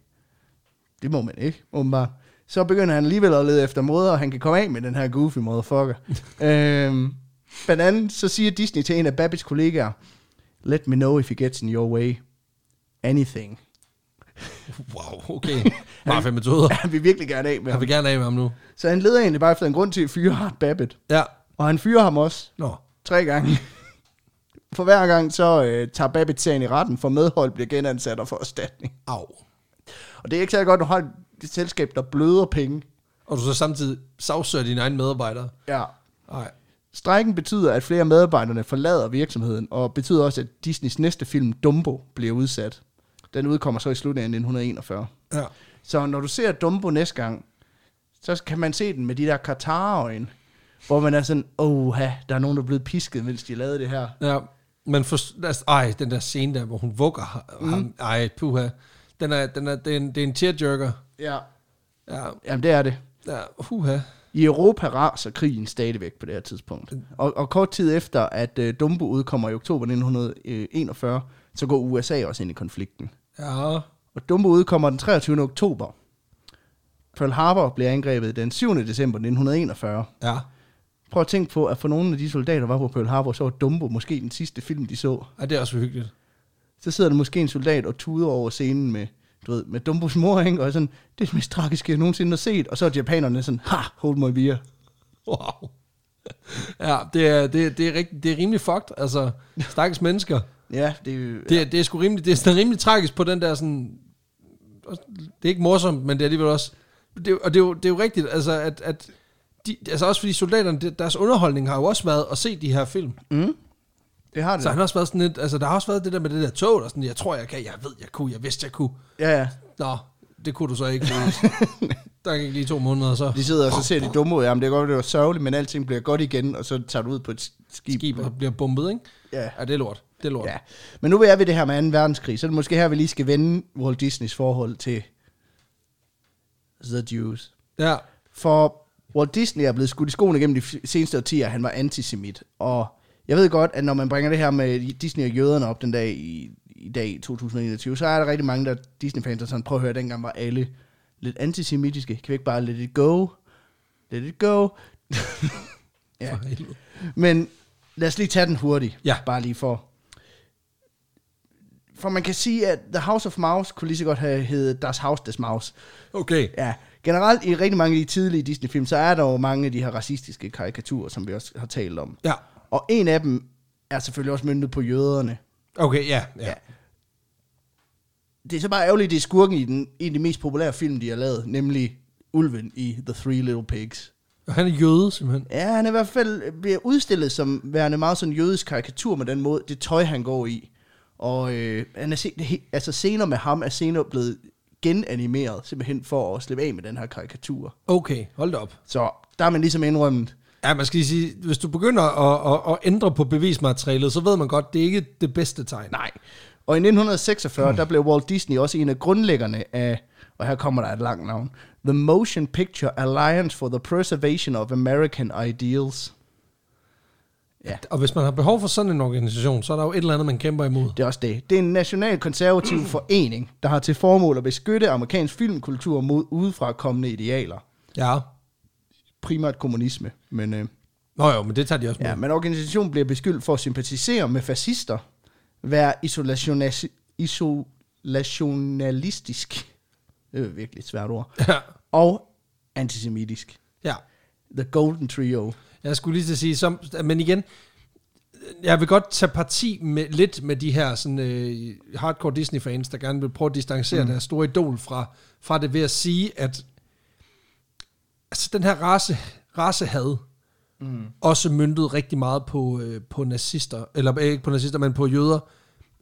det må man ikke, åbenbart, så begynder han alligevel at lede efter måder, han kan komme af med den her goofy motherfucker. øhm, blandt andet så siger Disney til en af Babbits kollegaer, Let me know if he gets in your way. Anything.
Wow, okay. Mafia-metoder.
Han vil virkelig gerne af med
Jeg
ham.
vil gerne af med ham nu.
Så han leder egentlig bare efter en grund til at fyre Hart Babbitt.
Ja.
Og han fyrer ham også
Nå.
tre gange. For hver gang så øh, tager Babbitt sagen i retten, for medhold bliver genansat og får erstatning.
Au.
Og det er ikke særlig godt, når du har et selskab, der bløder penge.
Og du så samtidig sagsøger dine egne medarbejdere.
Ja.
Nej.
Strækken betyder, at flere medarbejderne forlader virksomheden, og betyder også, at Disneys næste film, Dumbo, bliver udsat. Den udkommer så i slutningen af 1941.
Ja.
Så når du ser Dumbo næste gang, så kan man se den med de der katarøjne, hvor man er sådan, åh, der er nogen, der er blevet pisket, mens de lavede det her.
Ja. Men for, altså, ej, den der scene der, hvor hun vugger ha- ham. Mm. Ej, puha. Den er, den er, det, er en, det er en tearjerker.
Ja.
Ja,
Jamen, det er det.
ja, huha.
I Europa raser krigen stadigvæk på det her tidspunkt. Og, og kort tid efter, at uh, Dumbo udkommer i oktober 1941, så går USA også ind i konflikten.
Ja.
Og Dumbo udkommer den 23. oktober. Pearl Harbor bliver angrebet den 7. december 1941.
Ja.
Prøv at tænke på, at for nogle af de soldater, der var på Pearl Harbor, så var Dumbo måske den sidste film, de så.
Ej, det er også hyggeligt.
Så sidder der måske en soldat og tuder over scenen med, du ved, med Dumbos mor, ikke? og er sådan, det er det mest tragiske, jeg nogensinde har set. Og så er japanerne sådan, ha, hold my beer.
Wow. Ja, det er, det, det er, rigtig, det er rimelig fucked, altså. Stakkels mennesker.
Ja, det er jo...
Det, det er sgu rimelig, det er sådan rimelig tragisk på den der sådan, det er ikke morsomt, men det er alligevel også, det, og det er, jo, det er jo rigtigt, altså at, at de, altså også fordi soldaterne, det- deres underholdning har jo også været at se de her film.
Mm. Det har det.
Så han har også været sådan lidt, altså der har også været det der med det der tog, der sådan, jeg tror jeg kan, jeg ved jeg kunne, jeg vidste jeg kunne.
Ja, ja.
Nå, det kunne du så ikke. fordi der gik lige to måneder, og så
De sidder og så ser de dumme ud. Jamen, det er godt, det var sørgeligt, men alting bliver godt igen, og så tager du ud på et skib.
skib og bliver bombet, ikke?
Ja.
Ja, det er lort. Det er lort.
ja. Men nu er vi det her med 2. verdenskrig, så er det måske her, vi lige skal vende Walt Disneys forhold til The Jews.
ja.
For Walt Disney er blevet skudt i skoene gennem de f- seneste årtier, han var antisemit. Og jeg ved godt, at når man bringer det her med Disney og jøderne op den dag i, i dag i 2021, så er der rigtig mange der Disney-fans, der sådan, prøv at høre, dengang var alle lidt antisemitiske. Kan vi ikke bare let it go? Let it go. Ja.
For helvede.
Men lad os lige tage den hurtigt.
Ja.
Bare lige for. For man kan sige, at The House of Mouse kunne lige så godt have heddet Das Haus des Maus.
Okay.
Ja, generelt i rigtig mange af de tidlige Disney-film, så er der jo mange af de her racistiske karikaturer, som vi også har talt om.
Ja.
Og en af dem er selvfølgelig også myndet på jøderne.
Okay, ja. ja.
Det er så bare ærgerligt, det er skurken i den, en af de mest populære film, de har lavet, nemlig Ulven i The Three Little Pigs.
Og han er jøde, simpelthen.
Ja, han er i hvert fald bliver udstillet som værende meget sådan jødisk karikatur med den måde, det tøj, han går i. Og øh, han er se, det he- altså senere med ham er senere blevet genanimeret, simpelthen for at slippe af med den her karikatur.
Okay, hold da op.
Så der er man ligesom indrømmet,
Ja, man skal lige sige, hvis du begynder at, at, at ændre på bevismaterialet, så ved man godt, det er ikke det bedste tegn.
Nej. Og i 1946, der blev Walt Disney også en af grundlæggerne af, og her kommer der et langt navn, The Motion Picture Alliance for the Preservation of American Ideals. Ja,
Og hvis man har behov for sådan en organisation, så er der jo et eller andet, man kæmper imod.
det er også det. Det er en national konservativ forening, der har til formål at beskytte amerikansk filmkultur mod udefrakommende idealer.
Ja.
Primært kommunisme, men... Øh,
Nå jo, men det tager de også med.
Ja, men organisationen bliver beskyldt for at sympatisere med fascister, være isolationa- isolationalistisk, det er jo virkelig et svært ord,
Ja.
og antisemitisk.
ja.
The Golden Trio.
Jeg skulle lige til at sige, som, men igen, jeg vil godt tage parti med, lidt med de her sådan, øh, hardcore Disney-fans, der gerne vil prøve at distancere mm. deres store idol fra, fra det ved at sige, at altså, den her race, racehad mm. også myndtet rigtig meget på, øh, på nazister, eller øh, ikke på nazister, men på jøder,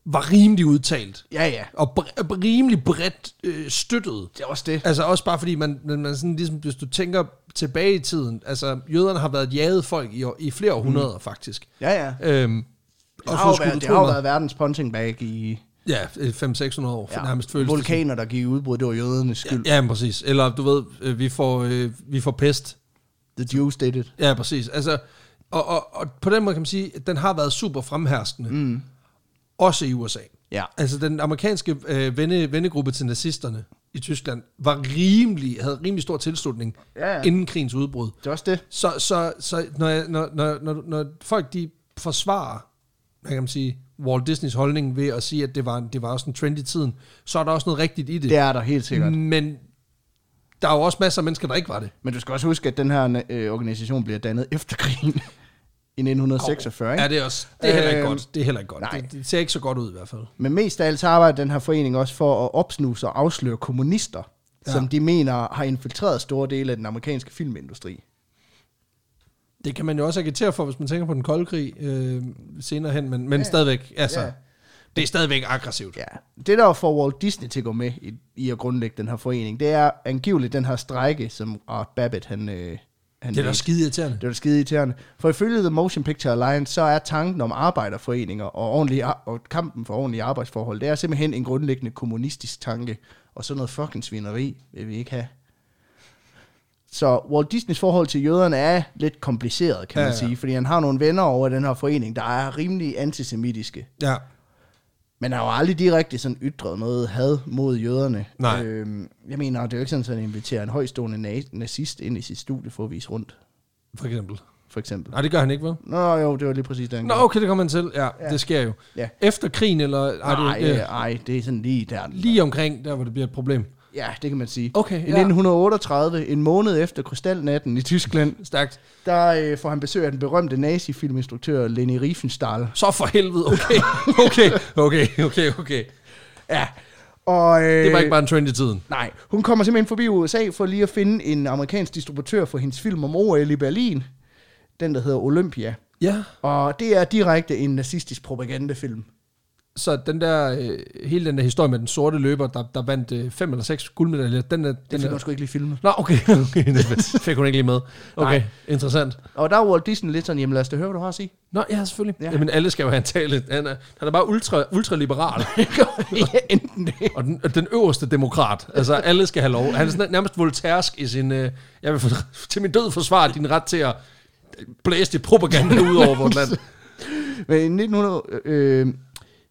var rimelig udtalt,
Ja, ja,
og bre- rimelig bredt øh, støttet.
det er også det.
Altså også bare fordi, man, man, man sådan ligesom, hvis du tænker tilbage i tiden, altså jøderne har været jaget folk i, år- i flere århundreder mm. faktisk.
Ja, ja.
Øhm,
Det har, jo
så skulle
været,
du
det
tro
har jo
mig-
været verdens punching bag i
Ja, øh, 500-600 år, ja. nærmest føles det
vulkaner, der gik i udbrud. Det var jødernes
som.
skyld.
Ja, men præcis. Eller du ved, øh, vi får, øh, vi får pest.
The Jews did it.
Ja, præcis. Altså, og, og, og på den måde kan man sige, at den har været super fremherskende. Mm. Også i USA.
Ja.
Altså den amerikanske øh, venne, vennegruppe til nazisterne i Tyskland var rimelig, havde rimelig stor tilslutning
Ja, ja.
inden krigens udbrud.
Det er også det.
Så, så, så når, jeg, når, når, når, når folk de forsvarer hvad kan man sige, Walt Disneys holdning ved at sige, at det var, en- det var også en trend i tiden, så er der også noget rigtigt i det.
Det er der helt sikkert.
Men der er jo også masser af mennesker, der ikke var det.
Men du skal også huske, at den her øh, organisation bliver dannet efter krigen i 1946. Ikke?
Ja, det er også. Det er heller ikke
Øhm,
godt. Det er heller ikke godt.
nej.
Det, det, ser ikke så godt ud i hvert fald.
Men mest af alt så arbejder den her forening også for at opsnuse og afsløre kommunister,
Ja.
ja. som de mener har infiltreret store dele af den amerikanske filmindustri.
Det kan man jo også agitere for, hvis man tænker på den kolde krig øh, senere hen, men, men ja. stadigvæk, altså, ja.
Ja.
det er stadigvæk aggressivt. Ja.
Ja. Det, der får Walt Disney til at gå med i, i at grundlægge den her forening, det er angiveligt den her strejke, som Art Babbitt han, øh, han
Det er da
ledte.
skide irriterende.
Det var da skide irriterende. For ifølge The Motion Picture Alliance, så er tanken om arbejderforeninger og, ordentlige, ar- og kampen for ordentlige arbejdsforhold, det er simpelthen en grundlæggende kommunistisk tanke. Og sådan noget fucking svineri vil vi ikke have. Så Walt Disneys forhold til jøderne er lidt kompliceret, kan
Ja,
man
ja.
sige. Fordi han har nogle venner over i den her forening, der er rimelig antisemitiske.
Ja.
Men han har jo aldrig direkte sådan ytret noget had mod jøderne.
Nej.
Øhm, jeg mener, det er jo ikke sådan, at han inviterer en højstående na- nazist ind i sit studie for at vise rundt,
for eksempel.
for eksempel.
Nej, det gør han ikke, vel?
Nå jo, det var lige præcis det, han
Nå,
gjorde.
okay, det kommer han til. Ja, ja, det sker jo.
Ja.
Efter krigen, eller? Ej,
Nej,
det,
øh,
øh,
ej, det er sådan lige der.
lige omkring, der hvor det bliver et problem.
Ja, det kan man sige.
Okay,
I
ja.
1938, en måned efter Krystalnatten i Tyskland,
Stærkt.
der øh, får han besøg af den berømte nazifilminstruktør Leni Riefenstahl.
Så for helvede, okay, okay, okay, okay, okay.
Ja, og... Øh,
Det var ikke bare en trend i tiden.
Nej, hun kommer simpelthen forbi USA for lige at finde en amerikansk distributør for hendes film om OL i Berlin. Den, der hedder Olympia.
Ja,
Og det er direkte en nazistisk propagandafilm.
så den der, øh, hele den der historie med den sorte løber, der, der vandt øh, fem eller seks guldmedaljer, den er...
Det
Den
fik
er
hun sgu ikke lige filmet.
Nå, okay, okay, det fik hun ikke lige med. Okay, Nej. interessant.
Og der er Walt Disney lidt sådan, jamen lad os da høre, hvad du har at sige.
Nå, ja, selvfølgelig. Ja.
Ja.
Jamen, alle skal jo have en tale. Han er, han er bare ultra, ultraliberal.
ja, enten det.
og den, og den øverste demokrat. Altså, alle skal have lov. Han er sådan nærmest voltærsk i sin... Øh, jeg vil for, til min død forsvare din ret til at blæse dit propaganda ud over vores land.
Men i 1900, øh,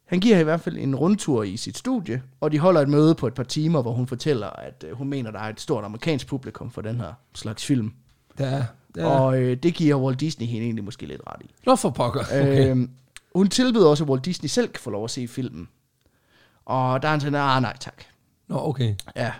han giver i hvert fald en rundtur i sit studie, og de holder et møde på et par timer, hvor hun fortæller, at øh, hun mener, der er et stort amerikansk publikum for den her slags film.
Ja, ja.
Ja.
Og,
Og øh, det giver Walt Disney hende egentlig måske lidt ret i.
Nå, for pokker. Okay.
Okay. Øh, hun tilbyder også, at Walt Disney selv kan få lov at se filmen. Og der er han sådan, ah nej tak.
Nå, okay.
Ja,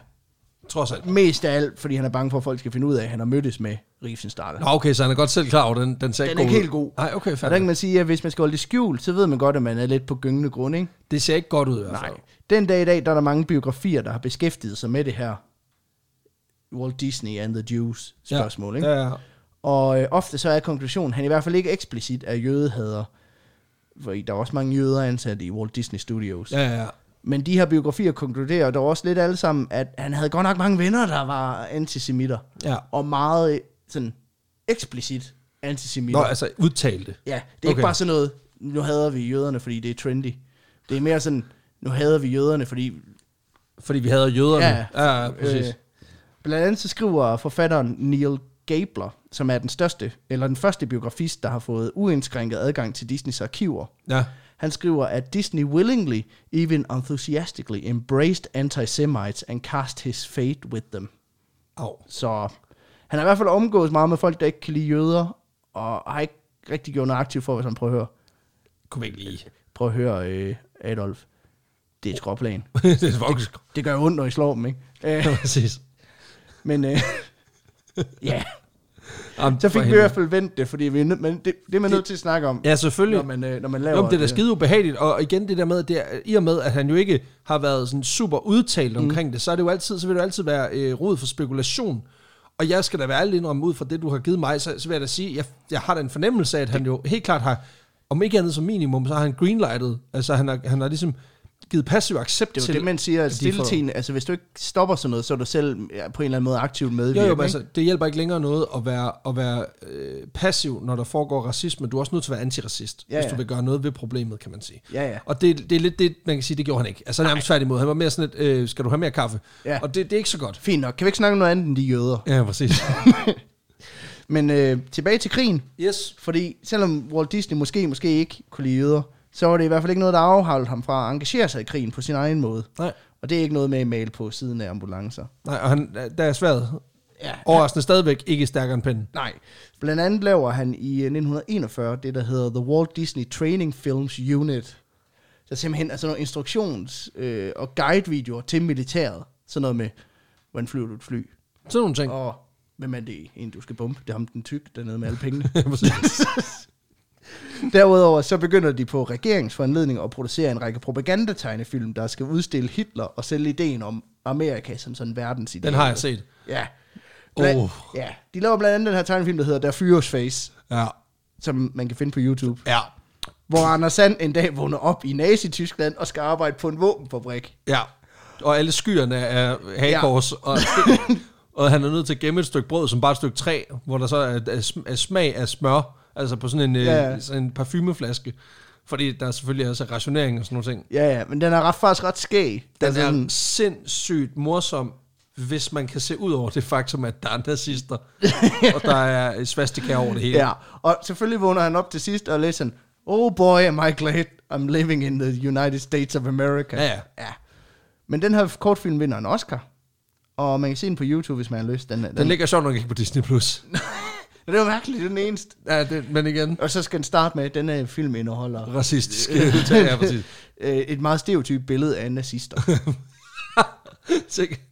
Trods alt.
mest af alt, fordi han er bange for, at folk skal finde ud af, at han har mødtes med Riefenstahl.
Nå, okay, så han er godt selv klar over, den, den ser
Den
god
er ikke
ud.
helt god.
Nej, okay,
Og der kan
fandme.
man sige, at hvis man skal holde det skjult, så ved man godt, at man er lidt på gyngende grund, ikke?
Det ser ikke godt ud i hvert fald.
Nej. Den dag i dag, der er der mange biografier, der har beskæftiget sig med det her Walt Disney and the Jews spørgsmål.
ja.
Ikke?
Ja, ja.
Og øh, ofte så er konklusionen, han i hvert fald ikke eksplicit er jødehader. Fordi der er også mange jøder ansat i Walt Disney Studios. Ja.
ja, ja, ja.
Men de her biografier konkluderer dog også lidt alle sammen, at han havde godt nok mange venner, der var antisemitter.
ja.
Og meget øh, sådan eksplicit
Nå,
antisemitter.
altså udtalte.
Ja, det er okay. ikke
Okay.
bare sådan noget, nu hader vi jøderne, fordi det er trendy. Det er mere sådan, nu hader vi jøderne, fordi
Fordi vi havde jøderne.
Ja,
ja, ja præcis.
Øh, blandt andet så skriver forfatteren Neil Gabler, som er den største, eller den første biografist, der har fået uindskrænket adgang til Disneys arkiver.
ja.
Han skriver, at Disney willingly, even enthusiastically, embraced anti-Semites and cast his fate with them.
Au.
Så han har i hvert fald omgået meget med folk, der ikke kan lide jøder, og har ikke rigtig gjort noget aktivt for, hvis han prøver at høre,
Kunne vi ikke lige.
prøv at høre øh, Adolf. Det er et skråplan.
det er faktisk...
Det gør ondt, når I slår dem, ikke? Øh,
Ja, præcis.
men øh, ja,
Jamen,
Så
for
fik vi i
helvede.
hvert fald vendt det, fordi vi, er nød- men det, det er man nødt til at snakke om,
Ja,
når,
selvfølgelig.
man, øh, når man laver
Jo, men det er da skide ubehageligt, og igen det der med, at det er, i og med, at han jo ikke har været sådan super
Mm.
udtalt omkring det, så, er det jo altid, så vil det jo altid være øh, rod for spekulation. Og jeg skal da være ærlig indrømme ud fra det, du har givet mig, så, så vil jeg da sige, jeg, jeg har da en fornemmelse af, at han jo helt klart har, om ikke andet som minimum, så har han greenlightet. Altså han har, han har ligesom givet passiv accept
Det er
til...
jo det, man siger, at
at de får-
stilletiden, altså hvis du ikke stopper sådan noget, så er du selv ja, på en eller anden måde aktivt medvirkende.
Jo, jo,
ikke?
men altså, det hjælper ikke længere noget at være, at være øh, passiv, når der foregår racisme. Du er også nødt til at være antiracist, ja,
Ja,
hvis
ja.
du vil gøre noget ved problemet, kan man sige.
Ja, ja.
Og det, det er lidt det, man kan sige, det gjorde han ikke. Altså nærmest tværtimod. Han var mere sådan et, øh, skal du have mere kaffe?
Ja.
Og det, det er ikke så godt.
Fint nok, kan vi ikke snakke om noget andet end de jøder?
Ja, præcis.
Men øh, tilbage til krigen,
yes.
fordi selvom Walt Disney måske, måske ikke kunne lide jøder, så var det i hvert fald ikke noget, der afholdt ham fra at engagere sig i krigen på sin egen måde.
Nej.
Og det er ikke noget med at male på siden af ambulancer.
Nej, og han, der er sværet
Ja,
overraskende stadigvæk ikke stærkere end pinden.
Nej. Blandt andet laver han i øh, 1941 det, der hedder The Walt Disney Training Films Unit. Der simpelthen er sådan nogle instruktions- øh, og guidevideoer til militæret. Sådan noget med, hvordan flyver du et fly?
Sådan nogle ting.
Og hvem er det en, du skal bombe? Det er ham den tyk dernede med alle pengene. Derudover så begynder de på regeringsforanledning at producere en række propagandategnefilm, der skal udstille Hitler og sælge ideen om Amerika som sådan verdensidé.
Den har jeg set.
Ja. Bla-
Oh.
ja. De laver blandt andet den her tegnefilm, der hedder Der Fyres Face,
Ja.
som man kan finde på YouTube.
Ja.
Hvor Anders Sand en dag vågner op i Nazi-Tyskland og skal arbejde på en våbenfabrik.
Ja. Og alle skyerne er hagekors, ja. og, og han er nødt til at gemme et stykke brød, som bare et stykke træ, hvor der så er, er, sm- er smag af smør, altså på sådan en,
Ja,
ja,
ja.
ja. Sådan en parfumeflaske. Fordi der er selvfølgelig også rationering og sådan nogle ting.
Ja, ja, men den er ret, faktisk ret skæg.
Den
Altså,
er sindssygt morsom, hvis man kan se ud over det faktum, at der er nazister, og der er svastika over det hele.
Ja, og selvfølgelig vågner han op til sidst og læser sådan, Oh boy, am I glad I'm living in the United States of America.
Ja, ja.
ja. Men den her kortfilm vinder en Oscar. Og man kan se den på YouTube, hvis man har lyst. Den, den,
Den
den,
ligger sjovt nok ikke på Disney+. Plus.
det er jo mærkeligt, den eneste.
Ja, det, men igen,
Og så skal den starte med, at den her film indeholder
racistisk. ja, præcis.
øh, et meget stereotypt billede af nazister.
Sikke.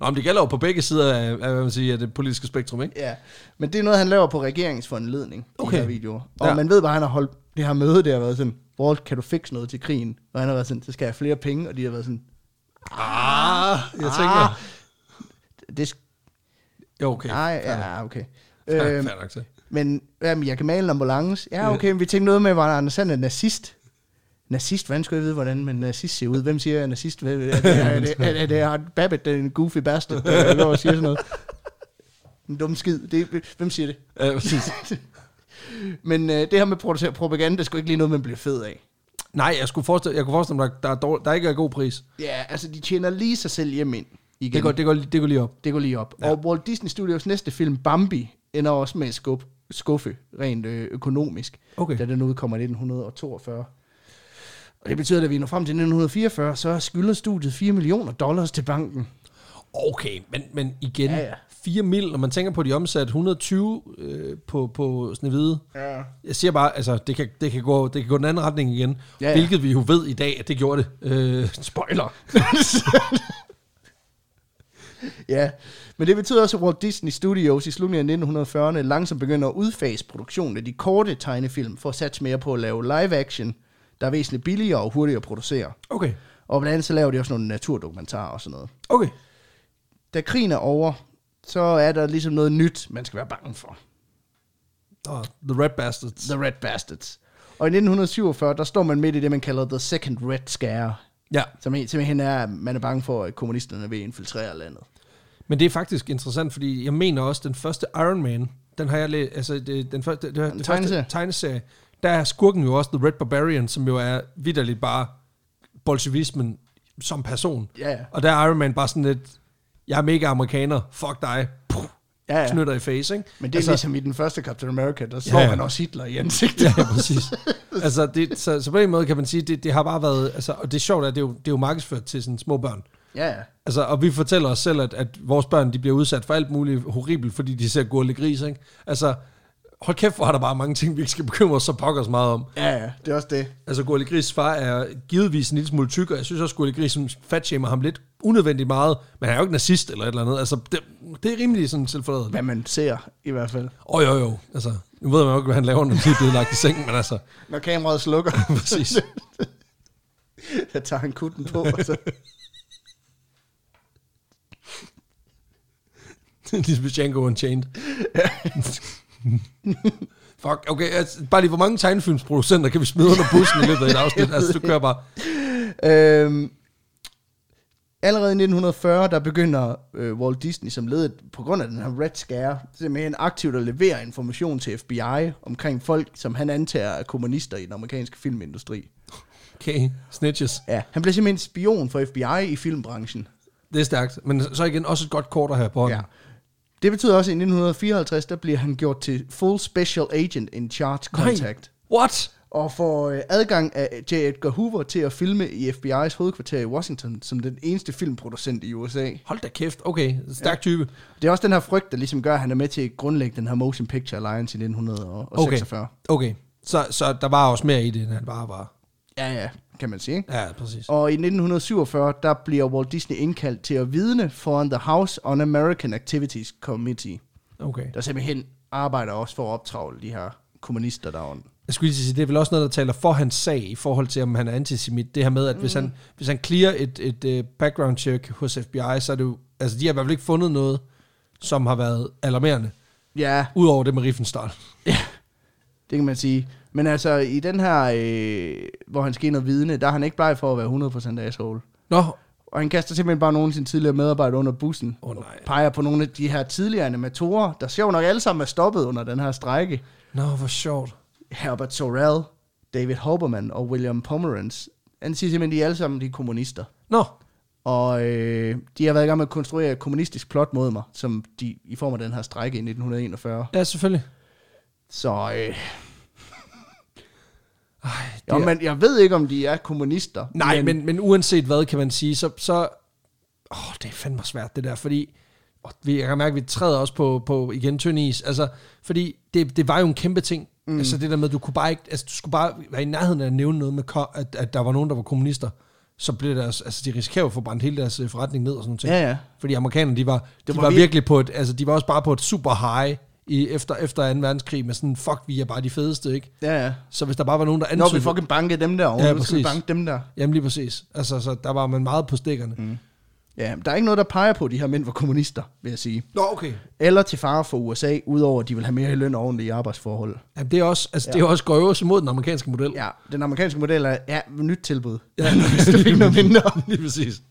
Nå, men det gælder jo på begge sider af, af hvad man siger, af det politiske spektrum, ikke?
Ja, men det er noget, han laver på regeringsforanledning, okay.
Okay.
de her videoer. Og ja.
Ja.
man ved bare, han har holdt det her møde, det har været sådan, Walt, kan du fikse noget til krigen? Og han har været sådan, så skal jeg have flere penge, og de har været sådan,
Ah, jeg tænker...
Ah. det sk-
Jo, okay.
nej, ja, okay.
Fair,
Øhm,
fair nok til.
men jamen, jeg kan male en ambulance. Ja,
Ja.
okay, men vi tænkte noget med, var Anders Sand er nazist. Nazist, hvordan skulle jeg vide, hvordan man nazist ser ud? Hvem siger, at nazist? Er det, er det, er det, er det, er det Babbitt, den goofy bastard, der går og siger sådan noget? En dum skid. Det, hvem siger det?
Ja, præcis.
Men øh, det her med at producere propaganda, skulle ikke lige noget, man bliver fed af.
Nej, jeg, skulle forestille, jeg kunne forestille mig, der, der, er dårlig, der ikke er god pris.
Ja, altså de tjener lige sig selv hjem ind igen.
Det går, det, går, det går lige op.
det går lige op. Ja. Og Walt Disney Studios næste film, Bambi, ender også med at skub, skuffe rent øh, økonomisk,
Okay.
da den udkommer i 1942. Og det betyder, at da vi når frem til 1944, så skylder studiet 4 millioner dollars til banken.
Okay, men, men igen,
Ja,
ja,
ja.
ja. 4 mil, når man tænker på, at de omsatte 120 øh, på, på Snevide.
Ja.
Jeg siger bare, altså, det kan, det, kan gå, det kan gå den anden retning igen,
Ja,
ja,
ja.
ja. hvilket vi jo ved i dag, at det gjorde det. Øh, spoiler.
ja, men det betyder også, at Walt Disney Studios i slutningen af 1940'erne langsomt begynder at udfase produktionen af de korte tegnefilm, for at satse mere på at lave live action, der er væsentligt billigere og hurtigere at producere.
Okay,
Og blandt andet så laver de også nogle naturdokumentarer og sådan noget.
okay.
da krigen er over, så er der ligesom noget nyt, man skal være bange for.
Oh, the Red Bastards.
The Red Bastards. Og i 1947, der står man midt i det, man kalder The Second Red Scare,
Ja,
som helt simpelthen er, at man er bange for, at kommunisterne vil infiltrere landet.
men det er faktisk interessant, fordi jeg mener også, den første Iron Man, den har jeg læst, altså det, den første, det, det første
tegneserie.
tegneserie, der er skurken jo også The Red Barbarian, som jo er vidderligt bare bolsjevismen som person.
Ja, ja.
Og der er Iron Man bare sådan lidt, jeg er mega amerikaner, fuck dig, Puh,
Ja, ja.
knytter i face, ikke?
Men det er altså,
altså,
ligesom i den første Captain America, der slår ja,
Ja,
ja.
ja.
man også Hitler i ansigtet.
Ja, præcis. altså, det, så, så på den måde kan man sige, det, det har bare været, altså, og det er sjovt, at det er jo, det er jo markedsført til sådan små børn.
Ja, ja.
Altså, og vi fortæller os selv, at, at vores børn de bliver udsat for alt muligt horribelt, fordi de ser gurle gris, ikke? Altså, hold kæft, hvor er der bare mange ting, vi ikke skal bekymre os så pokker os meget om.
Ja, ja, det er også det.
Altså, gurle gris far er givetvis en lille smule tyk, og jeg synes også, gurle gris fatshamer ham lidt unødvendigt meget, men han er jo ikke nazist eller et eller andet. Altså, det, det er rimelig sådan selvforladet.
Hvad man ser, i hvert fald.
Åh, oh, jo, jo. Altså, nu ved man jo ikke, hvad han laver, når han er blevet lagt i sengen, men altså,
Når kameraet slukker,
præcis.
der tager han kutten på, og så...
ligesom Django Unchained. Fuck, okay, altså, bare lige, hvor mange tegnefilmsproducenter kan vi smide under bussen i løbet af et afsnit? Altså, du kører bare,
Øhm, allerede i 1940, der begynder øh, Walt Disney som ledet på grund af den her Red Scare, simpelthen aktivt at levere information til FBI omkring folk, som han antager er kommunister i den amerikanske filmindustri.
okay, snitches.
Ja. Han blev simpelthen spion for FBI i filmbranchen.
Det er stærkt. Men så igen, også et godt kort at have på hånden.
Ja. Det betyder også, at i 1954, der bliver han gjort til Full Special Agent in Charge
Nej.
Contact.
What?
og får øh, adgang af J. Edgar Hoover til at filme i FBI's hovedkvarter i Washington, som den eneste filmproducent i USA.
Hold da kæft, okay, stærk type.
Det er også den her frygt, der ligesom gør, at han er med til at grundlægge den her Motion Picture Alliance i 1946. Okay.
Okay, så, så der var også mere i det, end han bare var.
Ja, ja, kan man sige. Ikke?
Ja, præcis.
Og i 1947, der bliver Walt Disney indkaldt til at vidne foran The House on American Activities Committee,
Okay.
der simpelthen arbejder også for at optravle de her kommunister derovre.
Jeg skulle lige til at sige, det er vel også noget, der taler for hans sag i forhold til, om han er antisemit. Det her med, at hvis han, hvis han clear et, et øh, background check hos FBI, så er det jo... Altså, de har i hvert fald ikke fundet noget, som har været alarmerende.
Ja,
Udover det med Riefenstahl.
det kan man sige. Men altså, i den her, øh, hvor han skal ind og vidne, der er han ikke bleg for at være 100% asshole.
Nå,
Og han kaster simpelthen bare nogle af sine tidligere medarbejdere under bussen.
Åh, nej.
Og peger på nogle af de her tidligere animatorer, der sjovt nok alle sammen er stoppet under den her strejke.
nå hvor sjovt.
Herbert Sorrell, David Hoberman og William Pomerance. Han siger simpelthen, at de alle sammen de er kommunister.
Nå,
Og øh, de har været i gang med at konstruere et kommunistisk plot mod mig, som de i form af den her strejke i 1941.
ja, selvfølgelig.
Så øh,
Ej, det
jo,
er,
men jeg ved ikke, om de er kommunister.
nej, men, men uanset hvad, kan man sige, så... så åh, det er fandme svært, det der, fordi... åh, vi- Jeg kan mærke, at vi træder også på, på igen tynd is. Altså, fordi det, det var jo en kæmpe ting. Mm. Altså det der med, at du kunne bare ikke, altså du skulle bare være i nærheden af at nævne noget med, ko- at, at der var nogen, der var kommunister. Så blev deres, altså de risikerer jo at få brændt hele deres øh, forretning ned og sådan noget.
Ja, ja.
Fordi amerikanerne, de var, de
var
var, var
vir-
virkelig på et, altså de var også bare på et super high i, efter, efter 2. verdenskrig med sådan, fuck, vi er bare de fedeste, ikke?
Ja, ja.
Så hvis der bare var nogen, der
Når vi
antydede...
fucking bankede dem der, ja,
Ja,
nu skal vi
præcis.
banke dem der.
Jamen lige præcis. Altså, så der var man meget på stikkerne. Mm.
Ja, der er ikke noget, der peger på, at de her mænd var kommunister, vil jeg sige.
Nå, okay.
Eller til fare for USA, udover at de vil have mere i løn og ordentlige arbejdsforhold.
Jamen, det er også, altså, ja. det er også gøjøs imod den amerikanske model.
Ja, den amerikanske model er ja, nyt tilbud.
Ja.
Hvis du fik noget mindre.
lige præcis.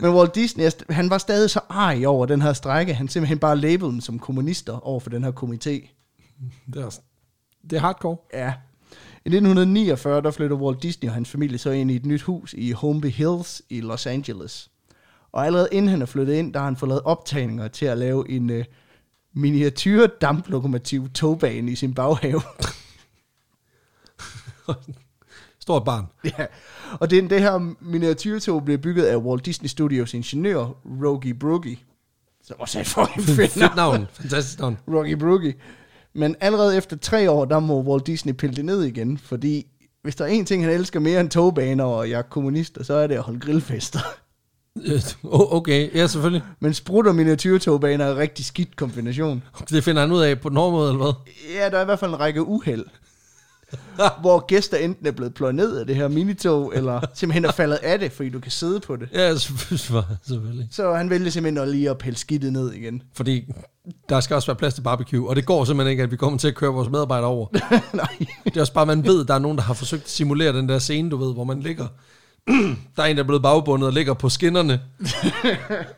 Men Walt Disney, han var stadig så arg over den her strække, han simpelthen bare labelede dem som kommunister over for den her komité.
Det er, også, det er hardcore.
Ja. I 1949, der flytter Walt Disney og hans familie så ind i et nyt hus i Holmby Hills i Los Angeles. Og allerede inden han er flyttet ind, der har han fået lavet optagninger til at lave en øh, miniatyr damplokomotiv togbane i sin baghave.
Stort barn.
ja. Og det, det her miniatyrtog blev bygget af Walt Disney Studios ingeniør, Rogie Broogie. Som også er et fucking fedt navn.
Fedt navn. Fantastisk navn.
Rocky Brookie. Men allerede efter tre år, der må Walt Disney pille det ned igen, fordi hvis der er en ting, han elsker mere end togbaner og jeg er kommunist, så er det at holde grillfester.
Øh, o- Okay, ja, selvfølgelig.
Men sprut og miniatyrtogbaner er en rigtig skidt kombination.
Det finder han ud af på den hårde måde, eller hvad?
Ja, der er i hvert fald en række uheld, hvor gæster enten er blevet pløjet ned af det her minitog, eller simpelthen er faldet af det, fordi du kan sidde på det.
Ja, selvfølgelig. selvfølgelig.
Så han vælger simpelthen at lige at pille skidtet ned igen.
Fordi der skal også være plads til barbecue, og det går simpelthen ikke, at vi kommer til at køre vores medarbejdere over.
Nej.
Det er også bare, man ved, der er nogen, der har forsøgt at simulere den der scene, du ved, hvor man ligger. der er en, der er blevet bagbundet og ligger på skinnerne.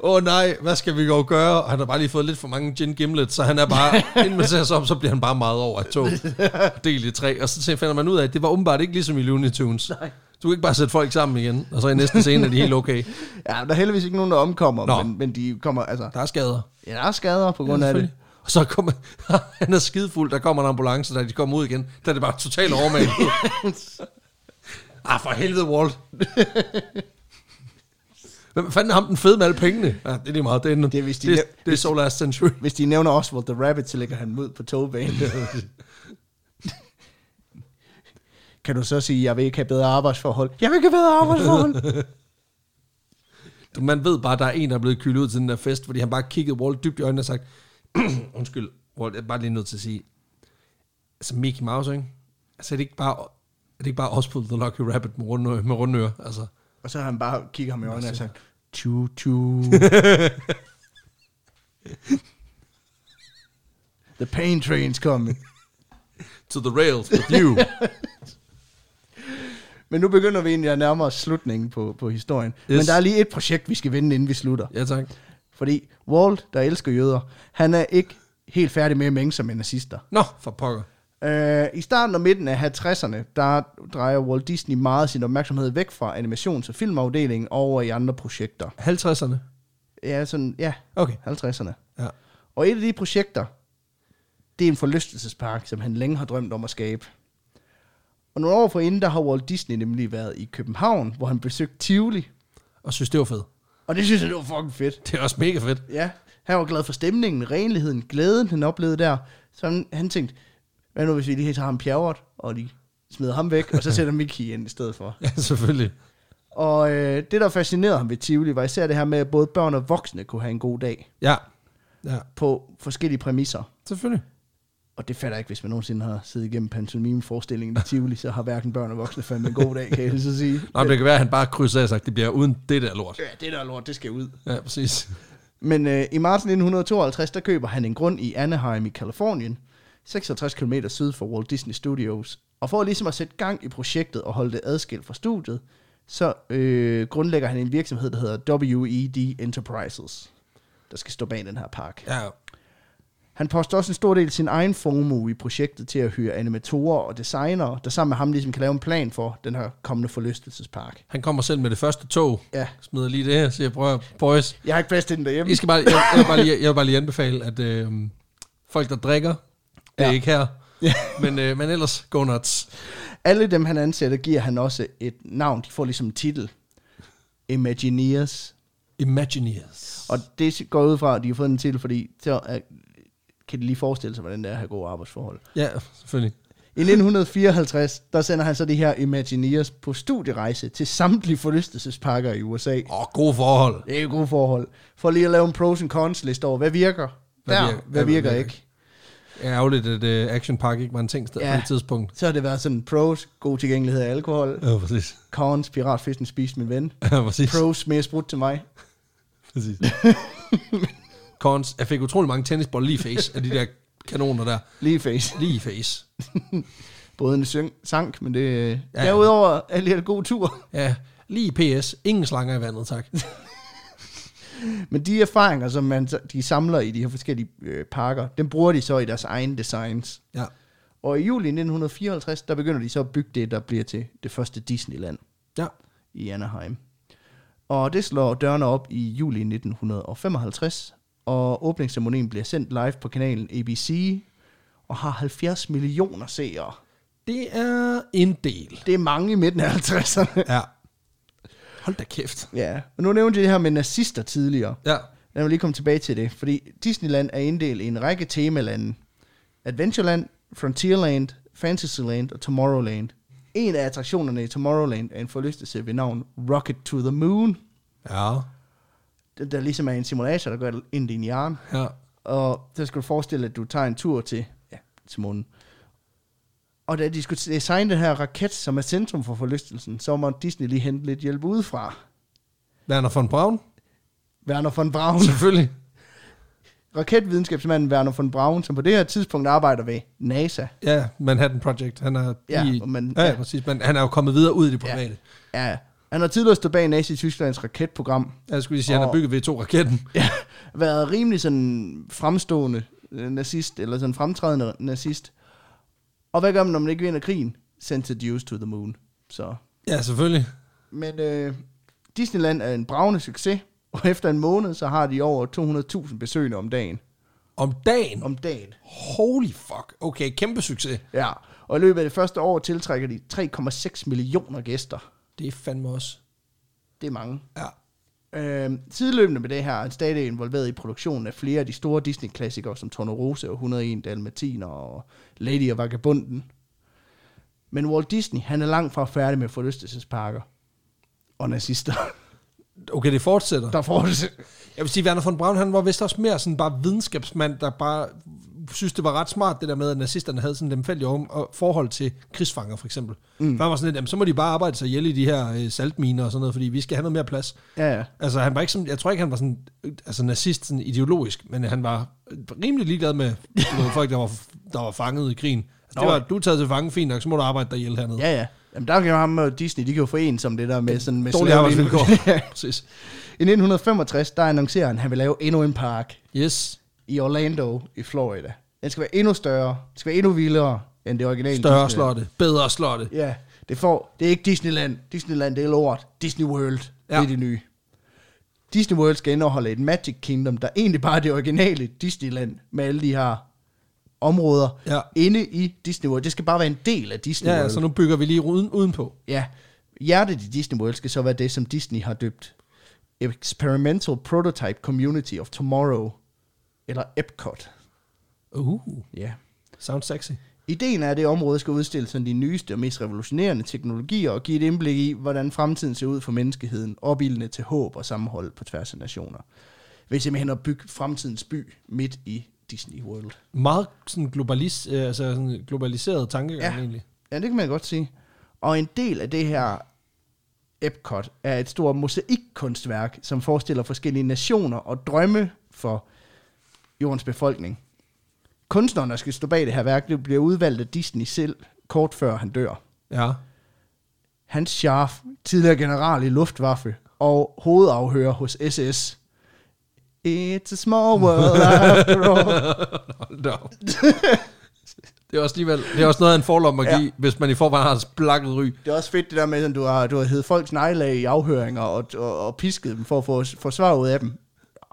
Åh oh, nej, hvad skal vi gå gøre? Og han har bare lige fået lidt for mange gin gimlets, så han er bare, inden man ser sig om, så bliver han bare meget over et tog. Del i tre. Og så tænker- finder man ud af, at det var åbenbart ikke ligesom i Looney Tunes. Nej. Du kan ikke bare sætte folk sammen igen, og så i næste scene er de helt okay.
Ja, der er heldigvis ikke nogen, der omkommer,
Nå.
men, men, de kommer, altså,
Der er skader.
ja, der er skader på grund af det.
Og så kommer, han er skidefuld, der kommer en ambulance, da de kommer ud igen. Der er det bare totalt overmalet. ah, for helvede, Walt. Hvem fanden er ham den fede med alle pengene? Ja, det er lige meget. Det er, en,
Det er vist de
det,
næv-
det er so last century.
Hvis de nævner Oswald the Rabbit, så lægger han dem ud på togbanen. kan du så sige, jeg vil ikke have bedre arbejdsforhold? Jeg vil ikke have bedre arbejdsforhold!
Du, Man ved bare, der er en, der er blevet kylet ud til den der fest, fordi han bare kiggede Walt dybt i øjnene og sagt, undskyld, Walt, jeg er bare lige nødt til at sige, altså Mickey Mouse, ikke? Altså er det ikke bare, er det ikke bare os på The Lucky Rabbit med rundører? Med rundører? Altså,
og så har han bare kigget ham i øjnene og sagt, tju, tju. the pain train's coming.
to the rails with you.
Men nu begynder vi egentlig at nærme os slutningen på, på historien. Yes. Men
Yes.
der er lige et projekt, vi skal vende, inden vi slutter.
ja tak.
Fordi Walt, der elsker jøder, han er ikke helt færdig med at mænge sig med nazister.
Nå, for pokker.
Øh, I starten og midten af 50'erne, der drejer Walt Disney meget sin opmærksomhed væk fra animations- og filmafdelingen over i andre projekter.
50'erne.
Ja, sådan, ja,
Okay.
50'erne.
Ja.
Og et af de projekter, det er en forlystelsespark, som han længe har drømt om at skabe. Og nogle år forinden, der har Walt Disney nemlig været i København, hvor han besøgte Tivoli.
Og synes, det var fedt.
Og det synes jeg, det var fucking fedt.
Det er også mega fedt.
Ja, han var glad for stemningen, renligheden, glæden, han oplevede der. Så han, han tænkte, hvad nu hvis vi lige tager ham pjerret, og lige smider ham væk, og så sætter Mickey ind i stedet for.
Ja, selvfølgelig.
Og øh, det, der fascinerede ham ved Tivoli, var især det her med, at både børn og voksne kunne have en god dag
Ja. Ja,
på forskellige præmisser.
selvfølgelig.
Og det fatter jeg ikke, hvis man nogensinde har siddet igennem pantomime-forestillingen i Tivoli, så har hverken børn og voksne fandme en god dag, kan jeg lige så sige.
Nå, men det kan være, at han bare krydser af og sagt, det bliver uden det der lort.
Ja, det der lort, det skal ud.
Ja, præcis.
Men øh, i marts 1952, der køber han en grund i Anaheim i Kalifornien, 66 km syd for Walt Disney Studios. Og for ligesom at sætte gang i projektet og holde det adskilt fra studiet, så øh, grundlægger han en virksomhed, der hedder WED Enterprises, der skal stå bag den her park.
Ja,
Han poster også en stor del af sin egen formue i projektet til at hyre animatorer og designere, der sammen med ham ligesom kan lave en plan for den her kommende forlystelsespark.
han kommer selv med det første tog.
Ja,
Smider lige det her, siger, prøv at boys.
jeg har ikke plads til den derhjemme.
I skal bare, jeg, jeg, vil bare lige, jeg vil bare lige anbefale, at øh, folk, der drikker, det er
Ja.
ikke her.
Ja.
Men, øh, men ellers, go nuts.
Alle dem, han ansætter, giver han også et navn. De får ligesom en titel. Imagineers.
Imagineers.
Og det går ud fra, at de har fået en titel, fordi så er, kan de lige forestille sig, hvordan det er at have gode arbejdsforhold.
Ja, selvfølgelig.
I 1954, der sender han så de her Imagineers på studierejse til samtlige forlystelsesparker i USA.
Åh, gode forhold.
Det er jo gode forhold. For lige at lave en pros and cons liste over, hvad virker?
Hvad
Hvad, der,
virker-
virker,
hvad
hvad virker
virker
ikke?
Ærgerligt, at øh, Action Park ikke var en ting sted ja.
Ja.
på det tidspunkt.
Så har det været sådan pros, god tilgængelighed af alkohol.
Ja, præcis.
Cons, piratfisken spiste min ven.
Ja, præcis.
Pros, mere sprut til mig.
præcis. Cons. Jeg fik utrolig mange tennisbold lige i face af de der kanoner der.
Lige face.
Lige i face.
Både en syng, sank, men det...
ja.
Ja. Derudover er det en god tur.
Ja, lige i PS. Ingen slanger i vandet, tak.
Men de erfaringer, som man, så- de samler i de her forskellige øh, parker, dem bruger de så i deres egne designs.
Ja.
Og i juli 1954, der begynder de så at bygge det, der bliver til det første Disneyland.
Ja.
i Anaheim. Og det slår dørene op i juli 1955, og åbningsceremonien bliver sendt live på kanalen ABC, og har 70 millioner seere.
Det er en del.
Det er mange i midten af 50'erne.
Ja. Hold da kæft.
Ja, og nu nævnte jeg det her med nazister tidligere.
Ja.
Lad mig lige komme tilbage til det, fordi Disneyland er inddelt i en række temalande. Adventureland, Frontierland, Fantasyland og Tomorrowland. En af attraktionerne i Tomorrowland er en forlystelse ved navn Rocket to the Moon.
Ja.
den der ligesom er en simulator, der gør det ind i din hjerne.
Ja.
Og så skal du forestille dig, at du tager en tur til, ja, til månen. Og da de skulle designe den her raket, som er centrum for forlystelsen, så må Disney lige hente lidt hjælp udefra.
Werner von Braun?
Werner von Braun.
Selvfølgelig.
Raketvidenskabsmanden Werner von Braun, som på det her tidspunkt arbejder ved NASA.
Ja, Manhattan Project. Han er
Ja,
lige,
men-
ja, ja,
ja.
præcis. Men han er jo kommet videre ud i det private.
Ja, han har tidligere stået bag NASA-Tysklands raketprogram,
Ja. Jeg skulle lige sige, han har
Og-
bygget V2-raketten.
ja, været rimelig sådan fremstående øh, nazist, eller sådan fremtrædende nazist. Og hvad gør man, når man ikke vinder krigen? Send the Jews to the moon. Så.
Ja, selvfølgelig.
Men øh, Disneyland er en bravende succes, og efter en måned, så har de over 200.000 besøgende om dagen.
Om dagen.
Om dagen?
Holy fuck. Okay, kæmpe succes.
Ja. Og i løbet af det første år tiltrækker de 3,6 millioner gæster.
Det er fandme også.
Det er mange.
Ja.
Øh, sideløbende med det her er han stadig involveret i produktionen af flere af de store Disney-klassikere, som Tornerose og 101 Dalmatiner og Lady og Vagabunden. Men Walt Disney, han er langt fra færdig med forlystelsesparker og nazister.
Okay, det fortsætter.
Der får det.
Jeg vil sige, Werner von Braun, han var vist også mere sådan bare videnskabsmand, der bare synes, det var ret smart, det der med, at nazisterne havde sådan dem fældig forhold til krigsfanger, for eksempel. Mm. For han var sådan lidt, jamen, så må de bare arbejde sig ihjel i de her øh, saltminer og sådan noget, fordi vi skal have noget mere plads.
Ja, ja.
Altså, han var ikke sådan, jeg tror ikke, han var sådan, øh, altså nazist sådan ideologisk, men han var øh, rimelig ligeglad med du ved, folk, der var, der var fanget i krigen. Altså, det
Nå,
var,
ja.
du er taget til fange, fint nok, så må du arbejde dig ihjel hernede.
ja, ja. Jamen, der kan jo ham og Disney, de kan jo forene som det der med sådan... Med
Dårlige
slaveindkøb.
arbejdsvilkår.
Ja.
Præcis.
I 1965, der annoncerer han, at han vil lave endnu en park
Yes.
i Orlando i Florida. Den skal være endnu større, den skal være endnu vildere end det originale
Større
Disneyland.
slotte. Bedre slotte.
Ja, det får. Det er ikke Disneyland. Disneyland, det er lort. Disney World, ja.
Ja.
det er det nye. Disney World skal indeholde et Magic Kingdom, der egentlig bare er det originale Disneyland med alle de her områder
Ja.
inde i Disney World. Det skal bare være en del af Disney
Ja, ja,
World.
så nu bygger vi lige ruden udenpå.
Ja, hjertet i Disney World skal så være det, som Disney har døbt Experimental Prototype Community of Tomorrow, eller EPCOT.
Uh,
Ja.
sounds sexy.
Ideen er, at det område skal udstille sådan de nyeste og mest revolutionerende teknologier og give et indblik i, hvordan fremtiden ser ud for menneskeheden, opildende til håb og sammenhold på tværs af nationer. Ved simpelthen at bygge fremtidens by midt i Disney World.
Meget sådan, globalis, øh, altså sådan globaliseret tankegang ja.
Ja.
egentlig.
Ja, det kan man godt sige. Og en del af det her Epcot er et stort mosaikkunstværk, som forestiller forskellige nationer og drømme for jordens befolkning. Kunstneren, der skal stå bag det her værk, det bliver udvalgt af Disney selv, kort før han dør.
Ja.
Hans Scharf, tidligere general i Luftwaffe og hovedafhører hos SS. It's a small world after all.
Hold da op. det er også alligevel, det er også noget af en forlom at
Ja.
give, ja. hvis man i forvejen har et blakket ry.
Det er også fedt det der med, at du har, du har heddet folks nejlag i afhøringer og, og, og pisket dem for at få, få svar ud af dem.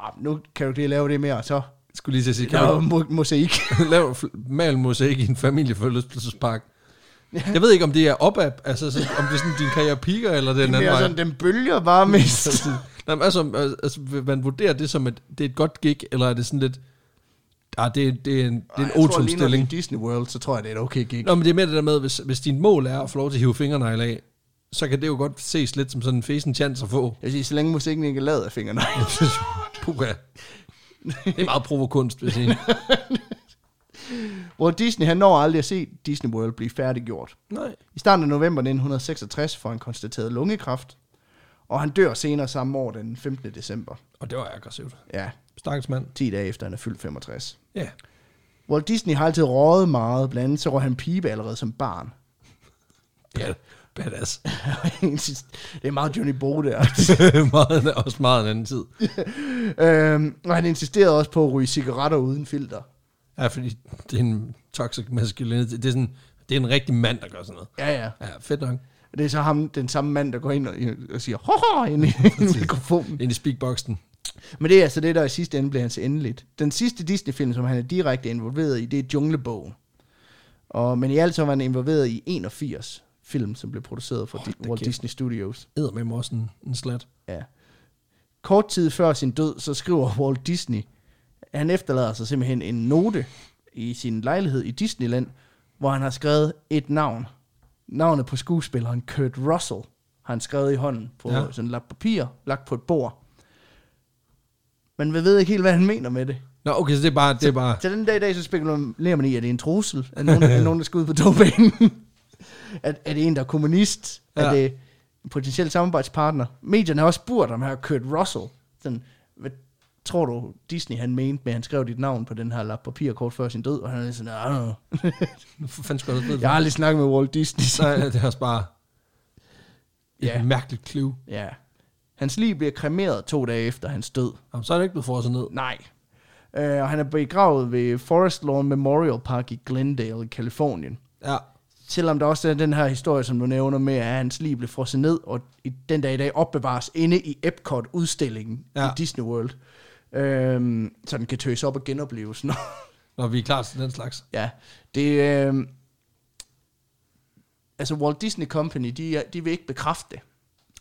Ah, nu kan du ikke lige lave det mere, så
Jeg Skulle lige til at sige, kan
der er jo
man
mo- mosaik.
lave fl- mal mosaik i en familieforlystelsespark? Jeg ved ikke, om det er op af, altså sådan, om det er sådan, din karriere piker, eller den
Det
anden
er
vej.
sådan, den bølger bare mest.
Nej, men altså, altså, vil man vurderer det som, at det er et godt gig, eller er det sådan lidt, ah, det, er- det er en, det er en otumstilling?
i Disney World, så tror jeg, det er et okay gig.
Nå, men det er mere det der med, hvis, hvis din mål er at få lov til at hive fingrene af, så kan det jo godt ses lidt som sådan en fesen chance at få.
Jeg vil sige, så længe musikken ikke er lavet af fingrene.
Puha. Det er meget provokunst, hvis jeg
Hvor Disney, han når aldrig at se Disney World blive færdiggjort.
Nej.
I starten af november 1966 får han konstateret lungekræft, og han dør senere samme år den 15. december.
Og det var aggressivt.
Ja,
Stakkels mand.
10 dage efter han er fyldt 65.
Ja.
Walt Disney har altid røget meget, blandt andet så røg han pibe allerede som barn.
Ja, badass.
det er meget Johnny Bo der.
meget, også meget en anden tid.
øhm, og han insisterede også på at ryge cigaretter uden filter.
Ja, fordi det er en toxic masculinity. Det er, sådan, det er en rigtig mand, der gør sådan noget.
Ja, ja.
Ja, fedt nok.
Og det er så ham, den samme mand, der går ind og, og siger, hoho, ind i i mikrofonen.
Ind i speakboxen.
Men det er altså det, der i sidste ende bliver hans endeligt. Den sidste Disney-film, som han er direkte involveret i, det er Junglebogen. Og, men i alt så var han involveret i 81 film, som blev produceret for
Hold
Di-
da
Walt
kæft.
Disney Studios.
Æder med også en, en slat.
Ja. Kort tid før sin død, så skriver Walt Disney, at han efterlader sig simpelthen en note i sin lejlighed i Disneyland, hvor han har skrevet et navn. Navnet på skuespilleren Kurt Russell har han skrevet i hånden på
Ja.
ja. sådan lagt papir, lagt på et bord. Men vi ved ikke helt, hvad han mener med det.
Nå, okay, så det er bare... Det er bare
Så den dag i dag, så spekulerer man i, at det er en trussel, at nogen, at nogen der skal ud på togbanen. at, er det en, der er kommunist? Ja.
Ja.
Er det en potentiel samarbejdspartner? Medierne har også spurgt om her Kurt Russell. Sådan, hvad tror du, Disney han mente med, at han skrev dit navn på den her lap papir kort før sin død? Og han er sådan, "I don't know."
Nu for fanden skulle jeg også
jeg
ja.
har aldrig snakket med Walt Disney.
Nej, det er også bare... Et
Ja.
ja. mærkeligt clue.
ja. Hans liv bliver kremeret to dage efter hans død.
Jamen, så er det ikke blevet frosset ned.
Nej. Øh, og han er begravet ved Forest Lawn Memorial Park i Glendale i Kalifornien.
Ja.
Selvom der også er den her historie, som du nævner med, at hans liv blev frosset ned, og i den dag i dag opbevares inde i Epcot-udstillingen ja.
Ja.
i Disney World. Øhm, så den kan tøses op og genopleves. Nå,
Når vi er klar til den slags.
ja, det... Øhm, altså Walt Disney Company, de, er- de vil ikke bekræfte det.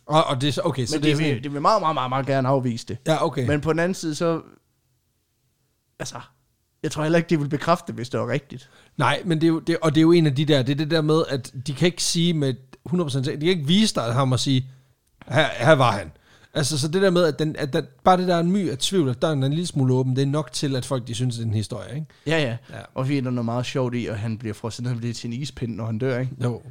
Og, og det er så... Okay, så
Men
det er
de,
sådan...
vil, de vil meget, meget, meget, meget gerne afvise det.
Ja, okay.
Men på den anden side, så... Altså, jeg tror heller ikke, de vil bekræfte det, hvis det var rigtigt.
Nej, men det er jo, det, og det er jo en af de der, det er det der med, at de kan ikke sige med 100%, sikkerhed- de kan ikke vise dig ham og sige, her, her var han. Altså, så det der med, at, den, at der, bare det der er en my af tvivl, at døren er en lille smule åben, det er nok til, at folk de synes, det er en historie, ikke?
Ja, ja.
Ja.
Og vi er der noget meget sjovt i, at han bliver frosset ned bliver til en ispind, når han dør, ikke?
Jo.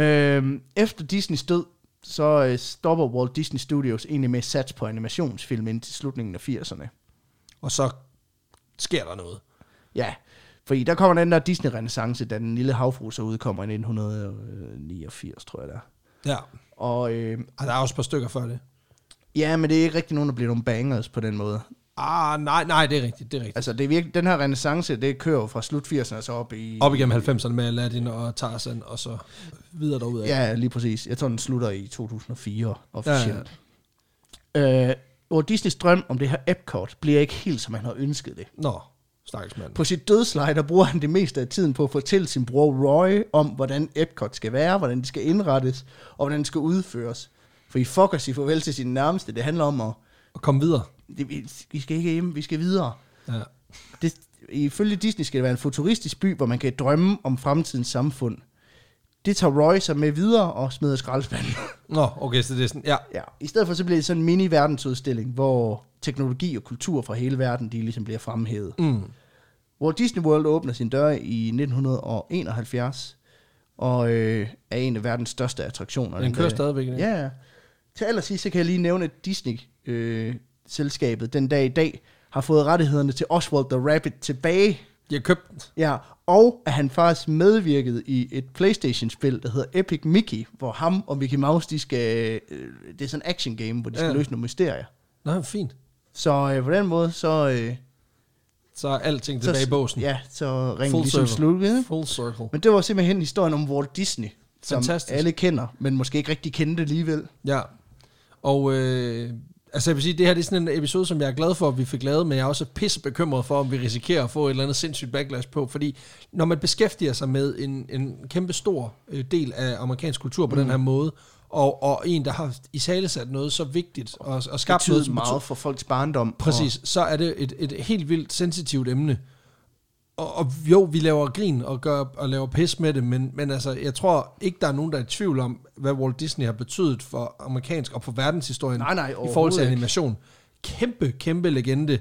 Øhm, efter Disneys død, så øh, stopper Walt Disney Studios egentlig med at satse på animationsfilm indtil slutningen af 80'erne.
Og så sker der noget.
Ja, fordi der kommer den der Disney-renaissance, da Den Lille Havfru så udkommer i 1989, tror jeg der.
Ja.
Og øh,
Og der er også et par stykker før det.
ja, men det er ikke rigtig nogen, der bliver nogle bangers på den måde.
Ah, nej, nej, det er rigtigt, det er rigtigt.
Altså, det er virkelig, den her renaissance, det kører jo fra slut 80'erne og så op i...
Op igennem 90'erne med Aladdin og Tarzan, og så videre derud af.
Ja, lige præcis. Jeg tror, den slutter i 2004 officielt. Ja, ja. Øh, Walt Disneys drøm om det her Epcot bliver ikke helt, som han har ønsket det.
Nå. Stakkels mand.
På sit dødsleje, der bruger han det meste af tiden på at fortælle sin bror Roy om, hvordan Epcot skal være, hvordan det skal indrettes, og hvordan det skal udføres. For I fucker sig farvel til sine nærmeste. Det handler om at...
Og kom videre.
Det, vi- vi skal ikke hjem, vi skal videre.
Ja.
Det, ifølge Disney skal det være en futuristisk by, hvor man kan drømme om fremtidens samfund. Det tager Roy så med videre og smider i skraldespanden.
Nå, okay, så det er sådan, ja.
ja. I stedet for så bliver det sådan en mini-verdensudstilling, hvor teknologi og kultur fra hele verden, de ligesom bliver fremhævet.
Mm.
Walt Disney World åbner sin dør i 1971, og øh, er en af verdens største attraktioner.
Den kører
dag.
stadigvæk. ikke?
Ja, ja. Til allersidst, så kan jeg lige nævne, at Disney-selskabet den dag i dag har fået rettighederne til Oswald the Rabbit tilbage.
Jeg købte den.
Ja, og at han faktisk medvirkede i et Playstation-spil, der hedder Epic Mickey, hvor ham og Mickey Mouse, de skal, øh, det er sådan en action game, hvor de skal
Ja.
løse nogle mysterier.
Nå, fint.
Så øh, på den måde, så... Øh,
Så er alting
så
tilbage i båsen.
Ja, så ringer
Full
ligesom
circle.
slukket. ikke?
Full circle.
Men det var simpelthen historien om Walt Disney, som
Fantastisk.
alle kender, men måske ikke rigtig kendte alligevel.
Ja. Og øh, altså jeg vil sige, det her det er sådan en episode, som jeg er glad for, at vi fik lavet, men jeg er også pisse bekymret for, om vi risikerer at få et eller andet sindssygt backlash på, fordi når man beskæftiger sig med en, en kæmpe stor øh, del af amerikansk kultur på mm. den her måde, og, og en, der har i tale sat noget så vigtigt og, og
Det
skabt noget,
betyder
som
meget for folks barndom.
Præcis, så er det et, et helt vildt sensitivt emne. Og, og jo, vi laver grin og, gør, og laver pis med det, men, men altså, jeg tror ikke, der er nogen, der er i tvivl om, hvad Walt Disney har betydet for amerikansk og for verdenshistorien
Nej, nej,
i forhold til
overhovedet
animation. Kæmpe, kæmpe legende.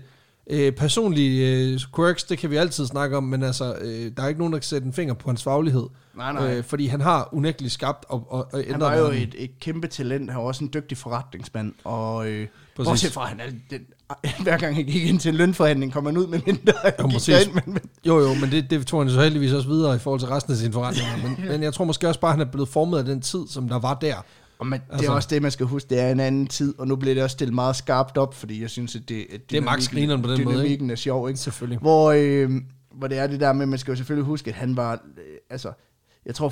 Øh, personlige øh, quirks, det kan vi altid snakke om, men altså, øh, der er ikke nogen, der kan sætte en finger på hans faglighed. Øh,
Nej, nej.
fordi han har unægteligt skabt og, og, og ændret
Han var jo
verden.
et, et kæmpe talent, han var også en dygtig forretningsmand, og øh,
Præcis.
bortset fra, han er, den, hver gang han gik ind til en lønforhandling, kom han ud med mindre, han gik
præcis.
derind, men, men
Jo, jo, men det, det tog han så heldigvis også videre i forhold til resten af sine forretninger. Men, men jeg tror måske også bare, at han er blevet formet af den tid, som der var der.
og man, det er
Altså.
også det, man skal huske, det er en anden tid, og nu bliver det også stillet meget skarpt op, fordi jeg synes, at det, at
Det er max
dynamikken-
grineren på den måde, ikke?
Dynamikken er sjov, ikke?
Selvfølgelig.
Hvor, øh, hvor det er det der med, man skal jo selvfølgelig huske, at han var, øh, altså, jeg tror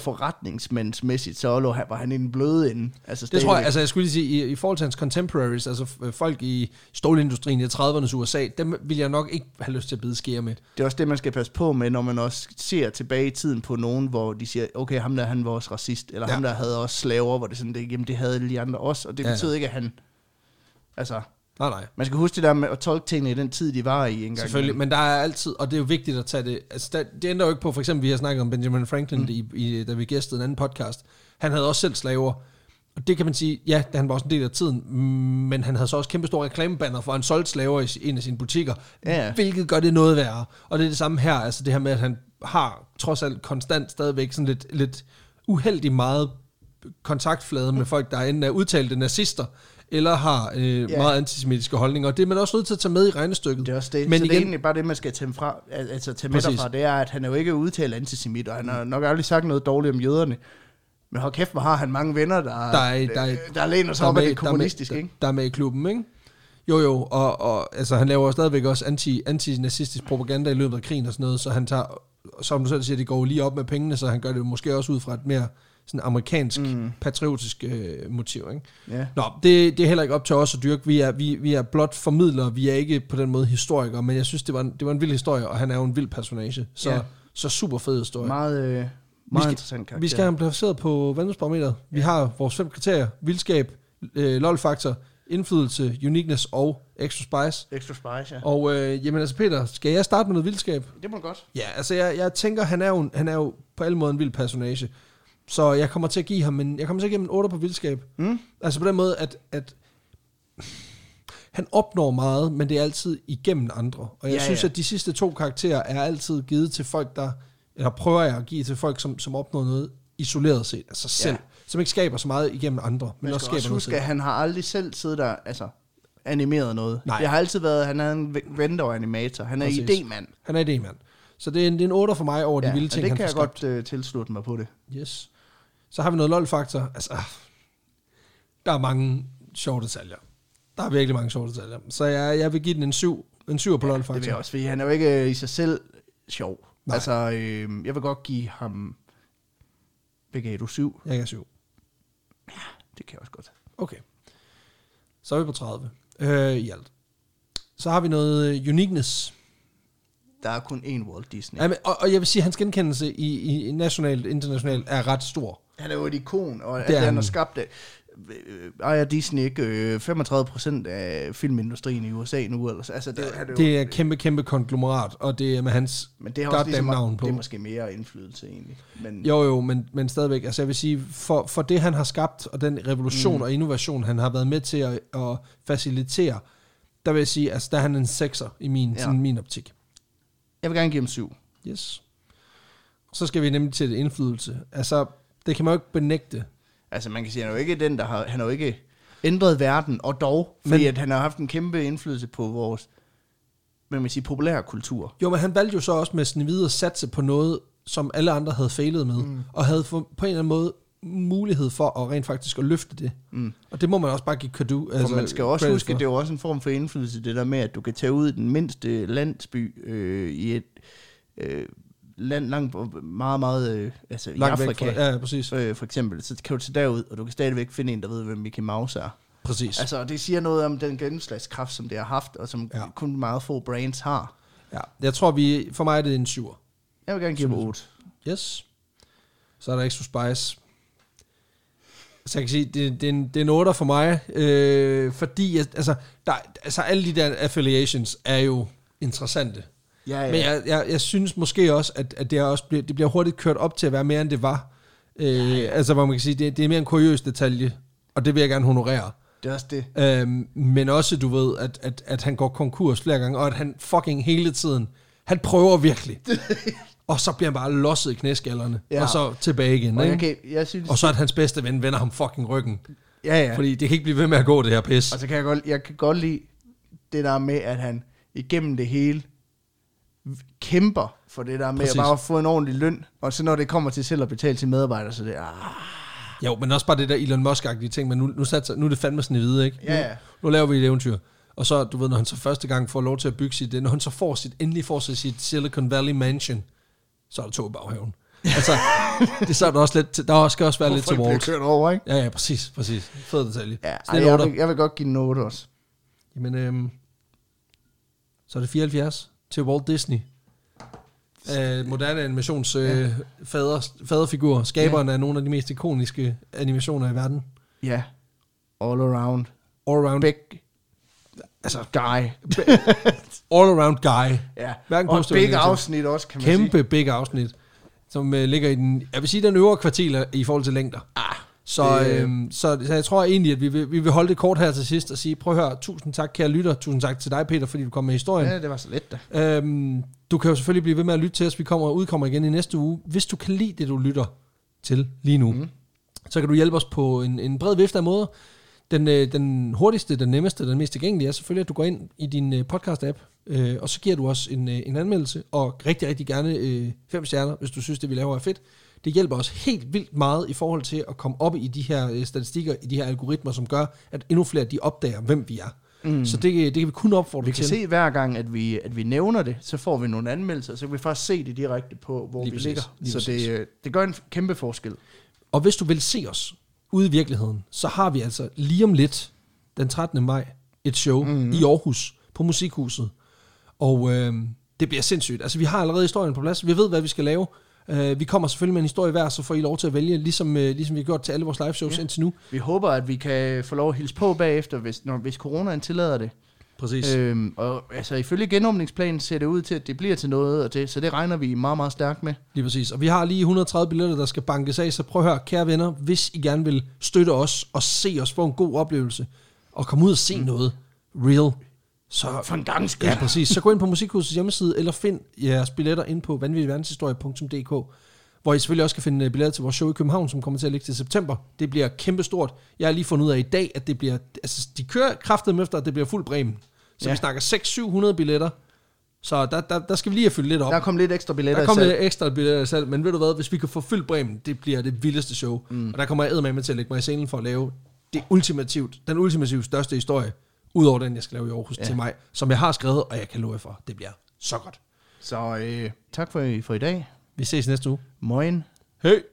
forretningsmandsmæssigt, så lå han- var han i den bløde ende. Altså,
Det
stadigvæk.
tror jeg, altså jeg skulle lige sige, i, i forhold til hans contemporaries, altså f- folk i stålindustrien i 30'ernes USA, dem vil jeg nok ikke have lyst til at bide skære med.
Det er også det, man skal passe på med, når man også ser tilbage i tiden på nogen, hvor de siger, okay, ham der, han var også racist, eller
Ja.
ja. ham der havde også slaver, hvor det er sådan, det, jamen, det havde alle de andre også, og det
Ja,
ja.
ja.
betyder ikke, at han... Altså,
Nej, nej.
man skal huske det der med at tolke tingene i den tid, de var i engang.
Selvfølgelig, men der er altid, og det er jo vigtigt at tage det, altså der, det ændrer jo ikke på, for eksempel vi har snakket om Benjamin Franklin, mm. i, i, da vi gæstede en anden podcast, han havde også selv slaver, og det kan man sige, ja, han var også en del af tiden, mm, men han havde så også kæmpe store reklamebanner for, at han solgte slaver i si- en af sine butikker,
Ja.
hvilket gør det noget værre, og det er det samme her, altså det her med, at han har trods alt konstant stadigvæk sådan lidt, lidt uheldig meget kontaktflade
Mm.
med folk, der enten er udtalte nazister, eller har øh,
Ja.
meget antisemitiske holdninger. Og det er man også nødt til at tage med i regnestykket.
Det er også det. Men
Men
så igen, det er
igen-
egentlig bare det, man skal tage, fra, al- altså, tage med
Præcis.
derfra, det er, at han er jo ikke udtalt antisemit, og han har nok aldrig sagt noget dårligt om jøderne. Men hold kæft, hvor har han mange venner, der,
Der er- der er-
der læner sig op af det kommunistiske,
der, med-
ikke?
Der er med i klubben, ikke? Jo, jo, og, og altså, han laver jo stadigvæk også anti, antinazistisk propaganda i løbet af krigen og sådan noget, så han tager, som du selv siger, det går jo lige op med pengene, så han gør det måske også ud fra et mere sådan amerikansk, mm. patriotisk øh, motiv, ikke?
Ja.
Nå, det, det er heller ikke op til os at dyrke. Vi er, vi, vi er blot formidlere, vi er ikke på den måde historikere, men jeg synes, det var en, det var en vild historie, og han er jo en vild personage, så,
Ja.
så super fed historie.
Meget, øh, meget
skal-
interessant karakter.
Vi skal have ham placeret på vandringsbarometeret. Vi har vores fem kriterier. Vildskab, øh, lol-faktor, indflydelse, uniqueness og extra spice.
Extra spice, ja.
Og øh, jamen altså Peter, skal jeg starte med noget vildskab?
Det må du godt.
Ja, altså jeg, jeg tænker, han er, jo, en- han er jo på alle måder en vild personage. Så jeg kommer til at give ham en, jeg kommer til at give ham en 8 på vildskab.
Mm.
Altså på den måde, at, at han opnår meget, men det er altid igennem andre. Og jeg
Ja,
ja, synes,
ja.
ja. at de sidste to karakterer er altid givet til folk, der, eller prøver jeg at give til folk, som, som opnår noget isoleret set, altså selv, ja. som ikke skaber så meget igennem andre, men
Man
også
skal
skaber
også
noget
huske,
selv.
at han har aldrig selv siddet der, altså, animeret noget.
Nej.
Nej. Det har altid været, han er en v- vendor og animator. Han er
Præcis.
idémand.
Han er det, mand. Så det er en, det er en 8 for mig over de vilde
og
ting,
det
han
kan
får
jeg
skabt.
godt øh, tilslutte mig på det.
Yes. Så har vi noget lol-faktor. Altså, ah, der er mange sjove detaljer. Der er virkelig mange sjove detaljer. Så jeg, jeg vil give den en 7. En 7 på
Det vil jeg
lol-faktor.
også, fordi han er jo ikke øh, i sig selv sjov.
Nej.
Nej. Altså, øh, jeg vil godt give ham... Hvad gav du? Syv?
Jeg er 7.
Det kan jeg også godt.
Okay. Så er vi på 30 øh, i alt. Så har vi noget øh, uniqueness.
Der er kun én Walt Disney.
Ja, men, og, og jeg vil sige, hans genkendelse i, i nationalt internationalt er ret stor.
Han er jo et ikon, og
Det er
at han har
han.
skabt det. Øh, Ejer Disney ikke øh, 35 procent af filmindustrien i USA nu? Ellers. Altså, det, han er jo,
Det er et kæmpe, kæmpe konglomerat, og det er med hans
men det har også
goddamn
ligesom,
navn på.
Det er måske mere indflydelse egentlig. Men,
Jo, jo, men, men stadigvæk. Altså jeg vil sige, for, for det han har skabt, og den revolution mm. og innovation, han har været med til at, at facilitere, der vil jeg sige, altså der er han en sekser i min,
Ja.
ja. sådan min optik.
Jeg vil gerne give ham syv.
Yes. Så skal vi nemlig til det indflydelse. Altså, det kan man jo ikke benægte.
Altså man kan sige, han er jo ikke den, der har, han har jo ikke ændret verden, og dog, fordi men,
Men-
at han har haft en kæmpe indflydelse på vores, hvad man siger, populære kultur.
Jo, men han valgte jo så også med sådan videre at satse på noget, som alle andre havde fejlet med, mm. og havde for, på en eller anden måde mulighed for at rent faktisk at løfte det.
Mm.
Og det må man også bare give kado.
Altså, man skal også
credit
huske,
for.
at det er jo også en form for indflydelse, det der med, at du kan tage ud i den mindste landsby øh, i et øh, land langt, meget, meget, øh, altså
Langt
i
væk fra,
Afrika,
ja, ja, præcis.
øh, for eksempel, så kan du tage derud, og du kan stadigvæk finde en, der ved, hvem Mickey Mouse er.
præcis.
Altså, og det siger noget om den gennemslagskraft, som det har haft, og som ja.
Ja.
kun meget få brands har.
Ja, jeg tror, vi, for mig er det en syver.
Jeg vil gerne give dem 8.
Yes. Så er der Extra Spice. Så jeg kan sige, det, det, er, en, det er en 8 for mig, øh, fordi jeg, altså, der, altså, alle de der affiliations er jo interessante.
Ja,
Men jeg, jeg, jeg synes måske også, at, at det, er også bliver, det bliver hurtigt kørt op til at være mere, end det var. Øh, altså, hvor man kan sige, det, det er mere en kuriøs detalje, og det vil jeg gerne honorere.
det er også det.
Øhm, men også, du ved, at, at, at han går konkurs flere gange, og at han fucking hele tiden, han prøver virkelig. og så bliver han bare losset i knæskallerne,
Ja.
ja. og så tilbage igen.
Og
Og,
jeg,
ikke?
kan, jeg synes,
og så at hans bedste ven vender ham fucking ryggen.
ja, ja.
Ja. Fordi det kan ikke blive ved med at gå, det her pis.
Og så kan jeg godt, jeg kan godt lide det der med, at han igennem det hele kæmper for det der med Præcis.
Præcis.
at bare få en ordentlig løn. Og så når det kommer til selv at betale til medarbejdere, så er det ah,
Jo, men også bare det der Elon Musk-agtige ting, men nu, nu, satser, nu er det fandme sådan i hvide, ikke?
Ja, ja.
Nu, nu laver vi et eventyr. Og så, du ved, når han så første gang får lov til at bygge sit, når han så får sit, endelig får sig sit Silicon Valley Mansion, så er der tog i baghaven. Altså, det så er der også lidt, til- der skal også være lidt til
folk bliver
Walt.
kørt over, ikke?
Ja, ja, præcis, præcis. Fed detalje.
Ja,
Sådan
ej,
en
jeg,
otter.
vil, jeg vil godt give en 8 også.
Jamen, øhm, så er det 74 til Walt Disney. Øh, moderne animations øh, fader, faderfigur, skaberen af nogle af de mest ikoniske animationer i verden.
Ja, all around.
All around,
Big
altså,
guy.
all around guy.
Ja,
Hverken
og et
positivt eller
big
negativt.
afsnit også, kan man sige.
Kæmpe big afsnit, som øh, ligger i den, jeg vil sige, den øvre kvartil i forhold til længder.
Ah,
Så,
det-
øhm, så, så jeg tror egentlig, at vi vil, vi vil holde det kort her til sidst og sige, prøv at høre, tusind tak kære lytter, tusind tak til dig Peter, fordi du kom med historien.
Ja, det var så let da.
Øhm, du kan jo selvfølgelig blive ved med at lytte til os. Vi kommer udkommer igen i næste uge. Hvis du kan lide det, du lytter til lige nu,
Mhm.
mm. så kan du hjælpe os på en, en bred vifte af måder. Den, øh, den hurtigste, den nemmeste, den mest tilgængelige er selvfølgelig, at du går ind i din øh, podcast-app, øh, og så giver du os en, øh, en anmeldelse, og rigtig, rigtig gerne øh, fem stjerner, hvis du synes, det vi laver er fedt. Det hjælper os helt vildt meget i forhold til at komme op i de her øh, statistikker, i de her algoritmer, som gør, at endnu flere de opdager, hvem vi er. Mm. Så det, det kan vi kun opfordre
Vi kan
til.
se hver gang, at vi, at vi nævner det, så får vi nogle anmeldelser, så kan vi faktisk se det direkte på, hvor
Lige
vi
præcis.
ligger.
Lige
så det,
præcis.
øh, det gør en kæmpe forskel.
Og hvis du vil se os ude i virkeligheden, så har vi altså lige om lidt, den 13. maj, et show mm-hmm. i Aarhus på Musikhuset. Og øh, det bliver sindssygt. Altså, vi har allerede historien på plads. Vi ved, hvad vi skal lave. Uh, vi kommer selvfølgelig med en historie hver, så får I lov til at vælge, ligesom, uh, ligesom vi har gjort til alle vores live shows ja. indtil nu.
Vi håber, at vi kan få lov at hilse på bagefter, hvis, når, hvis coronaen tillader det.
Præcis.
Øhm, og altså, ifølge genåbningsplanen ser det ud til, at det bliver til noget, og det, så det regner vi meget, meget stærkt med.
Lige præcis. Og vi har lige 130 billetter, der skal bankes af, så prøv at høre, kære venner, hvis I gerne vil støtte os og se os få en god oplevelse, og komme ud og se mm. noget real, så
For en gang
Ja, præcis. Så gå ind på Musikhusets hjemmeside, eller find jeres billetter ind på vanvittigverdenshistorie.dk, hvor I selvfølgelig også kan finde øh, billetter til vores show i København, som kommer til at ligge til september. Det bliver kæmpestort. Jeg har lige fundet ud af i dag, at det bliver... Altså, de kører kraftet efter, at det bliver fuld bremen. Så
Ja.
ja. vi snakker 600-700 billetter. Så der, der, der skal vi lige have fyldt lidt op.
Der kom lidt ekstra billetter.
Der kommer
i
lidt
salg.
ekstra billetter i salg, men ved du hvad, hvis vi kan få fyldt Bremen, det bliver det vildeste show. Mm. Og der kommer jeg med til at lægge mig i scenen for at lave det ultimativt, den ultimativt største historie, udover den, jeg skal lave i Aarhus ja. til mig, som jeg har skrevet, og jeg kan love jer for, det bliver så godt.
Så øh, tak for, for i dag.
Vi ses næste uge.
Moin.
Hej!